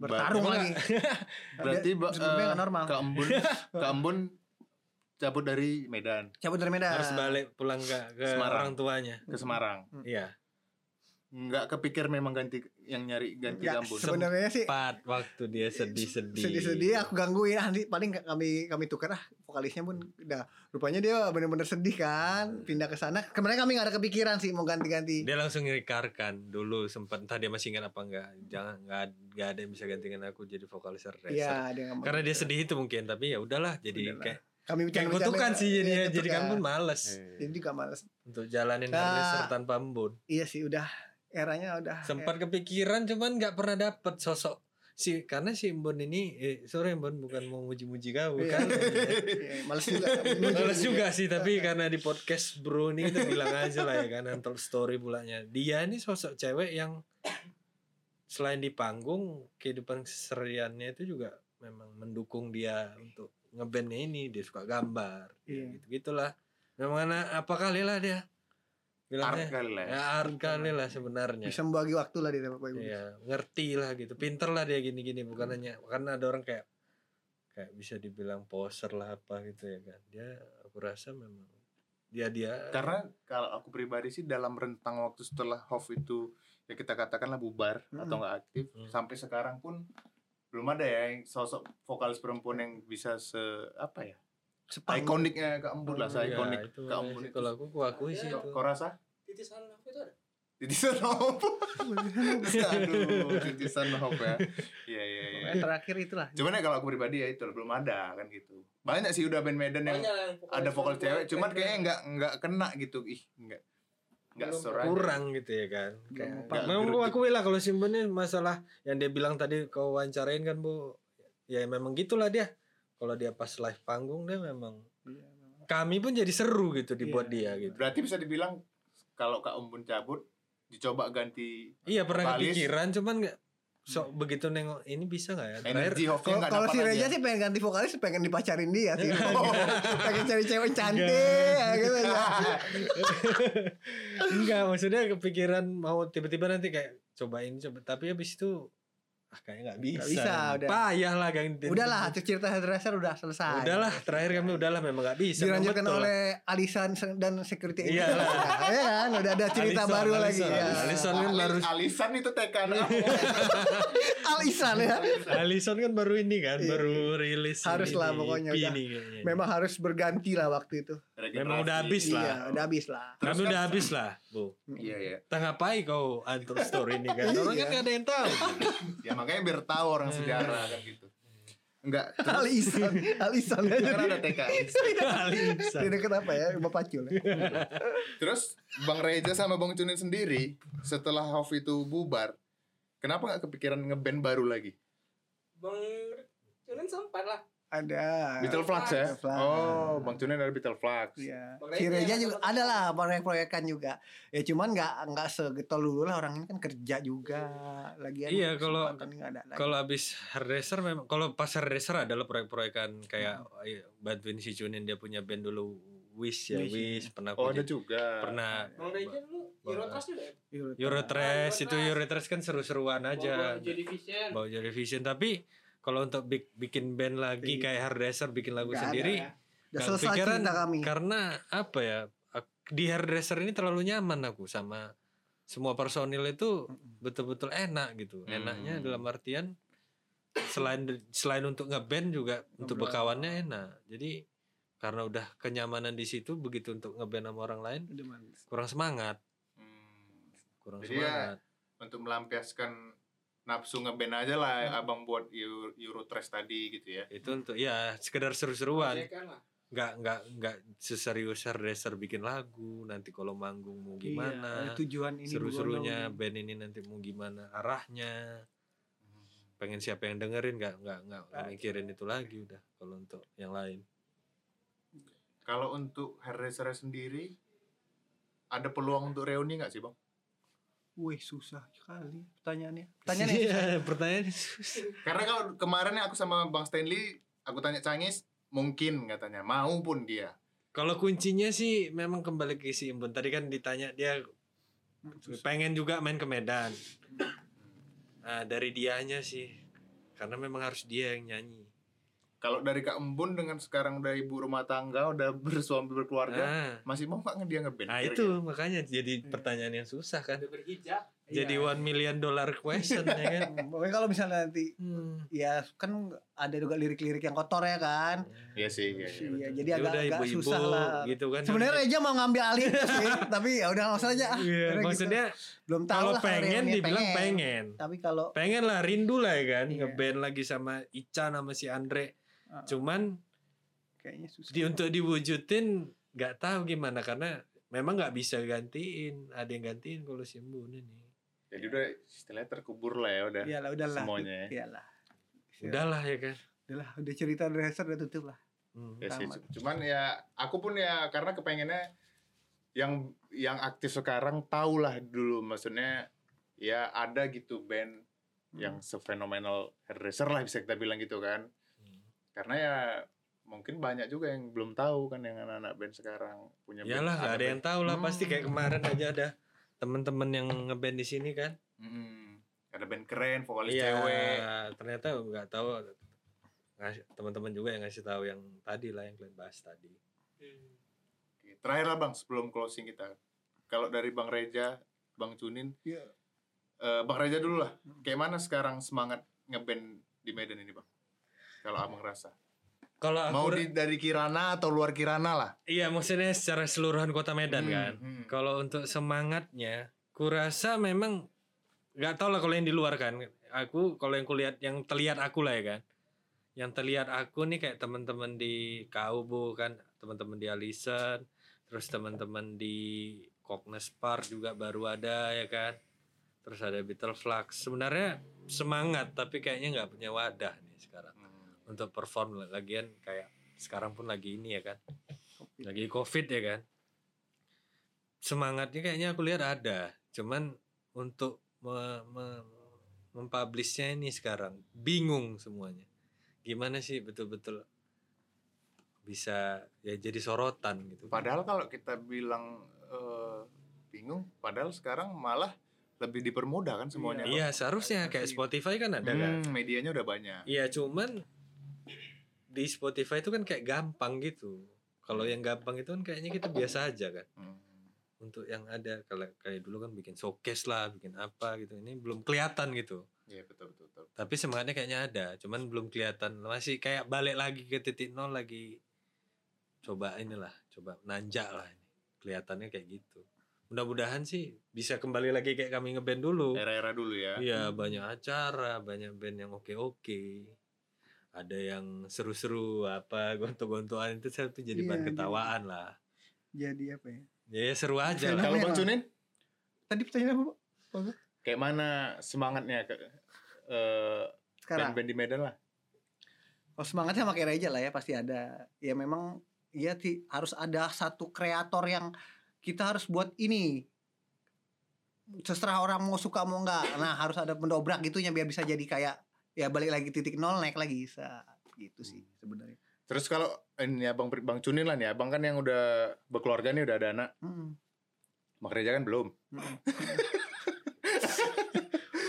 Ba- bertarung Emang lagi Berarti ba- sebelumnya eh, nggak normal ke Embun, *laughs* ke Embun cabut dari Medan cabut dari Medan harus balik pulang ke, ke Semarang. orang tuanya. ke Semarang. Iya. Nggak kepikir memang ganti yang nyari ganti ke Nggak, Embun. sebenarnya sih Tepat waktu dia sedih-sedih. sedih-sedih aku gangguin ah, nanti paling nggak kami kami tuker ah vokalisnya pun udah rupanya dia bener-bener sedih kan pindah ke sana kemarin kami nggak ada kepikiran sih mau ganti-ganti Dia langsung ngerekarkan dulu sempat entah dia masih ingat apa enggak. Jangan enggak enggak ada yang bisa gantikan aku jadi vokalis Racer. Iya, dia nggak mau. Karena dia sedih itu mungkin tapi ya udahlah jadi Udahlah. kayak kami kayak bercanda-bercanda. kutukan sih Iya, jadinya jadi kutukan. kan pun males Eh, jadi juga males untuk jalanin Nah. Hard Racer tanpa Embun. iya sih udah eranya udah *laughs* Iya. sempat kepikiran cuman nggak pernah dapet sosok si karena si Embon ini eh, sorry Embon bukan mau muji-muji kau Iya. *laughs* kan Iya, males juga Males juga sih tapi karena di podcast bro ini kita bilang aja lah ya kan antar story pulanya dia ini sosok cewek yang selain di panggung kehidupan keseriannya itu juga memang mendukung dia untuk ngebandnya ini dia suka gambar Iya. gitu gitulah memang anak apa kali lah dia Art bilangnya kali lah ya. ya art kali lah sebenarnya bisa membagi waktu lah di Bapak Ibu. Iya, ngerti lah gitu. Pinter lah dia gini-gini, Hmm. bukan hanya karena ada orang kayak kayak bisa dibilang poser lah apa gitu ya kan. Dia aku rasa memang dia dia Karena kalau aku pribadi sih dalam rentang waktu setelah Hof itu ya kita katakanlah bubar Mm-mm. atau nggak aktif Mm. sampai sekarang pun belum ada ya yang sosok vokalis perempuan yang bisa se apa ya Sepanggung. ikoniknya Kak Embun lah, Mm, saya Ya, ikonik itu Kak makanya Embun sih itu. kalau aku aku akui sih Kok itu. kok rasa? titisan apa itu ada Titisan Hof. *laughs* *laughs* Aduh, titisan Hof ya. Iya iya iya. Pokoknya terakhir itulah. Cuman ya kalau aku pribadi ya itu belum ada kan gitu. Banyak sih udah band Medan yang Banyak yang vokalis ada vokal perempuan, cewek, cuman band-band. kayaknya nggak nggak kena gitu. Ih, nggak nggak Belum surah. kurang gitu ya kan. Kayak- apa. Memang aku Geruduk. akui lah kalau simpennya masalah yang dia bilang tadi kau wawancarain kan Bu. Ya memang gitulah dia. Kalau dia pas live panggung dia memang kami pun jadi seru gitu dibuat Iya. dia gitu. Berarti bisa dibilang kalau Kak Umbun cabut dicoba ganti Iya pernah Vokalis. kepikiran cuman nggak sok begitu nengok ini bisa nggak Iya, ya terakhir *laughs* energi Hofnya Kalau nggak kalau dapat si Reja aja. sih pengen ganti vokalis, pengen dipacarin dia *laughs* sih. pengen cari cewek cantik, ya gitu ya. enggak maksudnya kepikiran mau tiba-tiba nanti kayak cobain coba tapi habis itu ah kayaknya nggak bisa, Nggak bisa, udah. payah lah ganti Udahlah, cerita hairdresser udah selesai. udahlah terakhir kami udahlah memang nggak bisa memang Dilanjutkan betul. oleh Alisan se- dan security. Iya Engineer. ya kan, udah ada cerita Alison, baru lagi. Alison, ya. Alison kan baru Alis- Alisan itu kan? tekan Iya. Alisan Iya. ya. Alison kan baru ini kan Iya. baru rilis Harus ini lah nih, pokoknya EP udah. nih kayaknya. Memang harus berganti lah waktu itu. Memang udah habis lah. Iya, udah habis lah. Terus kami kan- udah habis lah bu *laughs* Iya iya. tengah ngapain kau antur story ini kan orang kan Iya. nggak ada yang tahu *laughs* Ya makanya biar tahu orang sejarah kan gitu. Enggak, Alisan, Alisan. kan ada TK. Iya. Alison. Tidak kenapa ya, Bapak Cul. ya. Terus Bang Reja sama Bang Cunin sendiri setelah Hof itu bubar, kenapa nggak kepikiran ngeband baru lagi? bang Cunin sempat lah Ada. Beetle Flux ya? Beetle Flux. Oh, Bang Cunin ada Beetle Flux. Iya. Makanya Si itu Reja yang juga aku- ada lah proyek-proyekan juga. Ya cuman nggak nggak segetol dulu lah orang ini kan kerja juga. Lagian Iya, kalau- kesempatan nggak ada lagi. Kalau abis hairdresser memang kalau pas hairdresser adalah proyek-proyekan kayak eh, bantuin si Junin dia punya band dulu Wish ya Wish, Wish, pernah Oh, ada punya- juga. pernah bang Reja dulu Euro Trust juga ya Eurotrash Ah, itu Eurotrash. Eurotrash kan seru-seruan Bawa aja jadi vision bawa jadi vision tapi kalau untuk bik- bikin band lagi Iya. kayak hairdresser bikin lagu Nggak ada sendiri ya. Udah nggak selesai kepikiran cerita kami. karena apa ya ak- di hairdresser ini terlalu nyaman aku sama semua personil itu betul-betul enak Hmm. gitu enaknya dalam artian selain selain untuk ngeband juga untuk Ngobrol. bekawannya enak jadi karena udah kenyamanan di situ begitu untuk ngeband sama orang lain Udah manis. kurang semangat Hmm. kurang Jadi ya, semangat Untuk melampiaskan nafsu ngeband aja Hmm. lah Abang buat Euro, Eurotrash tadi gitu ya. itu untuk ya sekedar seru-seruan Iya. Proyekan lah nggak nggak nggak seserius Herdeser bikin lagu nanti kalau manggung mau Iya, gimana ada tujuan ini seru-serunya bergondong. band ini nanti mau gimana arahnya pengen siapa yang dengerin nggak nggak nggak nggak mikirin itu lagi udah kalau untuk yang lain Kalau untuk Hairdresser sendiri, ada peluang untuk reuni nggak sih bang? Wih susah sekali pertanyaannya. *laughs* Pertanyaannya Iya, susah. pertanyaannya susah Karena kalau kemarin aku sama bang Stanley, aku tanya Cangis, mungkin katanya, mau pun dia. kalau kuncinya sih memang kembali ke si Imbun tadi kan ditanya dia pengen juga main ke Medan nah, dari dianya sih karena memang harus dia yang nyanyi Kalau dari Kak Embun dengan sekarang udah ibu rumah tangga, udah *laughs* bersuami berkeluarga, nah, masih mau nggak dia ngeband? nah Kira-kira. itu makanya jadi pertanyaan yang susah kan udah berhijab jadi Iya. one million dollar question ya *laughs* kan Pokoknya kalau misalnya nanti Hmm. ya kan ada juga lirik-lirik yang kotor ya kan. Iya sih. Iya, iya, Iya, betul. jadi agak, Ya udah agak ibu-ibu susah lah. gitu kan Sebenarnya Reja mau ngambil alih itu sih, tapi ya udah nggak usah aja. ah. Iya, Karena gitu. maksudnya belum tahu kalau lah pengen reuni dibilang pengen. Tapi kalau pengen lah rindu lah ya kan Iya. ngeband lagi sama Ica sama si Andre Ah. cuman kayaknya susah. di untuk diwujudin nggak tahu gimana karena memang nggak bisa gantiin ada yang gantiin kalau si Mbun ini Iya. Jadi udah istilahnya terkubur lah ya udah. Iyalah udahlah. Semuanya ya. Iyalah. udahlah ya kan Udahlah, udah cerita dresser udah tutup lah. Hmm. Ya sih, Tamat. cuman ya aku pun ya karena kepengennya yang yang aktif sekarang tahulah dulu maksudnya ya ada gitu band yang Hmm, sefenomenal hairdresser lah bisa kita bilang gitu kan. Hmm. Karena ya mungkin banyak juga yang belum tahu kan yang anak-anak band sekarang punya band. iyalah nggak ada yang band- tahu lah Hmm. pasti kayak kemarin aja ada temen-temen yang ngeband di sini kan Mm-mm. ada band keren, vokalis Iya, cewek. ternyata nggak tahu Ngasih- teman-teman juga yang ngasih tahu yang tadi lah yang kalian bahas tadi Oke, Terakhir lah Bang sebelum closing kita. Kalau dari Bang Reja, Bang Junin, Iya. Eh, Bang Reja dulu lah. Kayak mana sekarang semangat ngeband di Medan ini, Bang? Kalau abang rasa. kalau aku Mau ra- di, dari Kirana atau luar Kirana lah. Iya maksudnya secara seluruhan kota Medan Hmm, kan. hmm. Kalau untuk semangatnya, kurasa memang nggak tau lah kalau yang di luar kan. Aku kalau yang kulihat yang terlihat aku lah ya kan. Yang terlihat aku nih kayak teman-teman di Kaubu kan, teman-teman di Alison, terus teman-teman di Cognes Park juga baru ada ya kan. Terus ada Beetle Flux. Sebenarnya semangat tapi kayaknya nggak punya wadah nih sekarang untuk perform lagian kayak sekarang pun lagi ini ya kan lagi covid ya kan semangatnya kayaknya aku lihat ada cuman untuk me- me- mempublishnya ini sekarang bingung semuanya gimana sih betul-betul bisa ya jadi sorotan gitu Padahal kalau kita bilang eh, bingung, padahal sekarang malah lebih dipermudah kan semuanya. Bang? iya seharusnya kayak Spotify kan ada kan Hmm, medianya udah banyak. Iya cuman di Spotify itu kan kayak gampang gitu. Kalau yang gampang itu kan kayaknya kita biasa aja kan. Hmm. Untuk yang ada kalau kayak dulu kan bikin showcase lah, bikin apa gitu. Ini belum kelihatan gitu. Iya betul betul. betul. Tapi semangatnya kayaknya ada, cuman belum kelihatan. Masih kayak balik lagi ke titik nol lagi. Coba inilah, coba nanjak lah ini. Kelihatannya kayak gitu. Mudah-mudahan sih bisa kembali lagi kayak kami ngeband dulu. Era-era dulu ya. Iya banyak acara, banyak band yang oke-oke. Ada yang seru-seru apa gontok-gontokan itu saya tuh jadi Iya, bahan jadi- ketawaan lah. Jadi apa ya? Ya, ya seru *laughs* aja lah. Kalau Bang Merah. Junin, Tadi pertanyaan apa? Pak? kayak mana semangatnya ke eh, Sekarang. band-band di Medan lah? Oh semangatnya sama kayak Reja lah ya pasti ada. Ya memang ya ti- harus ada satu kreator yang kita harus buat ini. Seserah orang mau suka mau enggak. Nah, harus ada pendobrak gitunya biar bisa jadi kayak ya balik lagi titik nol naik lagi bisa gitu sih sebenarnya. Terus kalau eh, ini abang Pri- bang Cunin lah nih, abang kan yang udah berkeluarga nih udah ada anak, Hmm. bang Reja kan belum. hmm.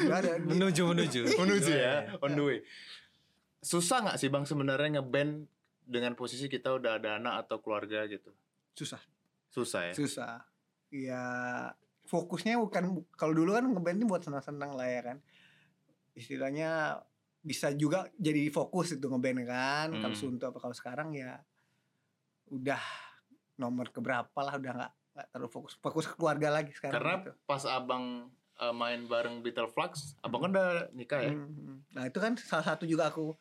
Nggak ada di- Menuju menuju. *laughs* Iya, Menuju ya, on the way. Susah nggak sih bang sebenarnya ngeband dengan posisi kita udah ada anak atau keluarga gitu? susah Susah ya. susah ya fokusnya bukan kalau dulu kan ngeband ini buat senang-senang lah ya kan istilahnya bisa juga jadi fokus itu ngeband kan kalau Hmm. suntuk apa kalau sekarang ya udah nomor keberapa lah udah nggak nggak terlalu fokus fokus ke keluarga lagi sekarang Karena gitu. pas abang eh, main bareng Beetle Flux, abang kan udah nikah ya. Hmm, hmm. nah itu kan salah satu juga aku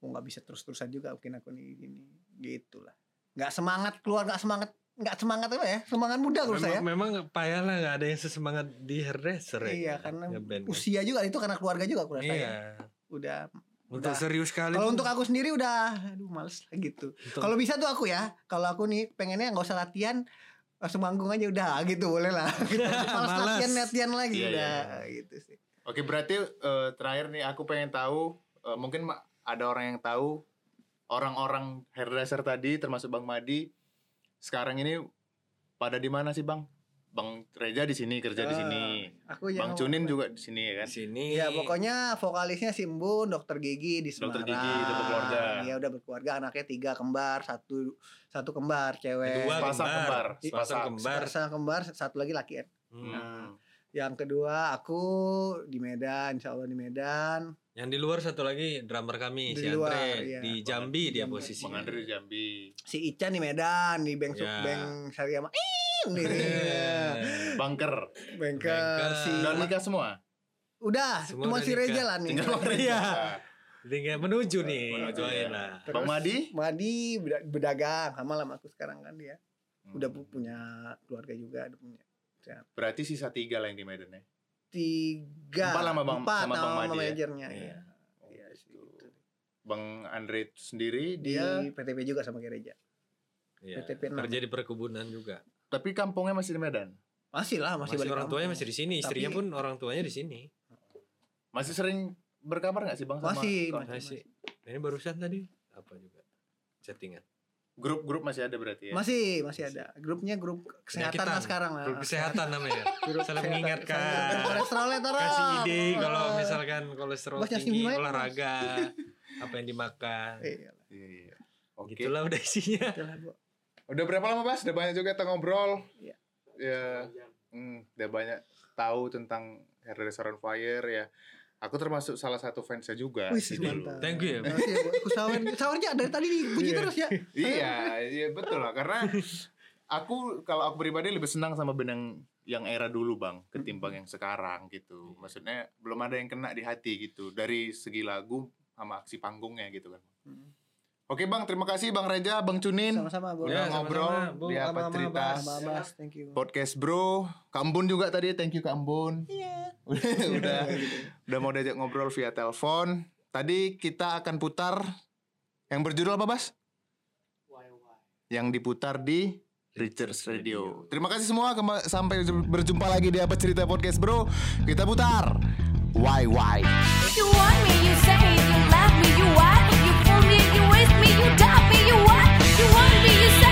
mau nggak bisa terus-terusan juga mungkin aku nih gini gitulah nggak semangat keluar nggak semangat nggak semangat apa ya semangat muda menurut saya Memang, memang payah lah nggak ada yang sesemangat di hairdresser ya. iya karena Ngeband. usia juga itu karena keluarga juga aku rasa Iya. ya udah Untuk Udah. serius kali. kalau tuh. untuk aku sendiri udah aduh males lah gitu kalau bisa tuh aku ya kalau aku nih pengennya nggak usah latihan langsung manggung aja udah *laughs* gitu boleh lah *laughs* males Males. latihan latihan lagi Iya, iya, udah iya. gitu sih Oke berarti eh, terakhir nih aku pengen tahu eh, mungkin ma- ada orang yang tahu orang-orang hairdresser tadi termasuk Bang Madi sekarang ini pada di mana sih Bang? Bang Reja di sini kerja di Ah, sini. aku ya Bang Cunin juga di sini ya kan? di sini. Ya pokoknya vokalisnya Simbun, dokter gigi di Semarang. Dokter Gigi, udah berkeluarga. Iya udah berkeluarga, anaknya tiga kembar, satu satu kembar cewek. dua Pasang kembar. kembar, pasang Pasang. kembar. Pasang kembar, satu lagi laki. Hmm. Hmm. Yang kedua aku di Medan, insya Allah di Medan. Yang di luar satu lagi drummer kami Di si luar, Andre iya. di Jambi dia Jambi. Bang posisinya. Andre di Jambi. Si Ican di Medan, di Beng Ya. Beng Sariama. Ih, ini Iya. Bangker. Bengker Bengker. si Dan nikah semua. udah Semua cuma udah si Reza nikah. lah *laughs* nih. Tinggal Nah. Bang Reja. Tinggal menuju nih. Menuju, doain ya. lah. Terus Bang Madi? Madi beda- berdagang sama lah sama aku sekarang kan dia. Udah pu- Hmm. punya keluarga juga, udah punya Berarti sisa tiga lah yang di Medan ya. tiga Empat sama Bang- empat sama Bang sama Madi ya? manajernya Iya. iya. Oh, Iya, sih, Iya. gitu. gitu. Bang Andre itu sendiri di dia PTP juga sama gereja Iya. PTP enam. Kerja di perkebunan juga. tapi kampungnya masih di Medan. masih lah masih, Masih, balik orang tuanya masih di sini, istrinya Tapi- pun orang tuanya di sini. Masih sering berkabar nggak sih Bang sama masih kawan- masih, Masih. Nah, ini barusan tadi apa juga chattingan. grup-grup masih ada berarti ya? masih masih ada grupnya grup kesehatan lah Penyakitan. sekarang lah Grup kesehatan namanya. Grup Salam kesehatan. mengingatkan. kolesterolnya taruh Kasih ide kalau Oh. misalkan kolesterol Bos, Yasin tinggi gimana, Bos? olahraga apa yang dimakan. Iya, Iya, iya. Oke. Gitulah udah isinya. itulah, Bu. Udah berapa lama Bas? Udah banyak juga kita ngobrol. Iya. Ya, Jam. hmm, udah banyak tahu tentang Hairdresser on Fire ya. Aku termasuk salah satu fansnya juga. Wih, sih dulu. mantap. Thank you ya. Makasih ya, Bu. Aku sawer, sawernya dari tadi dipuji terus ya. Iya, iya betul lah *laughs* karena aku kalau aku pribadi lebih senang sama benang yang era dulu bang ketimbang yang sekarang Iya. gitu maksudnya belum ada yang kena di hati gitu dari segi lagu sama aksi panggungnya gitu kan Hmm. oke bang terima kasih bang Reja bang Cunin Sama-sama, Bu. udah Ya, ngobrol sama-sama, Bu. di apa Sama-sama, cerita Bas. Bas, Thank you. podcast bro Kambun juga tadi thank you Kambun *laughs* udah udah udah mau diajak ngobrol via telepon tadi kita akan putar yang berjudul apa Bas Why why? yang diputar di Richards Radio. Terima kasih semua kemba- sampai berjumpa lagi di apa cerita podcast bro. Kita putar. Why why. If you want me, you say it. You love me, you what? You fool me, you waste me, you dump me, you what? You want me, you say Oh,